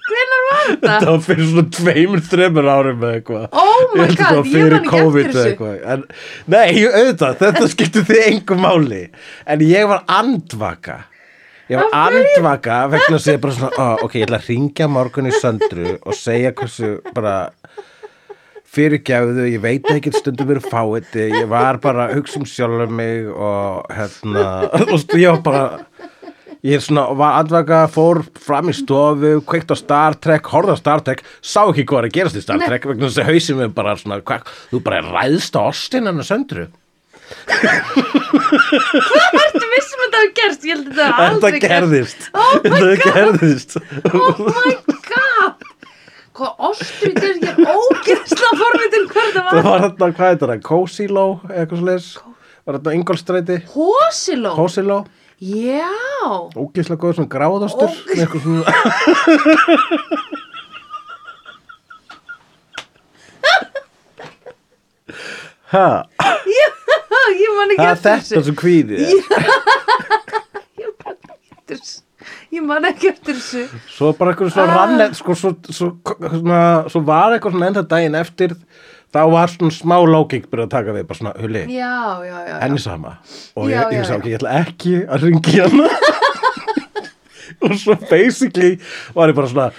A: hvenær var þetta?
B: þetta var fyrir svona tveimur, þreimur árum eða eitthvað
A: Oh my
B: held
A: god, ég
B: þetta var
A: man
B: fyrir
A: ekki
B: COVID
A: eftir
B: eða
A: þessu
B: eitthvað en, nei, ég- auðvitað, þetta skipti þið engum máli en ég var andvaka ég var andvaka vegna þess að ég bara svona, ó, ok, ég ætla að ringja morgun í söndru og segja hversu bara fyrirgefðu, ég veit ekki stundum verið fáiði, ég var bara að hugsa um sjálfur mig og hérna, og stu- ég var bara ég svona, var andvaka, fór fram í stofu, kveikt á Star Trek horfði á Star Trek, sá ekki hvað er að gerast í Star Trek, vegna þess að hausinn við bara svona, hva, þú bara ræðst á ostinn hennar söndru
A: Ertu vissum að þetta hafi gerst? Ég held að þetta hafi
B: þetta
A: aldrei
B: gerðist
A: Oh my
B: þetta
A: god.
B: gerðist
A: Oh my god Hvað ostbytti er ég ógeðsla forvitin hver þetta
B: það
A: var
B: var þarna, hvað heitir það, Kósiló eitthvað slags, var þarna Ingolstræti
A: Hósiló
B: Kósiló,
A: Já
B: ógislega góður svona gráðostur
A: Ó.
B: með eitthvað svona ha,
A: Ég man ekki
B: það er
A: eftir
B: þetta
A: þessu
B: sem kvíði er.
A: Ég man ekki eftir þessu Ég man ekki eftir þessu
B: svo bara eitthvað svo
A: Ah.
B: rann sko, svo, svo, svona, svo var eitthvað svona enda daginn eftir þá var svona smá lóking byrjað að taka við bara svona huli,
A: Já, já, já, já.
B: henni sama og
A: Já,
B: ég,
A: já,
B: ég,
A: já.
B: ég, ég, ég ætla ekki að ringi hana og svo basically var ég bara svona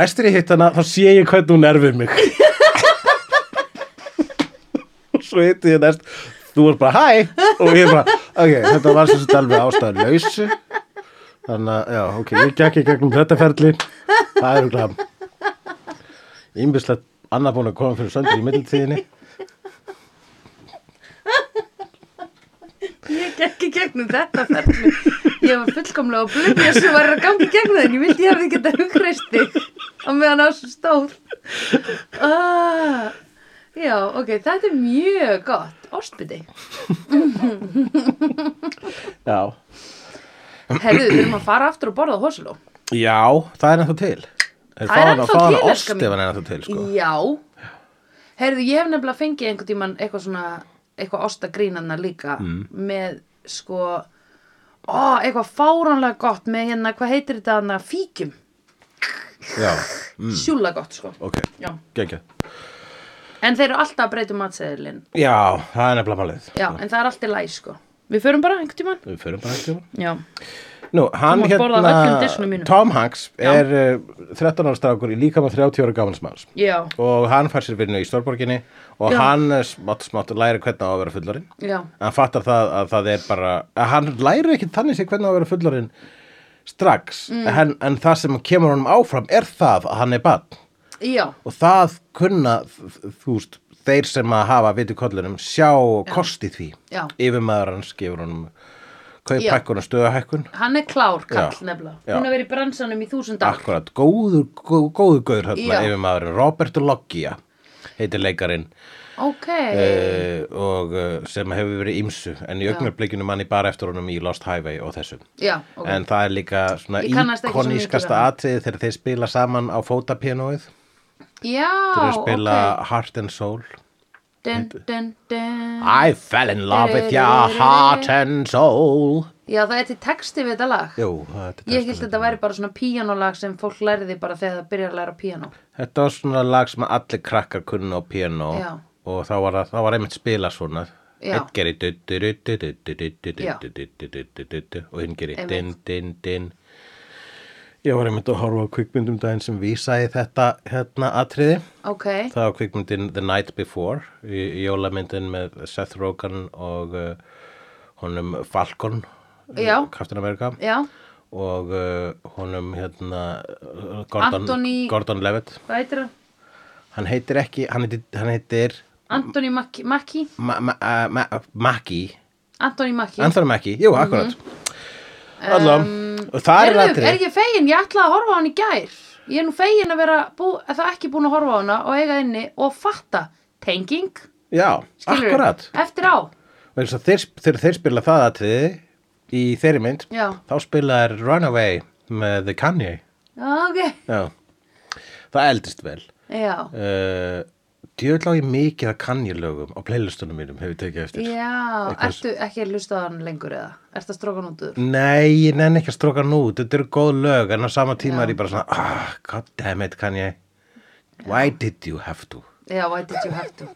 B: næstir ég hitt hana þá sé ég hvernig hún er við mig og svo hitti ég næst þú varst bara hæ og ég bara ok, þetta var sem þetta alveg ástæður lausu þannig að, já, ok, ég gekk í gegnum þetta ferli það er glam ímbislegt annað búin að koma fyrir söndur í mittiltíðinni
A: Ég gekk í gegnum þetta ferli Ég var fullkomlega að blöfja sem var að gangi gegnum þenni Ég vildi ég hefði geta hugreist þig á meðan á svo stóð ah, Já, ok, þetta er mjög gott Ástbytti
B: já,
A: Herðu, við erum að fara aftur og borða á Hósiló
B: já, það er ennþá til
A: Það er
B: Þeir fá hana-
A: ennþá
B: fá hana
A: til, elskan
B: ost ef
A: mín.
B: hann er ennþá til, sko
A: Já Herðu, ég hef nefnilega fengið einhvern tímann eitthvað svona eitthvað ostagrínanna líka
B: Mm.
A: með sko ó, eitthvað fáránlega gott með hérna, hvað heitir þetta hana, fíkjum
B: já,
A: mm. sjúla gott sko
B: ok,
A: Já.
B: gekkja
A: en þeir eru alltaf að breyta um matseðilinn
B: já, það er nefnilega málið
A: já, en það er alltaf læg sko við förum bara einhvern tímann
B: við fyrir bara ekki
A: já,
B: Nú, hann
A: mátt borða af öllum diskunum
B: hérna,
A: mínum.
B: Tom Hanks er uh, 13 ára strákur í líka með 30 ára gafansmanns
A: já,
B: og hann fær sér vinnu í Stórborginni og
A: Já.
B: hann eh, smátt smátt læri hvernig á að vera fullorinn
A: já
B: hann fattar það að það er bara að hann læri ekki þannig sér hvernig á að vera fullorinn strax
A: Mm.
B: en, en það sem kemur honum áfram er það að hann er barn
A: já,
B: og það kunna þúst, þeir sem að hafa viti kollunum sjá kosti því
A: Já.
B: yfirmaður hans gefur honum
A: Já.
B: kauphækkun og stöðahækkun
A: hann er klár kall
B: Já.
A: nefnilega
B: Já. Ah.
A: hún hefur verið í bransanum í þúsund ár
B: Akkurat, góður, góður, góður gaur hérna
A: Já.
B: yfirmaðurinn, Robert Loggia heitir leikarinn
A: ok,
B: uh, og uh, sem hefur verið ímsu en í augnarblikinu manni bara eftir honum í Lost Highway og þessu
A: já, ok
B: en það er líka svona
A: Ég kannast ekki svo mikið við
B: íkonískasta
A: hann.
B: atriði þegar þeir spila saman á fótapianóið
A: já,
B: þeir spila
A: ok
B: Heart and Soul
A: dun, dun, dun.
B: I fell in love with your heart and soul
A: Já, það er til texti við þetta lag
B: Jú, þetta er
A: Ég held þetta væri bara svona píanolag sem fólk lærði bara þegar það byrjar að læra píanó
B: Þetta var svona lag sem allir krakkar kunna á piano
A: Já.
B: og þá var, það- þá var einmitt spila svona
A: Já.
B: Einn gerir du- du- du- du- du- du- du- du- du-
A: Já.
B: du- du- du- du- du- du- og hinn gerir
A: Einmitt.
B: din, din, din Ég var einmitt að horfa á kvikmyndum daginn sem vísaði þetta hérna atriði
A: Ok,
B: Það var kvikmyndin The Night Before í, í jólamyndin með Seth Rogen og uh, honum Falcon
A: Já.
B: Captain America
A: já,
B: og uh, honum hérna uh, Gordon,
A: Anthony-
B: Gordon Levitt
A: hvað heitir það?
B: hann heitir ekki, hann heitir, hann heitir
A: Anthony Mackie, Mackie?
B: Ma- Ma- uh, Ma- Mackie
A: Anthony Mackie
B: Anthony Mackie, jú, akkurat
A: Mhm.
B: allan, og það er
A: Heyrðu,
B: atrið
A: Er ég fegin, ég ætlaði að horfa á hann í gær Ég er nú fegin að vera bú, að það ekki búin að horfa á hana og eiga inni og fatta tenging,
B: já,
A: skilur
B: akkurat
A: Eftir á,
B: Vegna þess að þeir, sp- þegar þeir spila það atrið í þeirri mynd
A: já,
B: þá spila er Runaway með The Kanye
A: já ok
B: já, það eldist vel
A: Já,
B: uh, djöðlá ég mikið að Kanye lögum á playlistunum mínum hefur tekið eftir
A: já,
B: Eitthvað-
A: ertu ekki að hlusta á hann lengur eða? Ertu að stróka hann út úr?
B: Nei, ég nenni ekki að stróka hann út, þetta eru góð lög, en á sama tíma er ég bara svona, ah, god damn it, Kanye, why did you have to?
A: Já, why did you have to?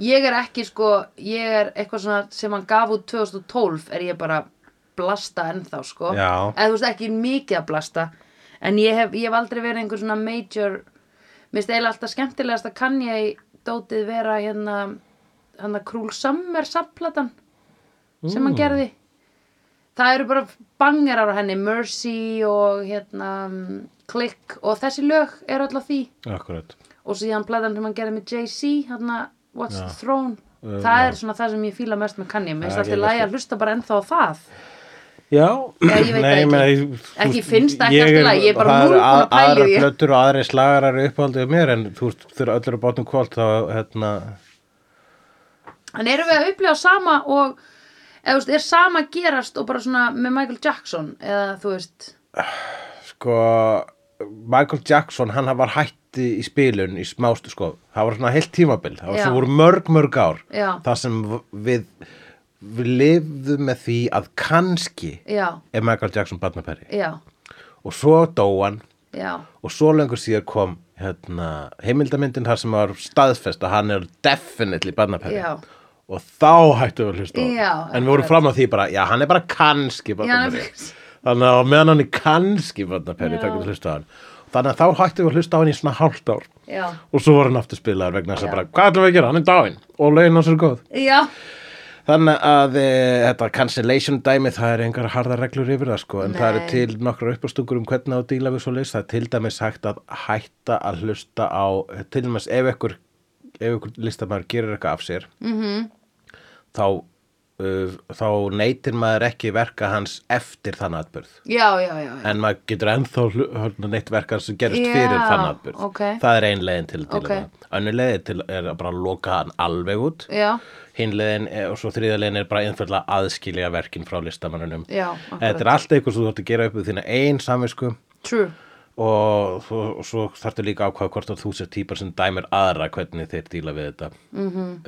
A: Ég er ekki sko, ég er eitthvað svona sem hann gaf út 2012 er ég bara blasta ennþá sko.
B: Já.
A: Eða þú veist ekki mikið að blasta. En ég hef, ég hef aldrei verið einhver svona major, mér finnst eiginlega alltaf skemmtilegast að kann ég dótið vera hérna, hérna Krúl Summer samplatan sem hann gerði. Það eru bara bangerar á henni, Mercy og hérna Click og þessi lög er alltaf því
B: Akkurat.
A: og síðan platan sem hann gerði með Jay-Z hérna What's the Throne það er svona það sem ég fíla mest með Kanye mér finnst
B: Um, Það er
A: alltaf lægi
B: geðveikt.
A: að hlusta bara ennþá á það
B: Já,
A: ég veit það
B: ég
A: ekki.
B: meina, ég-
A: Ekki finnst það ekki
B: ég
A: allt í
B: er-
A: lagi, ég er bara
B: það eru
A: núll búin að pæla í
B: Aðrar
A: því.
B: plötur og aðri slagarar eru uppáhaldið mér, en þú veist, þurfa öllur að bátnum kvöld, þá, hérna,
A: en erum við að upplifa sama og eða, þú veist, er sama að gerast og bara svona með Michael Jackson eða þú veist
B: sko, Michael Jackson, hann var hætti í spilun í smástu, sko, það var svona heilt tímabil, það var
A: Já.
B: svona voru mörg, mörg ár,
A: Já.
B: það sem v- við, við lifðum með því að kannski
A: já,
B: er Michael Jackson barnapæri
A: já,
B: og svo dó hann
A: já,
B: og svo lengur síðar kom hérna, heimildamyndin þar sem var staðfest að hann er definitely barnapæri
A: Já.
B: og þá hættu við að hlusta á hann.
A: Já,
B: en við vorum
A: akkurat.
B: fram að því bara, já hann er bara kannski barnapæri
A: Já,
B: þannig að á meðan hann er kannski barnapæri
A: Já.
B: þá getum við hlusta á hann þannig að þá hættu við að hlusta á hann í svona hálft ár
A: já
B: og svo var hann aftur spilaðar vegna þess
A: Já.
B: að bara, hvað ætlum við að gera, hann er dáinn og lögin hans er góð
A: já,
B: Þannig að e, þetta cancellation dæmi það er engar harðar reglur yfir það sko en það eru
A: Nei.
B: til nokkrar uppastungur um hvernig á að díla við svo leys það er til dæmis hægt að hætta að hlusta á til dæmis ef ykkur, ef ykkur listamæður gerir eitthvað af sér
A: Mhm.
B: -hmm. þá, uh, þá neytir maður ekki verka hans eftir þann atbyrð
A: já, já, já, já.
B: en maður getur ennþá hlu- hérna, neitt verka sem gerist
A: Já,
B: fyrir þann atbyrð
A: ókei.
B: það er ein leiðin til að díla
A: Ókei.
B: við það önnur leiðin til er að bara loka hann alveg út
A: Já,
B: hinlegin og svo þriðalegin er bara einfjörlega aðskilja verkin frá listamannunum
A: Já, akkurat.
B: þetta er allt eitthvað sem þú þarft að gera upp við þína ein samvisku
A: true
B: og svo, og svo þarftu líka að ákvaða hvort að þú sér típar sem dæmir aðra hvernig þeir díla við þetta mm
A: Mhm.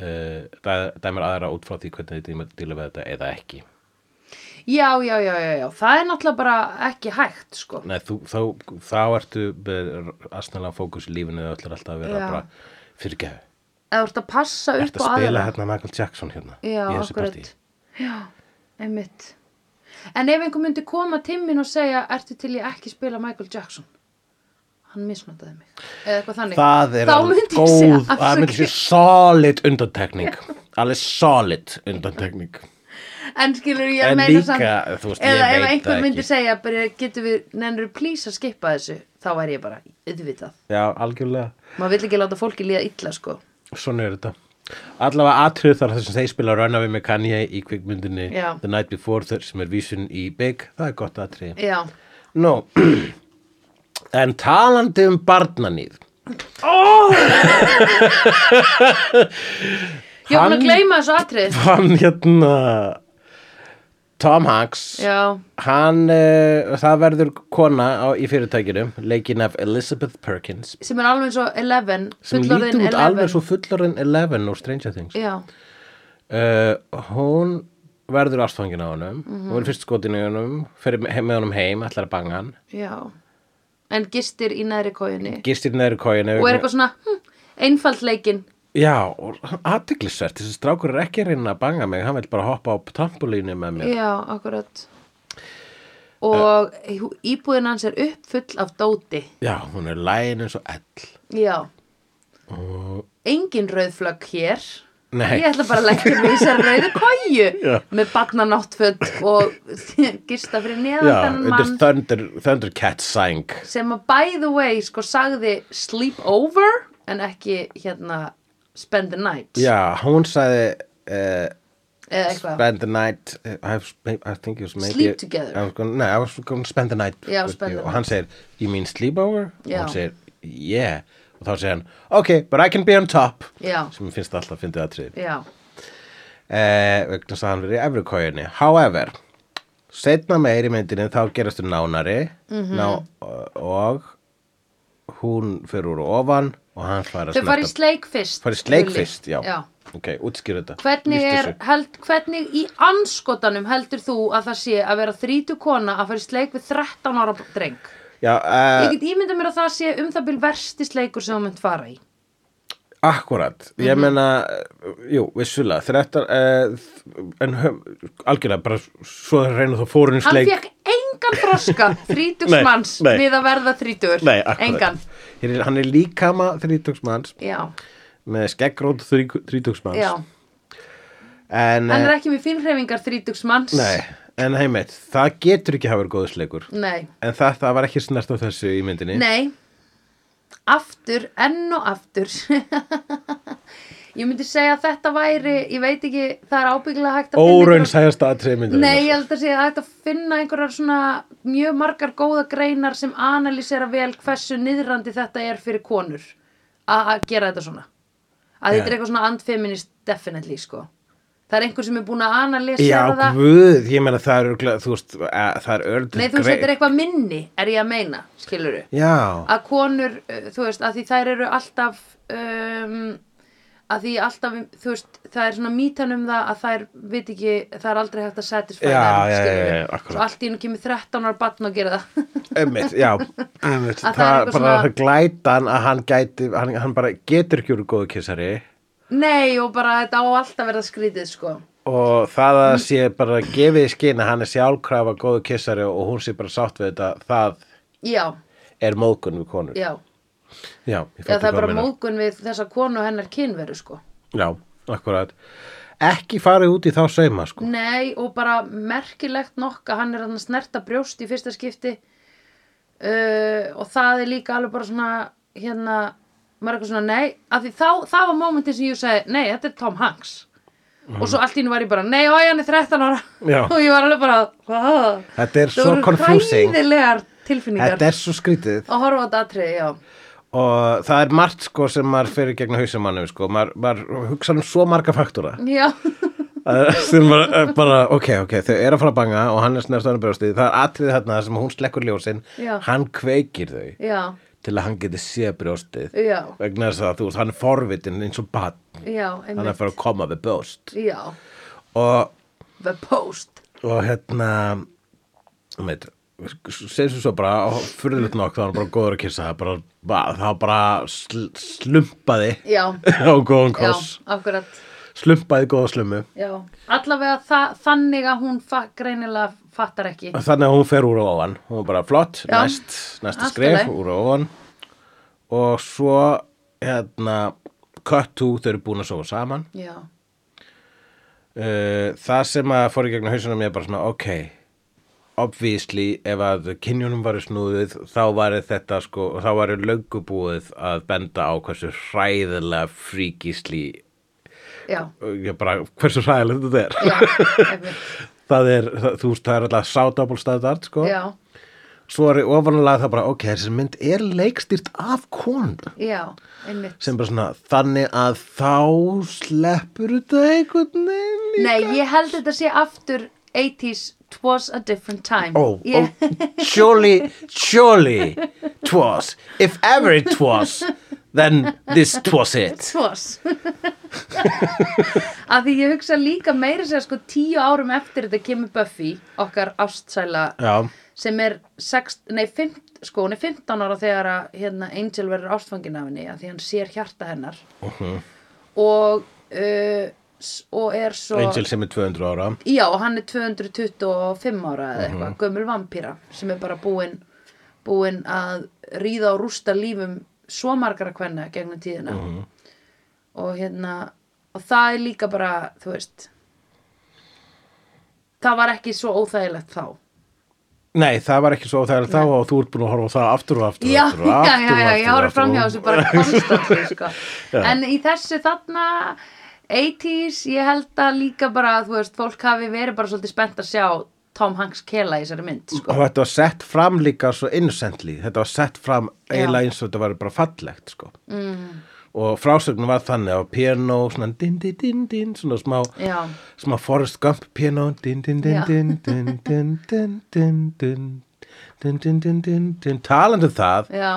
B: dæmir aðra út frá því hvernig þeir díla- díla við þetta eða ekki
A: Já, já, já, já, já, það er náttúrulega bara ekki hægt, sko
B: Nei, þú, þá, þá ertu aðsnalega fókus í lífinu og ætlar alltaf að vera
A: Já.
B: bara fyrirgeðu,
A: Eða þú ert að passa upp á
B: ertu að
A: aðra
B: spila hérna Michael Jackson hérna
A: Já,
B: í þessu
A: akkurat.
B: partí
A: Já, einmitt. En ef einhver myndi koma til mín og segja, ertu til ég ekki spila Michael Jackson? Hann misnotaði mig. Eða eitthvað þannig.
B: það er
A: Þá
B: alveg
A: myndi ég segja,
B: góð það myndi
A: afsakið.
B: sér solid undantekning alveg solid undantekning
A: En skilur ég
B: En
A: meina
B: líka,
A: samt,
B: þú veist, ég
A: eða ef
B: veit
A: einhver
B: það
A: myndi
B: ekki.
A: segja, bara, getur við, nennur please að skipa þessu, þá væri ég bara, auðvitað.
B: já, algjörlega,
A: Maður vill ekki láta fólki líða illa, sko.
B: svona er þetta allavega atrið þar þess að þeir spila Runaway með Kanye í kvikmyndinni
A: Já.
B: The Night Before þar sem er vísun í Big það er gott atrið
A: Já.
B: no. en talandi um barnanýð
A: Ég var búin
B: Hann-
A: að gleyma þessu atrið.
B: hann hérna Tom Hanks
A: Já,
B: hann, uh, það verður kona á, í fyrirtækinu, leikin af Elizabeth Perkins
A: sem er alveg eins og 11
B: sem
A: fullorðin
B: lítur út
A: 11.
B: alveg svo fullorinn Eleven úr Stranger Things
A: Já,
B: uh, hún verður ástfangin á honum
A: Mhm.
B: hún er fyrst skotin í honum fer he- með honum heim, ætlar að banga hann
A: já En gistir í næri kójunni
B: gistir neður í kóinu
A: Og er eitthvað svona hm, Einfald leikinn
B: Já, aðtiklisvert, þessi strákur er ekki að reyna að banga mig, hann vil bara hoppa á trampolínu með mér.
A: Já, akkurat
B: Eh.
A: Og uh, íbúðin hans er uppfull af dóti
B: Já, hún er lægin eins og ell.
A: Já Engin rauðflögg hér Ég
B: Nei.
A: ætla bara að leggja mig í þessar rauðu kóju
B: Já.
A: Með barnanáttföld Og gista fyrir neðan
B: Já,
A: þennan
B: undir
A: mann
B: Thunder, Thundercat sæng.
A: sem að by the way sko sagði sleep over en ekki hérna spend the night
B: Já, hún sagði, uh,
A: eða eitthvað
B: spend the night, uh, I've sp- I think it was maybe...
A: Sleep together.
B: I was gonna, nei, I was gonna spend the night.
A: Já,
B: with
A: spend
B: you.
A: the
B: Og hann segir, you mean sleepover? Og
A: Já.
B: Hún segir, yeah. Og þá segir hann, ok, but I can be on top.
A: Já.
B: Sem mér finnst alltaf að fyndið aðtrið.
A: já,
B: eh, vegna þess að hann verið í efri kójunni however setna meir í myndinni þá gerast þú nánari
A: Mhm.
B: ná, og hún fyrir úr ofan og hann fara að
A: þau fara í
B: snerta-
A: sleik fyrst
B: fara í sleik
A: Gulli.
B: fyrst já. ok, útskýr þetta
A: hvernig
B: Lýstu
A: er
B: þessu.
A: held, hvernig í anskotanum heldur þú að það sé að vera þrítu kona að fara í sleik við 13 ára dreng
B: já,
A: ég
B: eh,
A: get ímynda mér að það sé um það byrð versti sleikur sem þú mynd fara í
B: akkurat
A: Mhm.
B: ég meina, eh, jú, vissulega þrettar eh, en höf- algjörlega bara svo það reynir þá fórinu
A: hann
B: sleik
A: fekk engan þroska
B: Nei,
A: þrítugsmanns
B: nei.
A: við að verða þrítur
B: Nei, akkurat.
A: engan
B: Hér er- hann er líkama þrítugsmanns
A: já,
B: með skeggrót þrítugsmanns
A: já.
B: en,
A: hann
B: eh,
A: er ekki með fínhreifingar þrítugsmanns
B: Nei, en heimitt, það getur ekki hafa verið góðsleikur.
A: nei
B: En það, það var ekki snert á þessu í myndinni.
A: Nei, aftur, enn og aftur. ég myndi segja að þetta væri, ég veit ekki, það er ábyggilega hægt að
B: Óraun
A: einhverjar-
B: sæðast aðtrið myndinni.
A: Nei, ég held að segja að hægt að finna einhverjar svona mjög margar góða greinar sem analýsera vel hversu niðrandi þetta er fyrir konur að að gera þetta svona. Að þetta
B: Já.
A: er eitthvað svona andfeminist definitely, sko. Það er einhver sem er búin að
B: Já,
A: analýsera það.
B: guð, ég meina það er örgulega, þú veist, að, það er örgulega.
A: Nei, þú veist, þetta er eitthvað minni, er ég að meina, skilurðu.
B: Já,
A: að konur, uh, þú veist, að því þær eru alltaf um, að því alltaf, þú veist, það er svona mítan um það að þær veit ekki það er aldrei hægt að satisfæða
B: Já,
A: þær
B: já, já,
A: skilurðu.
B: já, akkurat.
A: svo allt í hennu kemur 13 ára batn og gera það
B: einmitt, já,
A: Að það er
B: einmitt. það, það
A: eitthvað
B: bara svona...
A: svona-
B: glætan að hann gæti, hann, hann bara getur ekki úr góðu kissari
A: nei og bara þetta á alltaf verða skrítið sko
B: og það að sé bara gefið í skinn að hann er sjálfkrafa góðu kissari og hún sé bara sátt við þetta, það
A: já,
B: er móðgun við konur.
A: já,
B: Já, ég
A: já
B: fatta
A: það
B: hvað
A: er bara
B: meinar.
A: móðgun við þessa konu og hennar kynveru sko
B: Já, akkurat. Ekki farið út í þá sauma, sko.
A: Nei, og bara merkilegt nokk að hann er að snerta brjóst í fyrsta skipti uh, og það er líka alveg bara svona hérna, maður er eitthvað svona nei, af því þá, það var momentin sem ég segi nei, þetta er Tom Hanks og svo allt í nú var ég bara, nei, ó, hann er 13 ára
B: Mhm. Já.
A: og ég var alveg bara, hvað
B: Þetta er
A: það
B: svo confusing.
A: hræðilegar tilfinningar
B: Þetta er svo skrítið
A: að horfa á þetta atriði, já
B: og það er margt sko sem maður fyrir gegn hausumannum sko, maður, maður hugsa um svo marga faktúra
A: Já,
B: sem bara, eh, bara, ok, ok, þau eru að fara að banga og hann er snert á hann brjóstið, það er atrið þarna sem hún slekkur ljósin,
A: Já.
B: hann kveikir þau
A: já,
B: til að hann geti séð brjóstið
A: já,
B: vegna þess að þú veist, hann er forvitin eins og bann,
A: já,
B: hann er að
A: einmitt
B: fara að koma við bjóst
A: Já,
B: og
A: the post
B: og hérna um veit, segjum svo bara og fyrirlut nokk þá var hann bara góður að kissa það bara, bara, það bara sl slumpaði
A: Já,
B: á góðan
A: já,
B: koss
A: akkurat
B: slumpaði góða slummu
A: Já, allavega þa þannig að hún fa greinilega fattar ekki.
B: Og þannig að hún fer úr og ofan hún var bara flott,
A: Já.
B: næst, næsta
A: Allt í
B: skrif
A: lagi.
B: úr og ofan og svo hérna cut to, þau eru búin að sofa saman
A: Já,
B: uh, það sem að fór í gegnum hausuna mér bara svona ok obviously ef að kynjunum varu snúðið þá varu þetta sko þá varu löggubúið að benda á hversu hræðilega fríkísli
A: já,
B: ég bara hversu hræðilega þetta er
A: já, einmitt,
B: það er það, þú veist það er alltaf sátabólstaðart sko
A: já,
B: svo er ofanlega það bara ok þessi mynd er leikstýrt af konu
A: já, einmitt.
B: sem bara svona þannig að þá sleppur þetta einhvern veginn
A: Nei, ég held þetta sé aftur 80s Twas a different time
B: Oh,
A: Ég-
B: oh, surely, surely, twas, if ever it was, then this was it.
A: Twas Af því ég hugsa líka meira sér sko tíu árum eftir þetta kemur Buffy okkar ástsæla
B: Já,
A: sem er sext, nei, fimmt, sko, hún er 15 ára þegar að hérna, Angel verður ástfangin af henni að því hann sér hjarta hennar og uh, s- og er svo
B: Angel sem er 200 ára.
A: já, og hann er 225 ára eða eitthvað, gömul vampíra sem er bara búin búin að ríða og rústa lífum svo margara kvenna gegnum tíðina og hérna og það er líka bara, þú veist það var ekki svo óþægilegt þá
B: Nei, það var ekki svo þegar þá og þú ert búin að horfa á það aftur og aftur og
A: já,
B: aftur og
A: já, já,
B: aftur og
A: já,
B: aftur
A: ég
B: og
A: horfði
B: aftur
A: framhjá
B: og-
A: þessu bara konstantli, sko. en í þessu þarna 80s, ég held að líka bara, þú veist, fólk hafi verið bara svolítið spennt að sjá Tom Hanks kela í þessari mynd, sko.
B: Og þetta var sett fram líka svo innocently, þetta var sett fram eiginlega
A: Já.
B: eins og þetta var bara fallegt, sko. Mm. Og frásögnum var þannig á piano, svona din, din, din, din, svona smá,
A: Já.
B: smá Forrest Gump piano, din, din, din,
A: Já.
B: din, din, din, din, din, din, din, din, din, din, din, talandi um það,
A: Já,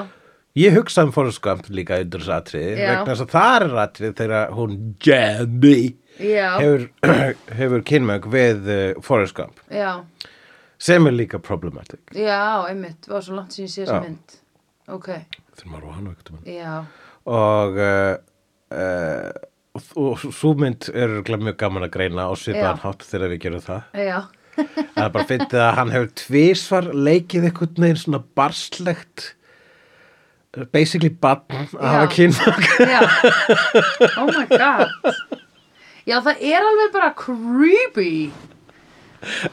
B: Ég hugsa um Forrest Gump líka undir þessu atriði
A: Já.
B: vegna þess að það er atrið þegar hún Jenny
A: Já.
B: hefur, hefur kynmög við uh, Forrest Gump
A: já,
B: sem er líka problematic
A: já, einmitt, var svo langt síðan ég sé
B: Já.
A: þessi mynd. Ok,
B: þegar maður á hann og ekkert
A: já,
B: og uh, uh, og og svo mynd er örugglega mjög gaman að greina og svipaðan
A: Já.
B: hátt þegar við gerum það
A: já,
B: það er bara fyndið að hann hefur tvisvar leikið einhvern veginn svona barslegt uh, basically barn að hafa
A: Já.
B: kynmög
A: já, oh my god. Já, það er alveg bara creepy.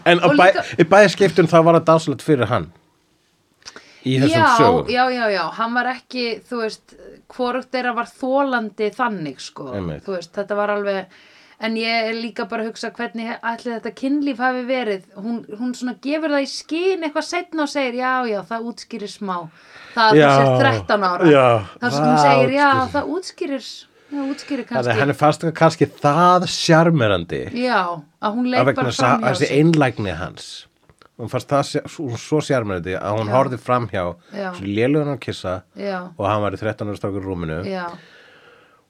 B: En á
A: Og
B: bæ,
A: líka-
B: í bæðiskiptum þá var það dásalegt fyrir hann í þessum
A: já,
B: sögum
A: Já, já, já, hann var ekki, þú veist, hvorugt þeirra var þólandi þannig, sko.
B: Einmitt.
A: Þú veist, þetta var alveg, en ég er líka bara að hugsa hvernig allir þetta kynlíf hafi verið. Hún, hún svona gefur það í skín eitthvað setna og segir, já, já, það útskýrir smá. Það
B: Já,
A: er þessi 13 ára.
B: já,
A: Það sem hún
B: það
A: segir, já,
B: útskýrir.
A: það útskýrir, það útskýrir
B: Þannig að
A: kannski.
B: henni fannst það kannski það sjarmerandi
A: Já, að hún
B: að
A: leik
B: vegna
A: bara
B: þess að
A: fram hjá
B: þessi einlægni hans hún fannst það sj- svo- svo sjarmerandi að hún
A: Já.
B: horfði framhjá
A: Já.
B: svo lélugan á kissa
A: Já,
B: og hann var í 13 ára strákur í rúminu
A: já,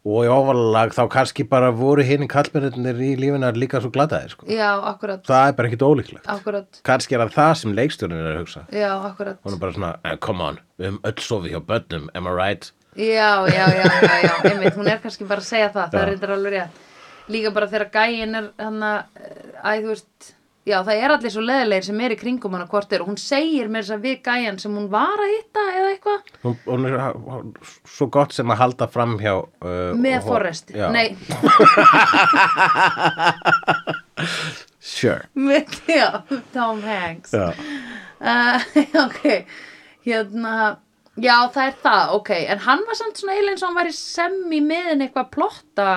B: og í ofalag þá kannski bara voru hinn kallmennir í lífinu líka svo gladaðir sko.
A: já, akkurat,
B: það er bara ekkit ólíklegt
A: akkurat,
B: kannski er það það sem leikstjórnin er að hugsa
A: já, akkurat.
B: hún er bara svona, eh, come on, við höfum öll sofið hjá börnum am I right?
A: já, já, já, já, já, einmitt, hún er kannski bara að segja það, það
B: Já.
A: er reyndar alveg rétt líka bara þegar gæin er hann að, æ, þú veist já, það er allir svo leðilegir sem er í kringum hann að hvort er og hún segir mér þess að við gæjan sem hún var að hitta eða eitthvað
B: hún, hún er ha- hún- svo gott sem að halda fram hjá uh,
A: með
B: og-
A: Forrest,
B: já.
A: nei,
B: sure
A: með, já, Tom Hanks
B: já.
A: uh, ok hérna já það er það, ok en hann var samt svona eiginlega eins og hann var í semmi meðin eitthvað plotta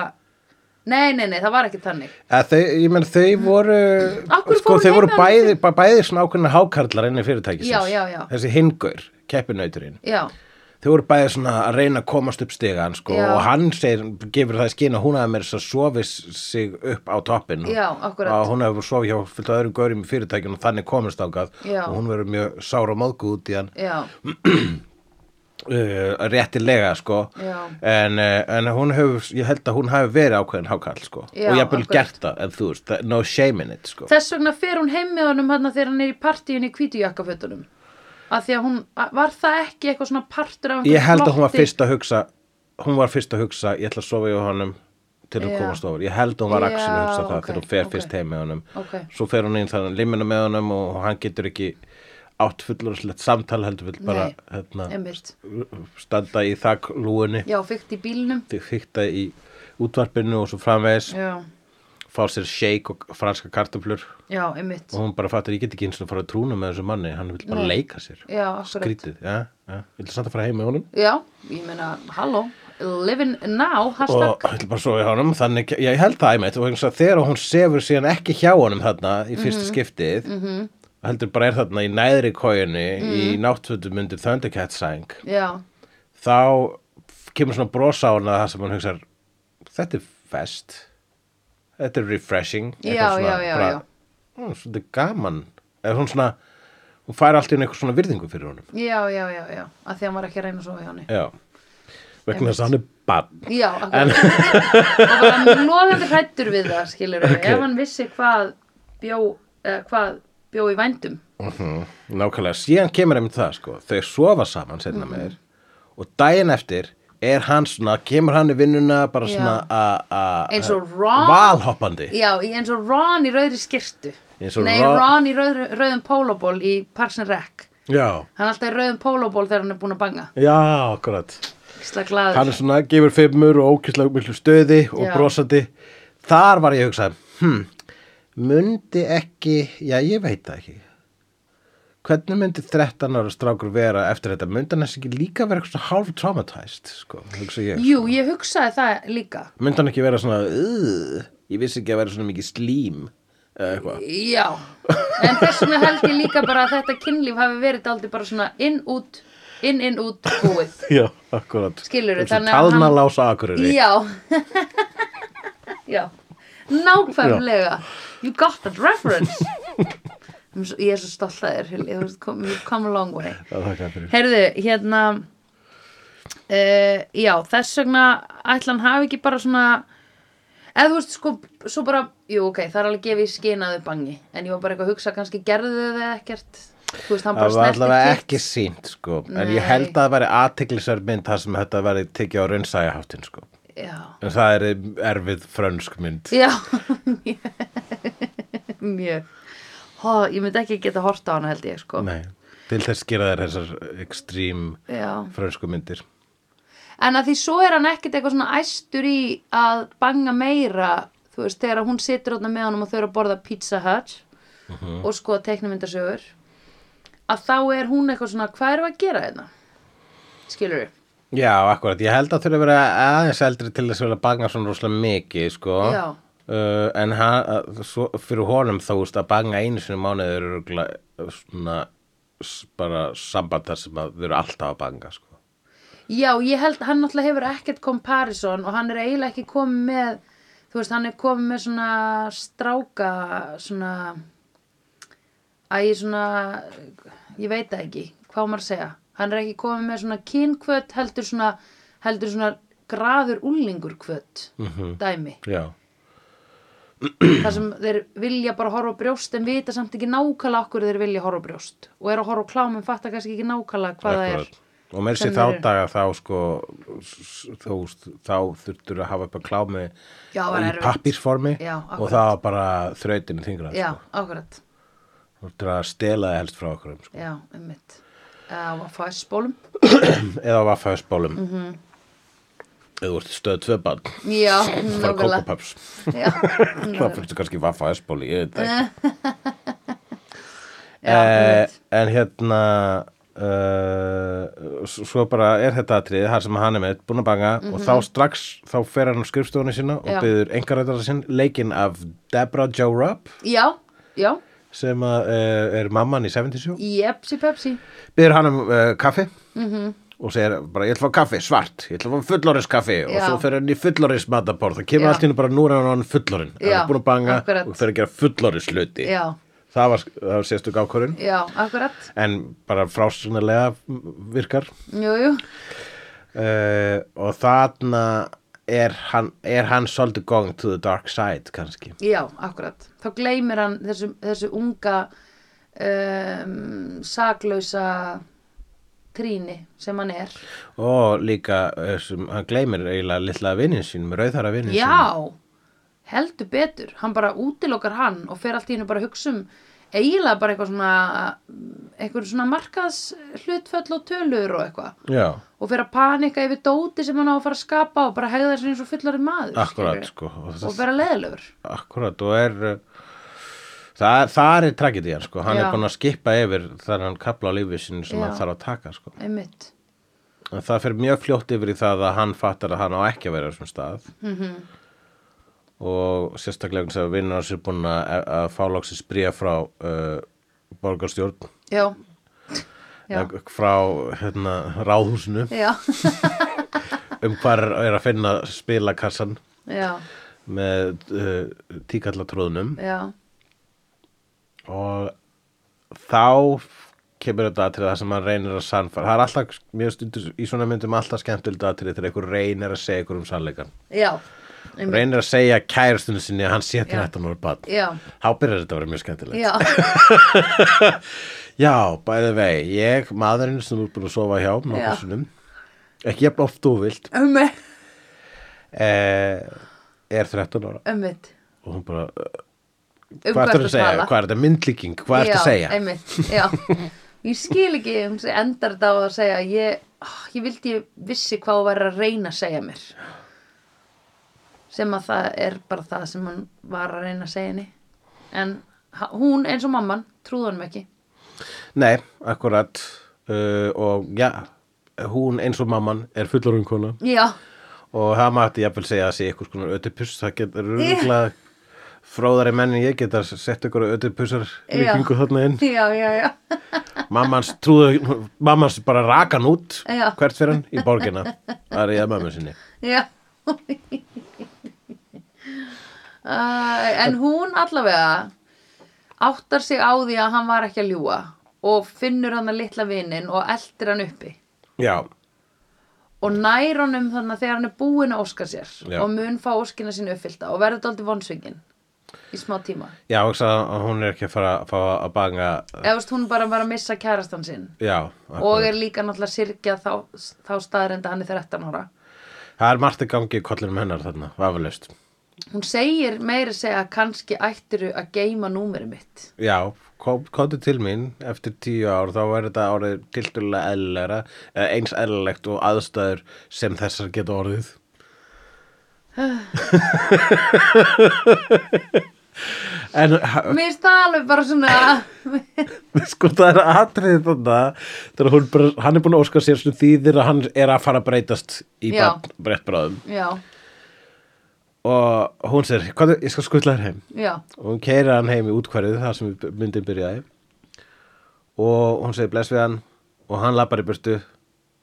A: nei, nei, nei, það var ekki þannig
B: Að Þau, ég menn þau voru
A: Mhm. Af hverju
B: sko,
A: fór hún
B: þau
A: heim
B: voru
A: með hann
B: bæði, bæ- bæði svona ákveðna hákarlar inn í fyrirtækisins
A: Já, já, já.
B: þessi hingur, keppinauturinn
A: já,
B: þau voru bæði svona að reyna að komast upp stigan sko,
A: Já.
B: og hann segir, gefur það skina hún hafi meira þess að sofi s- sig upp á toppin
A: Já, akkurat.
B: og hún hefur sofið hjá fullt af öðrum gaurum í fyrirtækinu og þannig komist ágað
A: Já.
B: og hún verður mjög sára móðgu út í hann
A: já,
B: uh, réttilega sko
A: Já.
B: en, uh, en hún hefur ég held að hún hafi verið ákveðin hákall sko
A: Já,
B: og ég hafði
A: akkurat.
B: gert það en þú veist, no shame in it sko
A: Þess vegna fer hún heim með honum hann þegar hann er í partíun í hvítu jakkafötunum að því að hún, að- var það ekki eitthvað svona partur af einhverju
B: ég held að hún var
A: plotti?
B: fyrst að hugsa hún var fyrst að hugsa, ég ætla að sofa hjá honum til hún
A: Já.
B: komast ofur, ég held að hún var
A: Já,
B: axin að hugsa það
A: ok,
B: þegar hún fer
A: ok.
B: fyrst heim með honum
A: Ok.
B: svo fer hún inn þannig limina með honum og hann getur ekki átt fullurslegt samtal heldur vill bara
A: Nei,
B: hérna,
A: einmitt.
B: standa í þakklúinni
A: Já, fyrst í bílnum
B: fyrta í útvarpinu og svo framvegis
A: Já,
B: fá sér shake og franska kartöflur
A: já, einmitt
B: og hún bara fattar, ég get ekki eins og fara að trúna með þessu manni hann vil bara
A: Nei.
B: leika sér
A: Já, akkurat
B: skrítið, já, já, ég vil samt að fara heim með honum
A: Já, ég meina, halló Living now,
B: og
A: hashtag
B: ég vil bara sofa hjá honum þannig, já, ég held það einmitt og eins og þegar hún sefur síðan ekki hjá honum þarna í fyrsta
A: Mhm.
B: skiptið -hmm. heldur bara er þarna í næðri kójunni
A: Mhm.
B: í náttfötum undir Thundercat sæng
A: Já,
B: þá kemur svona bros á hana það sem hún hugsar þetta er fest þetta er refreshing
A: Já,
B: eitthvað svona
A: já, já,
B: bara
A: já.
B: "Ó, svolítið gaman eða hún svona, hún fær allt í einu eitthvað svona virðingu fyrir honum
A: já, já, já, já, að því hann var ekki að reyna að sofa hjá henni
B: já, vegna þess að hann er bann
A: Já, en... og bara loðandi hrættur við það, skilur við,
B: Ok.
A: ef hann vissi hvað bjó, eh, hvað bjó í vændum.
B: Mhm. nákvæmlega, síðan kemur einmitt það sko, þau sofa saman setna meir
A: Mhm.
B: og daginn eftir er hann svona, kemur hann í vinnuna bara
A: Já.
B: svona a- a-
A: Eins og
B: a-
A: Ron-
B: valhoppandi
A: Já, í- eins og Ron í rauðri skirtu.
B: Eins og
A: Nei,
B: Ron-
A: Ron í rauð, rauðum pólóból í Parks and Rec.
B: já,
A: Hann er alltaf í rauðum pólóból þegar hann er búin að banga.
B: já, akkurat
A: Ísla glaður.
B: hann er svona, gefur fimmur og ókýrslega miklu stöði og
A: Já.
B: brosandi þar var ég að hugsa hm, mundi ekki já ég veit það ekki hvernig myndi 13 ára strákur vera eftir þetta, myndi hann þess ekki líka vera eitthvað hálf traumatized sko, hugsa ég
A: Jú, ég hugsaði það líka.
B: myndi hann ekki vera svona "Ugh, ég vissi ekki að vera svona mikið slím eða eitthvað
A: Já, en þess vegna held ég líka bara að þetta kynlíf hafi verið daldi bara svona inn, út, inn, inn, út, búið.
B: já, akkurat
A: Skilurðu, þannig
B: þannig
A: að hann-
B: að talnalása akureyri
A: Já Já Nákvæmlega You got that reference I'm svo- Ég er svo stolt að þér Hilli, þú veist, kom- You've come a long way
B: það þakka fyrir
A: Heyrðu, hérna uh, Já, þess vegna ætlan hafi ekki bara svona eða þú veist, sko, svo bara jú, ok, það er alveg gefið í skinaðu bangi en ég var bara eitthvað að hugsa, kannski gerðu þau það ekkert þú veist, hann bara
B: Það var
A: snerti
B: allavega
A: kitt.
B: ekki sínt sko En
A: Nei.
B: ég held að það væri aðteglisverð mynd þar sem þetta væri tekið á raunsæjaháttin sko
A: Já,
B: En það er erfið frönsk mynd
A: Já, mjög- mjög. Hó, ég myndi ekki geta horta á hana held ég, sko.
B: Nei, til þess gera þær þessar ekstrím
A: Já.
B: frönsku myndir
A: En að því svo er hann ekkert eitthvað svona æstur í að banga meira, þú veist, þegar hún situr átna með honum og þau eru að borða Pizza Hut og sko teiknumyndasögur, að þá er hún eitthvað svona, hvað erum við að gera hérna? þetta? Skilur við?
B: Já, akkurat, ég held að þurfa að vera aðeins eldri til þess að vera að banga svona rosalega mikið sko
A: Já.
B: Uh, en hann, að- svo, fyrir honum þá veist að banga einu sinni mánuður er örugglega, uh, svona s- bara samband þar sem að þau eru alltaf að banga sko.
A: Já, ég held, hann náttúrulega hefur ekkert comparison og hann er eiginlega ekki komið með, þú veist, hann er komið með svona stráka, svona, að ég svona, ég veit það ekki, hvað á maður að segja. Hann er ekki komið með svona kynkvöt, heldur svona, heldur svona graður úlingur kvöt, dæmi.
B: Já,
A: Þar sem þeir vilja bara horfa á brjóst en vita samt ekki nákvæmlega okkur þeir vilja horfa á brjóst og eru að horfa á klám en fatta kannski ekki nákvæmlega hvað það er.
B: Akkurat. og mér sé
A: sem
B: þá
A: þeir eru.
B: daga þá sko s- þá, þá þurftur að hafa upp að klámi
A: Já, það var
B: í
A: erfitt.
B: pappírsformi
A: Já,
B: og
A: akkurat.
B: það var bara þrautinu þingra
A: Já,
B: sko.
A: akkurat.
B: þú þurftur að stela það helst frá okkur sko.
A: Já, einmitt. Á að fá spólum.
B: eða á vaffhæðsbólum mm -hmm. eða þú ert stöð tvö bann
A: Já,
B: fara
A: Mm, nákvæmlega.
B: kókapaps
A: Já,
B: þá fyrstu kannski vaffhæðsbóli ég veit það ekki
A: já,
B: eh,
A: einmitt.
B: en hérna uh, s- svo bara er þetta atrið þar sem hann er með búin að banga og þá strax þá fer hann á skrifstofunni sína
A: Mhm. Já.
B: og byður engarættara sinn leikinn af Deborah Jo Rupp
A: já, já,
B: sem að, uh, er mamman í 70 show
A: jepsi pepsi.
B: byður hann um uh, kaffi
A: Mhm.
B: -hmm. og segir bara ég ætla að fá kaffi, svart ég ætla að fá fullorins kaffi og
A: Já.
B: svo fer hann í fullorins mataborð það kemur
A: Já.
B: allt í hennu bara núna er hann fullorin hann
A: Já,
B: er búin að banga
A: akkurat.
B: og fer að gera fullorins hluti
A: Já,
B: það var, það var sérstök ákvörun
A: já, akkurat.
B: en bara frásynarlega virkar
A: Jú, jú,
B: uh, og þarna er hann, er hann svolítið going to the dark side kannski
A: já, akkurat. Þá gleymir hann þessu, þessu unga um, saklausa tríni sem hann er.
B: og líka eh, sem, hann gleymir eiginlega litla vinnin sínum, rauðhara vinnin sínum
A: Já, heldur betur. Hann bara útilokar hann og fer allt í hennu bara að hugsa um eiginlega bara eitthvað svona, eitthvað svona markaðs hlutföll og tölur og eitthvað.
B: Já,
A: og fyrir að panika yfir dóti sem hann á að fara að skapa og bara hegða þessu eins og fullari maður
B: Akkúrat,
A: skilurðu.
B: sko, og
A: og
B: það-
A: vera leðilegur
B: akkurat og er eh, það, það er tragedian sko, hann
A: Já.
B: er búin að skippa yfir þar hann kapla á lífið sínu sem
A: Já.
B: hann þarf að taka sko.
A: einmitt,
B: en það fer mjög fljótt yfir í það að hann fattar að hann á ekki að vera á þessum stað -hmm.
A: Mhm.
B: og sérstaklega vegna þess að vinnur hans er búin að, að fá loksins bríja frá uh, borgarstjórn
A: já já,
B: eh, frá hérna, ráðhúsinu
A: já,
B: um hvar er að finna spilakassan
A: já,
B: með uh, tíkallatróðnum
A: já
B: og þá kemur þetta atrið það sem hann reynir að sannfara það er alltaf, mér stundur í svona myndum alltaf skemmtilegt atrið þegar einhver reynir að segja ykkur um sannleikan
A: já, einmitt.
B: reynir að segja kærastunni sinni að hann sé til þetta núna bann
A: já,
B: þá byrjar þetta að vera mjög skemmtilegt
A: já,
B: já, bæði vei, ég, maðurinn sem þú er búin að sofa hjá
A: Já.
B: nokkuð sinnum ekki jafn oft og þú vilt
A: einmitt,
B: eh, er 13 ára
A: einmitt.
B: og hún bara, eh,
A: Um
B: hvað ertu að segja
A: tala?
B: hvað er þetta myndlíking, hvað ertu
A: Já,
B: að segja
A: einmitt, já. Ég skil ekki um sig endar þetta á að segja ég, oh, ég vildi ég vissi hvað hún var að reyna að segja mér sem að það er bara það sem hún var að reyna að segja henni en ha- hún eins og mamman trúði honum ekki
B: Nei, akkurat uh, og já, hún eins og mamman er fullorinn kona
A: Já,
B: og það mætti jafnvel segja að sé eitthvað skonar ödipus, það getur
A: Já.
B: rúglega fróðari menn en ég geta sett eitthvað ödipusar líkingu þarna inn
A: já, já, já
B: mammans trúðu, mammans bara rakan út
A: Já.
B: hvert fyrir hann í borgina það er ég að mamma sinni
A: Já uh, En hún allavega áttar sig á því að hann var ekki að ljúga og finnur hann að litla vinin og eldir hann uppi
B: Já,
A: og nær honum þannig að þegar hann er búinn að óska sér
B: Já.
A: og mun fá óskina sín uppfyllta og verður dálítið vonsvingin í smá tíma
B: já, og hún er ekki að fara að fá að banga
A: eða þú veist hún bara var að missa kærastan sinn
B: Já,
A: og
B: akkurat.
A: er líka náttúrulega sirkja þá, þá staðarenda hann er 13 ára
B: það er margt í gangi í kollinum hennar þarna, vafalaust
A: hún segir meiri segja að kannski ættiru að geima númerið mitt
B: Já, komdu til mín eftir tíu ár, þá væri þetta árið tildulega eðlilegra, eða eins eðlilegt og aðstæður sem þessar geta orðið. en ha-
A: Mér finnst það alveg bara svona
B: sko það er atriðið þarna þegar hún bara, hann er búin að óska sér sem þýðir að hann er að fara að breytast í
A: Já.
B: brettbráðum
A: Já,
B: og hún sér, hvað, ég skal skutla þér heim
A: já,
B: og hún keirir hann heim í útkværið þar sem myndin byrjaði og hún segir bless við hann og hann lappar í burtu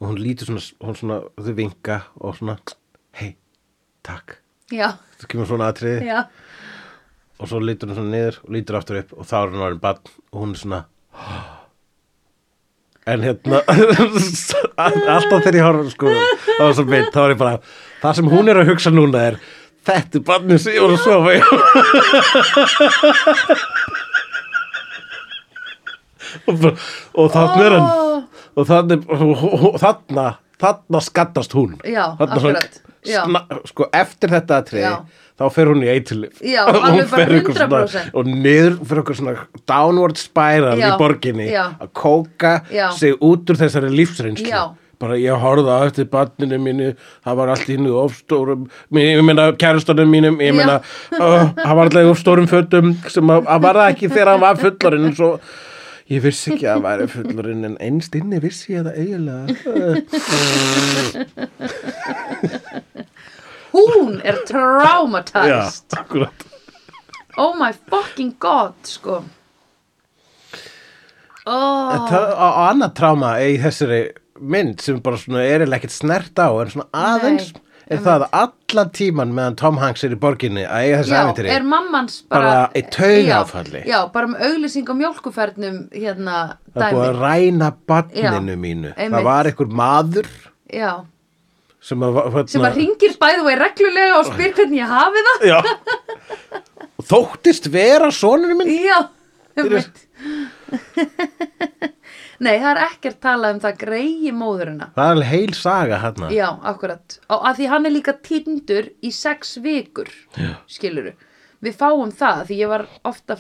B: og hún lítur svona, hún svona þau vinka og svona, hei, takk
A: já,
B: þú kemur svona aðtriði
A: já
B: og svo lítur hún svona niður og lítur aftur upp og þá er hann orðin bann og hún er svona "Ah." en hérna alltaf þegar ég horf sko á þessum mynd, þá er ég bara það sem hún er að hugsa núna er þetta er bannið sem ég voru að sofa í og, bara- og þannig er hann
A: Ó.
B: og þannig og, og, og þarna þarna skattast hún
A: Já,
B: Þarna svona
A: akkurat. Já.
B: sna- sko eftir þetta atriði
A: Já.
B: þá fer hún í eitilif
A: Já,
B: og hún
A: alveg bara
B: fer ykkur
A: 100%.
B: svona, og niður fyrir okkur svona downward spiral
A: Já,
B: í borginni
A: já.
B: að kóka
A: Já.
B: sig út úr þessari lífsreynslu
A: Já.
B: bara ég horfði á eftir barninu mínu það var allt í hennu ofstórum ég meina kærastanum mínum ég
A: Já.
B: meina uh, hann var alltaf í ofstórum fötum sem að, að var það ekki þegar hann var fullorinn en svo ég vissi ekki að hann væri fullorinn en einst inni vissi ég það eiginlega uh,
A: Hún er traumatized
B: akkurat
A: Oh my fucking god, sko oh,
B: Það og annað tráma í þessari mynd sem bara svona er eiginlega ekkert snert á en svona aðeins
A: Nei,
B: er það að allan tíman meðan Tom Hanks er í borginni að eiga þessi
A: Já,
B: ævintýri
A: er mammans
B: Bara
A: bara
B: í taugaáfalli.
A: Já, já, bara með auglýsing á mjólkufernum hérna
B: það er búið að
A: dæmi
B: ræna barninu
A: Já,
B: mínu
A: einmitt.
B: það var einhver maður
A: Já,
B: sem að, hérna,
A: sem að ringir bæðu vei reglulega og spyr hvernig ég hafi það
B: já, Og þóttist vera soninu minn
A: Já, um
B: Fyrir-
A: Nei, það er ekkert talað um það greiði móðurina
B: það er alveg heil saga hérna
A: Já, akkurat. Og að því hann er líka tindur í sex vikur, skiluru. Við fáum það, því ég var ofta,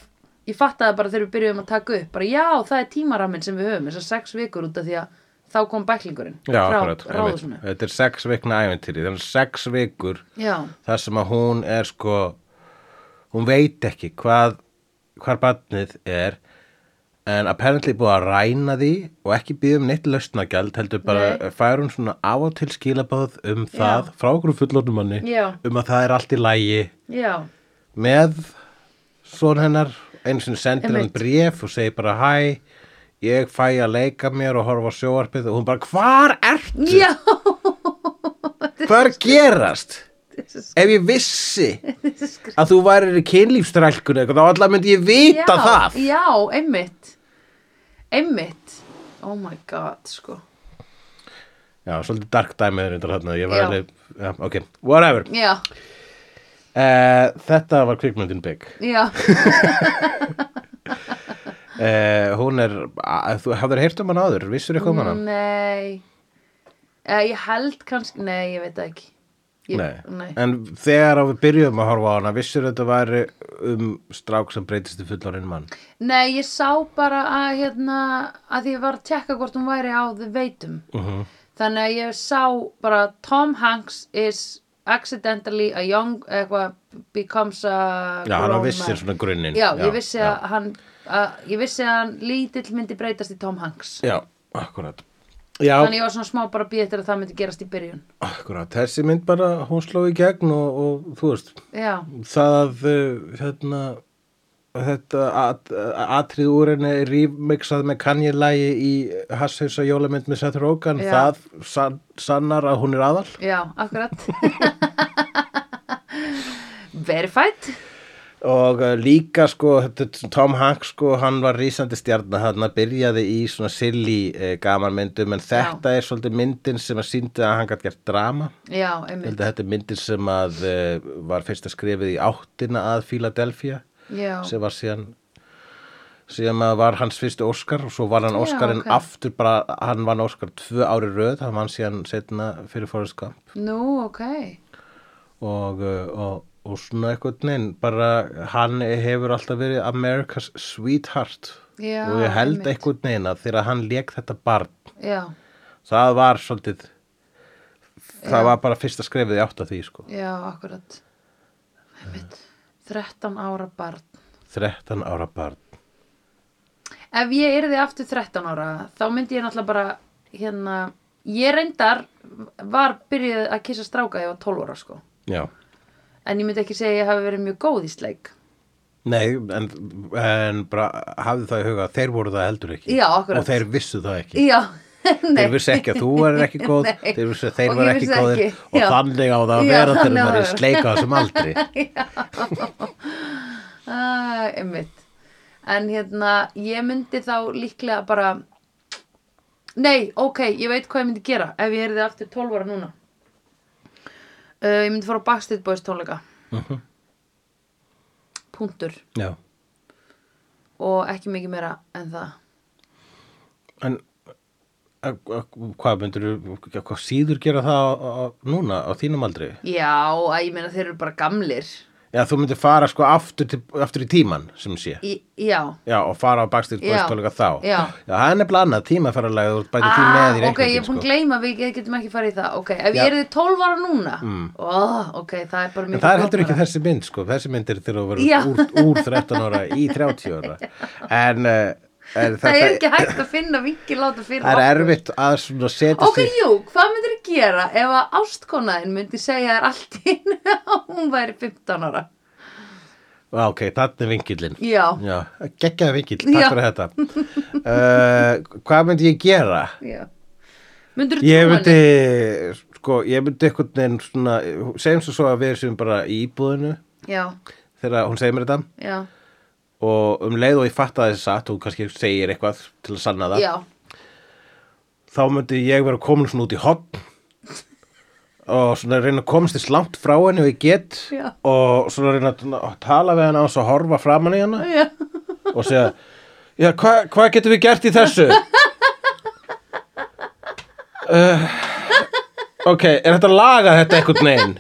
A: ég fattaði bara þegar við byrjuðum að taka upp, bara já, það er tímaraminn sem við höfum, þessar sex vikur út af því að þá kom bæklingurinn
B: Já, akkurat,
A: ráðusinu.
B: einmitt. þetta er sex vikna æventýri, þannig sex vikur
A: Já,
B: þar sem að hún er sko hún veit ekki hvað hvar barnið er en apparently búið að ræna því og ekki býða um neitt lausnagjald heldur bara
A: Nei.
B: fær hún svona á og til skilabáð um það frá okkur fullornum manni
A: Já.
B: um að það er allt í lægi
A: já,
B: með son hennar einu sinni sendir hann
A: Einmitt.
B: bréf og segir bara hæ ég fæ að leika mér og horfa á sjóarpið og hún bara hvar ertu?
A: já,
B: Hvað er að gerast? ef ég vissi
A: Þetta er skrítið.
B: að þú værir í kynlífstrælkun eitthvað, þá alltaf myndi ég vita
A: já,
B: það
A: Já, einmitt Einmitt Oh my god, sko
B: já, svolítið dark dæmið undir þarna ég var
A: Já.
B: alveg, já, ok, whatever
A: Já,
B: uh, þetta var kvikmyndin Big
A: já,
B: uh, hún er, að, þú hafður heyrt um hann áður vissur eitthvað um
A: Mm,
B: hann
A: nei eh, Ég held kannski, nei, ég veit það ekki ég,
B: Nei.
A: nei.
B: En þegar að við byrjuðum að horfa á hana, vissur þetta væri um strák sem breytist í fullorinn mann?
A: Nei, ég sá bara að hérna að ég var að tjekka hvort hún væri á The Veitum
B: Uh -huh.
A: þannig að ég sá bara Tom Hanks is accidentally a young eitthvað becomes a
B: Já, hann
A: grown
B: vissir
A: man.
B: svona grunninn.
A: já, ég vissi
B: já.
A: að hann að, ég vissi að hann lítill myndi breytast í Tom Hanks
B: Já, akkurat. Já,
A: þannig ég var svona smá bara býð eftir að það myndi gerast í byrjun
B: akkurat. Þessi mynd bara, hún sló í gegn og, og þú veist,
A: já,
B: það að, uh, hérna, þetta at- atrið úr henni rýmixað með kannjilægi í Hasshausa jólamynd með Seth Rogen,
A: Já.
B: það san, sannar að hún er aðal.
A: já, akkurat verified
B: og uh, líka sko þetta- Tom Hanks sko hann var rísandi stjarnar hann byrjaði í svona silly uh, gamanmyndum en þetta er svolítið myndin sem að síndi að hann gætt gert drama
A: já,
B: Ég held
A: einmitt
B: að þetta er myndin sem að uh, var fyrst að skrifið í áttina að Philadelphia
A: já,
B: sem var síðan síðan að var hans fyrstu Óskar og svo var hann
A: Já,
B: Óskarinn
A: ok.
B: aftur bara, hann vann Óskar tvö ári röð hann vann síðan setna fyrir Forrest Gump
A: nú, ok
B: og, uh, og, og svona einhvern veginn bara hann hefur alltaf verið America's sweetheart
A: já,
B: og ég held
A: einmitt.
B: einhvern veginn að þegar hann lék þetta barn
A: já,
B: það var svolítið það var bara fyrsta skrefið í átt að því sko
A: já, akkurat einmitt 13 ára barn
B: 13 ára barn
A: Ef ég yrði aftur 13 ára þá myndi ég náttúrulega bara hérna, ég reyndar var byrjuð að kissa stráka þegar ég var 12 ára sko.
B: já
A: En ég myndi ekki segja að ég hafi verið mjög góð í sleik.
B: Nei, en, en bara hafðu það í huga að þeir voru það heldur ekki
A: Já, akkurat.
B: og þeir vissu það ekki
A: Já, nei.
B: þeir vissu ekki að þú væri ekki góð
A: Nei.
B: þeir vissu að þeir
A: Og ég
B: voru ekki
A: vissi
B: góðir
A: ekki,
B: og
A: já.
B: þannig á það að
A: Já,
B: vera þegar
A: þannig á
B: maður
A: það
B: er
A: að
B: sleika á þessum aldri
A: Æ, einmitt. En hérna, ég myndi þá líklega bara, nei, ok, ég veit hvað ég myndi gera ef ég yrði aftur 12 ára núna. Uh, ég myndi fara á Backstreet Boys tónleika.
B: Mhm.
A: Punktur.
B: já
A: Og ekki mikið meira en það.
B: En að- að- hvað myndir hvað síður gera það á, á, núna á þínum aldri?
A: Já, að ég meina þeir eru bara gamlir
B: Já, þú myndir fara sko aftur, til, aftur í tíman sem sé.
A: Í, Já
B: Já, og fara á Backstreet Boys
A: Já.
B: tónleika þá.
A: Já. Ah,
B: það er nefnilega annað tímaferðarlega og bæti því með í
A: ok, ég
B: reikningin
A: er búin að
B: sko.
A: gleyma að við við getum ekki farið í það Ok, ef
B: Já.
A: ég er þið 12 ára núna mm. Ok, það er bara
B: En
A: mikið
B: það er heldur ekki
A: flóknara.
B: þessi mynd sko, þessi mynd er þegar þú
A: Já.
B: verður úr, úr 13 ára í 30 ára. En, eh,
A: Það er
B: en þetta
A: ekki hægt að finna vikið láta fyrir
B: það er
A: okkur.
B: erfitt að svona setja
A: Ok, jú, hvað myndir þið gera ef að ástkonaðin myndi segja þér allt í einu að hún væri 15 ára
B: Já, ok, þannig vinkillin.
A: Já,
B: Já, geggjaði vinkill, takk
A: Já.
B: fyrir þetta. Uh, hvað myndi ég gera?
A: já Myndir þú
B: Ég myndi, sko, ég myndi einhvern veginn svona, segjum svo svo að við séum bara í íbúðinu
A: Já,
B: þegar hún segir mér þetta
A: já,
B: og um leið og ég fatt að þess að þú kannski segir eitthvað til að sanna það,
A: já
B: þá myndi ég vera komin svona út í hopp og svona reyna að komast þess langt frá henni og ég get
A: Já.
B: og svona reyna að að tala við henni á þess að horfa framan í henni
A: Já,
B: og segja, já, hva- hvað getum við gert í þessu? uh, ok, er þetta að laga þetta einhvern veginn?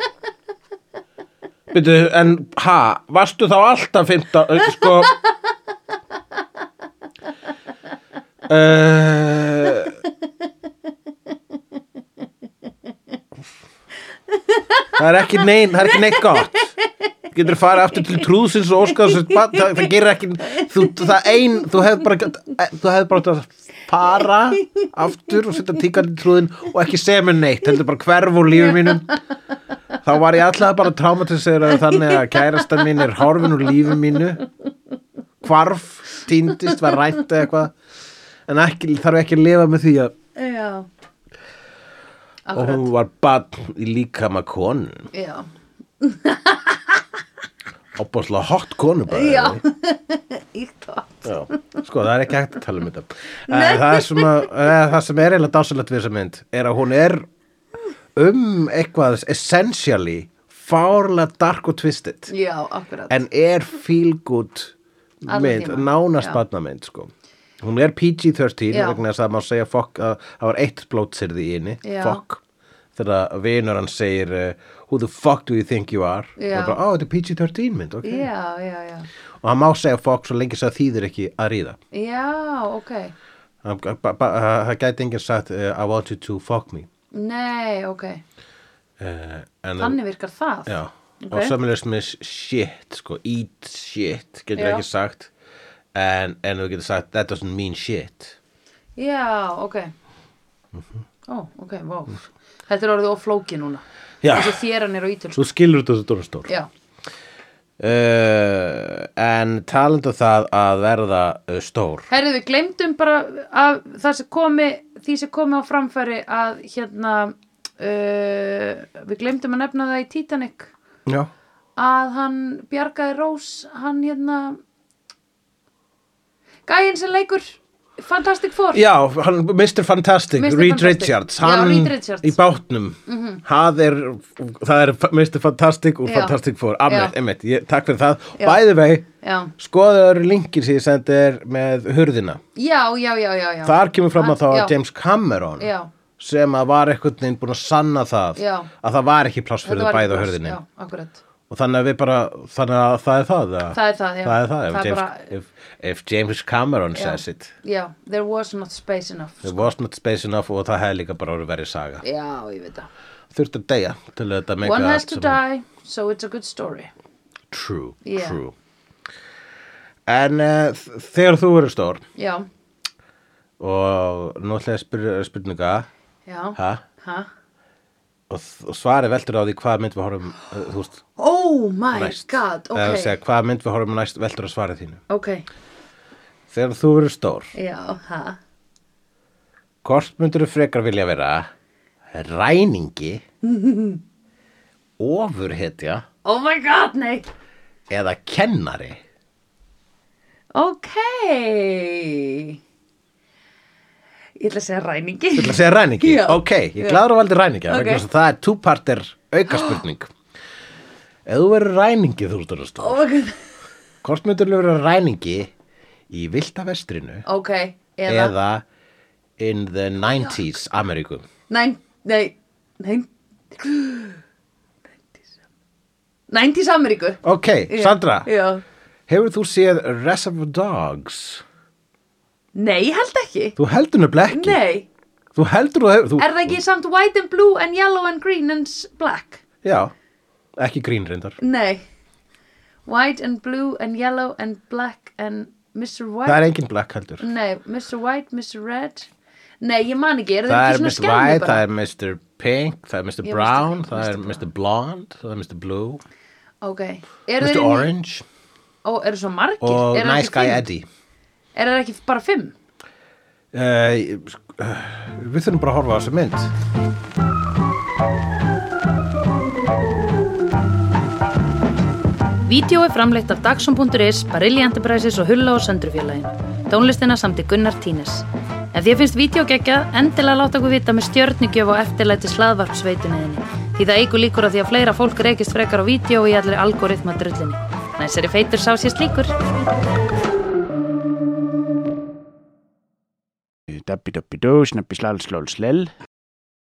B: Byrju, en ha, varstu þá alltaf 15, eh, sko... Uh, það er ekki neinn, það er ekki neitt gott getur farið aftur til trúðsins og óskaðs það, það gerir ekki þú, það ein, þú hefði bara gætt- þú hefði bara átt að fara aftur og setja tíkall í trúðin og ekki segja mér neitt, heldur bara hverf úr lífi mínum þá var ég alltaf bara traumatisera þannig að kærastan mín er horfin úr lífi mínu hvarf, týndist, var rænt eða eitthvað en ekki, þarf ekki að lifa með því að
A: já
B: og
A: Akkurat,
B: hún var bann í líkama konu
A: já
B: Opposlega hot konu bara
A: Já. Íkt og
B: Já, sko það er ekki hægt að tala um þetta Eh, það, er sem að, eh, það sem er eiginlega dásalegt við þessa mynd er að hún er um eitthvað essentially fárlega dark og twisted
A: Já, akkurat.
B: en er feel good
A: Allan
B: mynd,
A: tímann,
B: nánast
A: já.
B: badnamynd sko hún er PG-13
A: Já.
B: vegna þess að maður segja fokk að það var eitt blótsirði í henni,
A: Já.
B: fokk þegar vinur hann segir uh, who the fuck do you think you are
A: Já.
B: og bara, ó, þetta er PG-13 mynd, ok
A: Já, já, já.
B: og hann má segja fokk svo lengi sem það þýðir ekki að ríða
A: Já, ok.
B: Hann- ba- ba- það gæti enginn sagt uh, I want you to fuck me
A: Nei, ok.
B: uh, en,
A: Þannig virkar það.
B: já,
A: Ok.
B: og sömulegst með shit sko, eat shit getur
A: Já.
B: ekki sagt en, en þú getur sagt that doesn't mean shit
A: Já, ok.
B: Mhm.
A: Ó, ok, vá. Þetta er orðið oflóki núna.
B: Já.
A: Þessi þéran er á ítöl.
B: þú skilur þetta þetta er stór
A: Já,
B: uh, en talandu það að verða uh, stór
A: Herðu, við glemdum bara að það sem komi, því sem komi á framfæri að hérna, uh, við glemdum að nefna það í Titanic
B: já,
A: að hann bjargaði Rós, hann hérna, gæinn sem leikur Fantastic Four.
B: já hann, Mr. Fantastic,
A: Mr.
B: Reed
A: Fantastic.
B: Richards
A: Já,
B: hann
A: Reed Richards. Mhm.
B: í bátnum það, er, það er Mr. Fantastic úr
A: Já.
B: Fantastic Four, Ahmed,
A: Já.
B: Ahmed ég, takk fyrir það,
A: Já.
B: bæði vei
A: Já,
B: skoðaður linkin sem ég sendi er með hurðina,
A: já, já, já, já. já.
B: þar kemur fram
A: Hann-
B: að það
A: já.
B: var James Cameron
A: Já.
B: sem að var einhvern veginn búin að sanna það
A: Já.
B: að það var ekki pláss
A: Þetta
B: fyrir
A: var
B: þau bæði á
A: ekki
B: hurðinni
A: pláss, Já, akkurat.
B: og þannig að við bara, þannig að það er það eða?
A: Það er það, já.
B: það er það, ef,
A: Það er
B: James,
A: bara-
B: if, if James Cameron
A: Já.
B: says it
A: Já, there was not space enough.
B: there was not space enough og það hefði líka bara orðið verið saga
A: Já, ég veit það.
B: þurfti að deyja til að þetta make
A: One has
B: allt
A: to
B: sem-
A: die, so it's a good story.
B: true,
A: Yeah.
B: true en uh, þegar þú verður stór
A: Já,
B: og nú ætla ég að spyrja spurninga
A: já.
B: ha?
A: Ha?
B: og, og svarið veldur á því hvað mynd við horfum uh, þú veist,
A: Oh my
B: næst
A: god,
B: Eða
A: ok,
B: að segja, hvað mynd við horfum næst veldur á svarið þínu
A: ok,
B: þegar þú verður stór,
A: já, ha,
B: hvort myndur þú frekar vilja vera ræningi ofurhetja
A: oh my god, nei,
B: eða kennari
A: ok, ég ætla að segja ræningi,
B: Þú ætla að segja ræningi?
A: Já.
B: Ok, ég
A: Já.
B: er gladur að valdi ræningi okay.
A: Ok.
B: vegna þess að það er two-parter aukaspurning Ef þú verður ræningi þú ert að stóð
A: oh my god,
B: Hvort myndur þú verður ræningi í Vilda Vestrinu
A: ok, eða,
B: eða, in the 90s Ameríku
A: nein, nei, nein, 90s Ameríku,
B: Ok,
A: Já,
B: Sandra,
A: já,
B: hefur þú séð Reservoir Dogs?
A: nei, ég held ekki,
B: Þú heldur nefnilega ekki
A: nei,
B: Þú heldur þú hefur þú,
A: er það ekki samt white and blue and yellow and green and s- black,
B: Já, ekki grínrindar
A: nei, white and blue and yellow and black and Mr. White
B: Það er engin black heldur
A: Nei, Mr. White, Mr. Red Nei, ég man ekki, er það
B: Það er
A: ekki
B: Mr.
A: svona skemmi
B: White,
A: bara?
B: það er Mr. Pink, það er Mr.
A: Mr.
B: Brown,
A: Pink,
B: það
A: Mr.
B: er Mr. Blonde, það er Mr. Blue,
A: Ok, er
B: Mr.
A: þeir inn í-
B: Orange
A: Ó, eru svo margir?
B: og
A: Eru þeir
B: Nice
A: ekki
B: Guy
A: fimm?
B: Eddie.
A: Er það ekki bara fimm?
B: Uh, ég- sk- uh, við þurfum bara að horfa á þessu mynd.
A: Vídeó er framleitt af Dagsum.is, Barilli Enterprises og Hulla og Söndrufjörlægin. Tónlistina samti Gunnar Tínes. Ef þér finnst vídeo geggjað, endilega láta okkur vita með stjörnigjöf og eftirlæti slaðvarpsveitunniðinni. Því það eigur líkur á því að fleira fólk reykist frekar á vídeo í allir algoritma drullinni. Næsari feitur sá sér slíkur.
D: Dabbi dabbi dó, snabbi slal slól slell.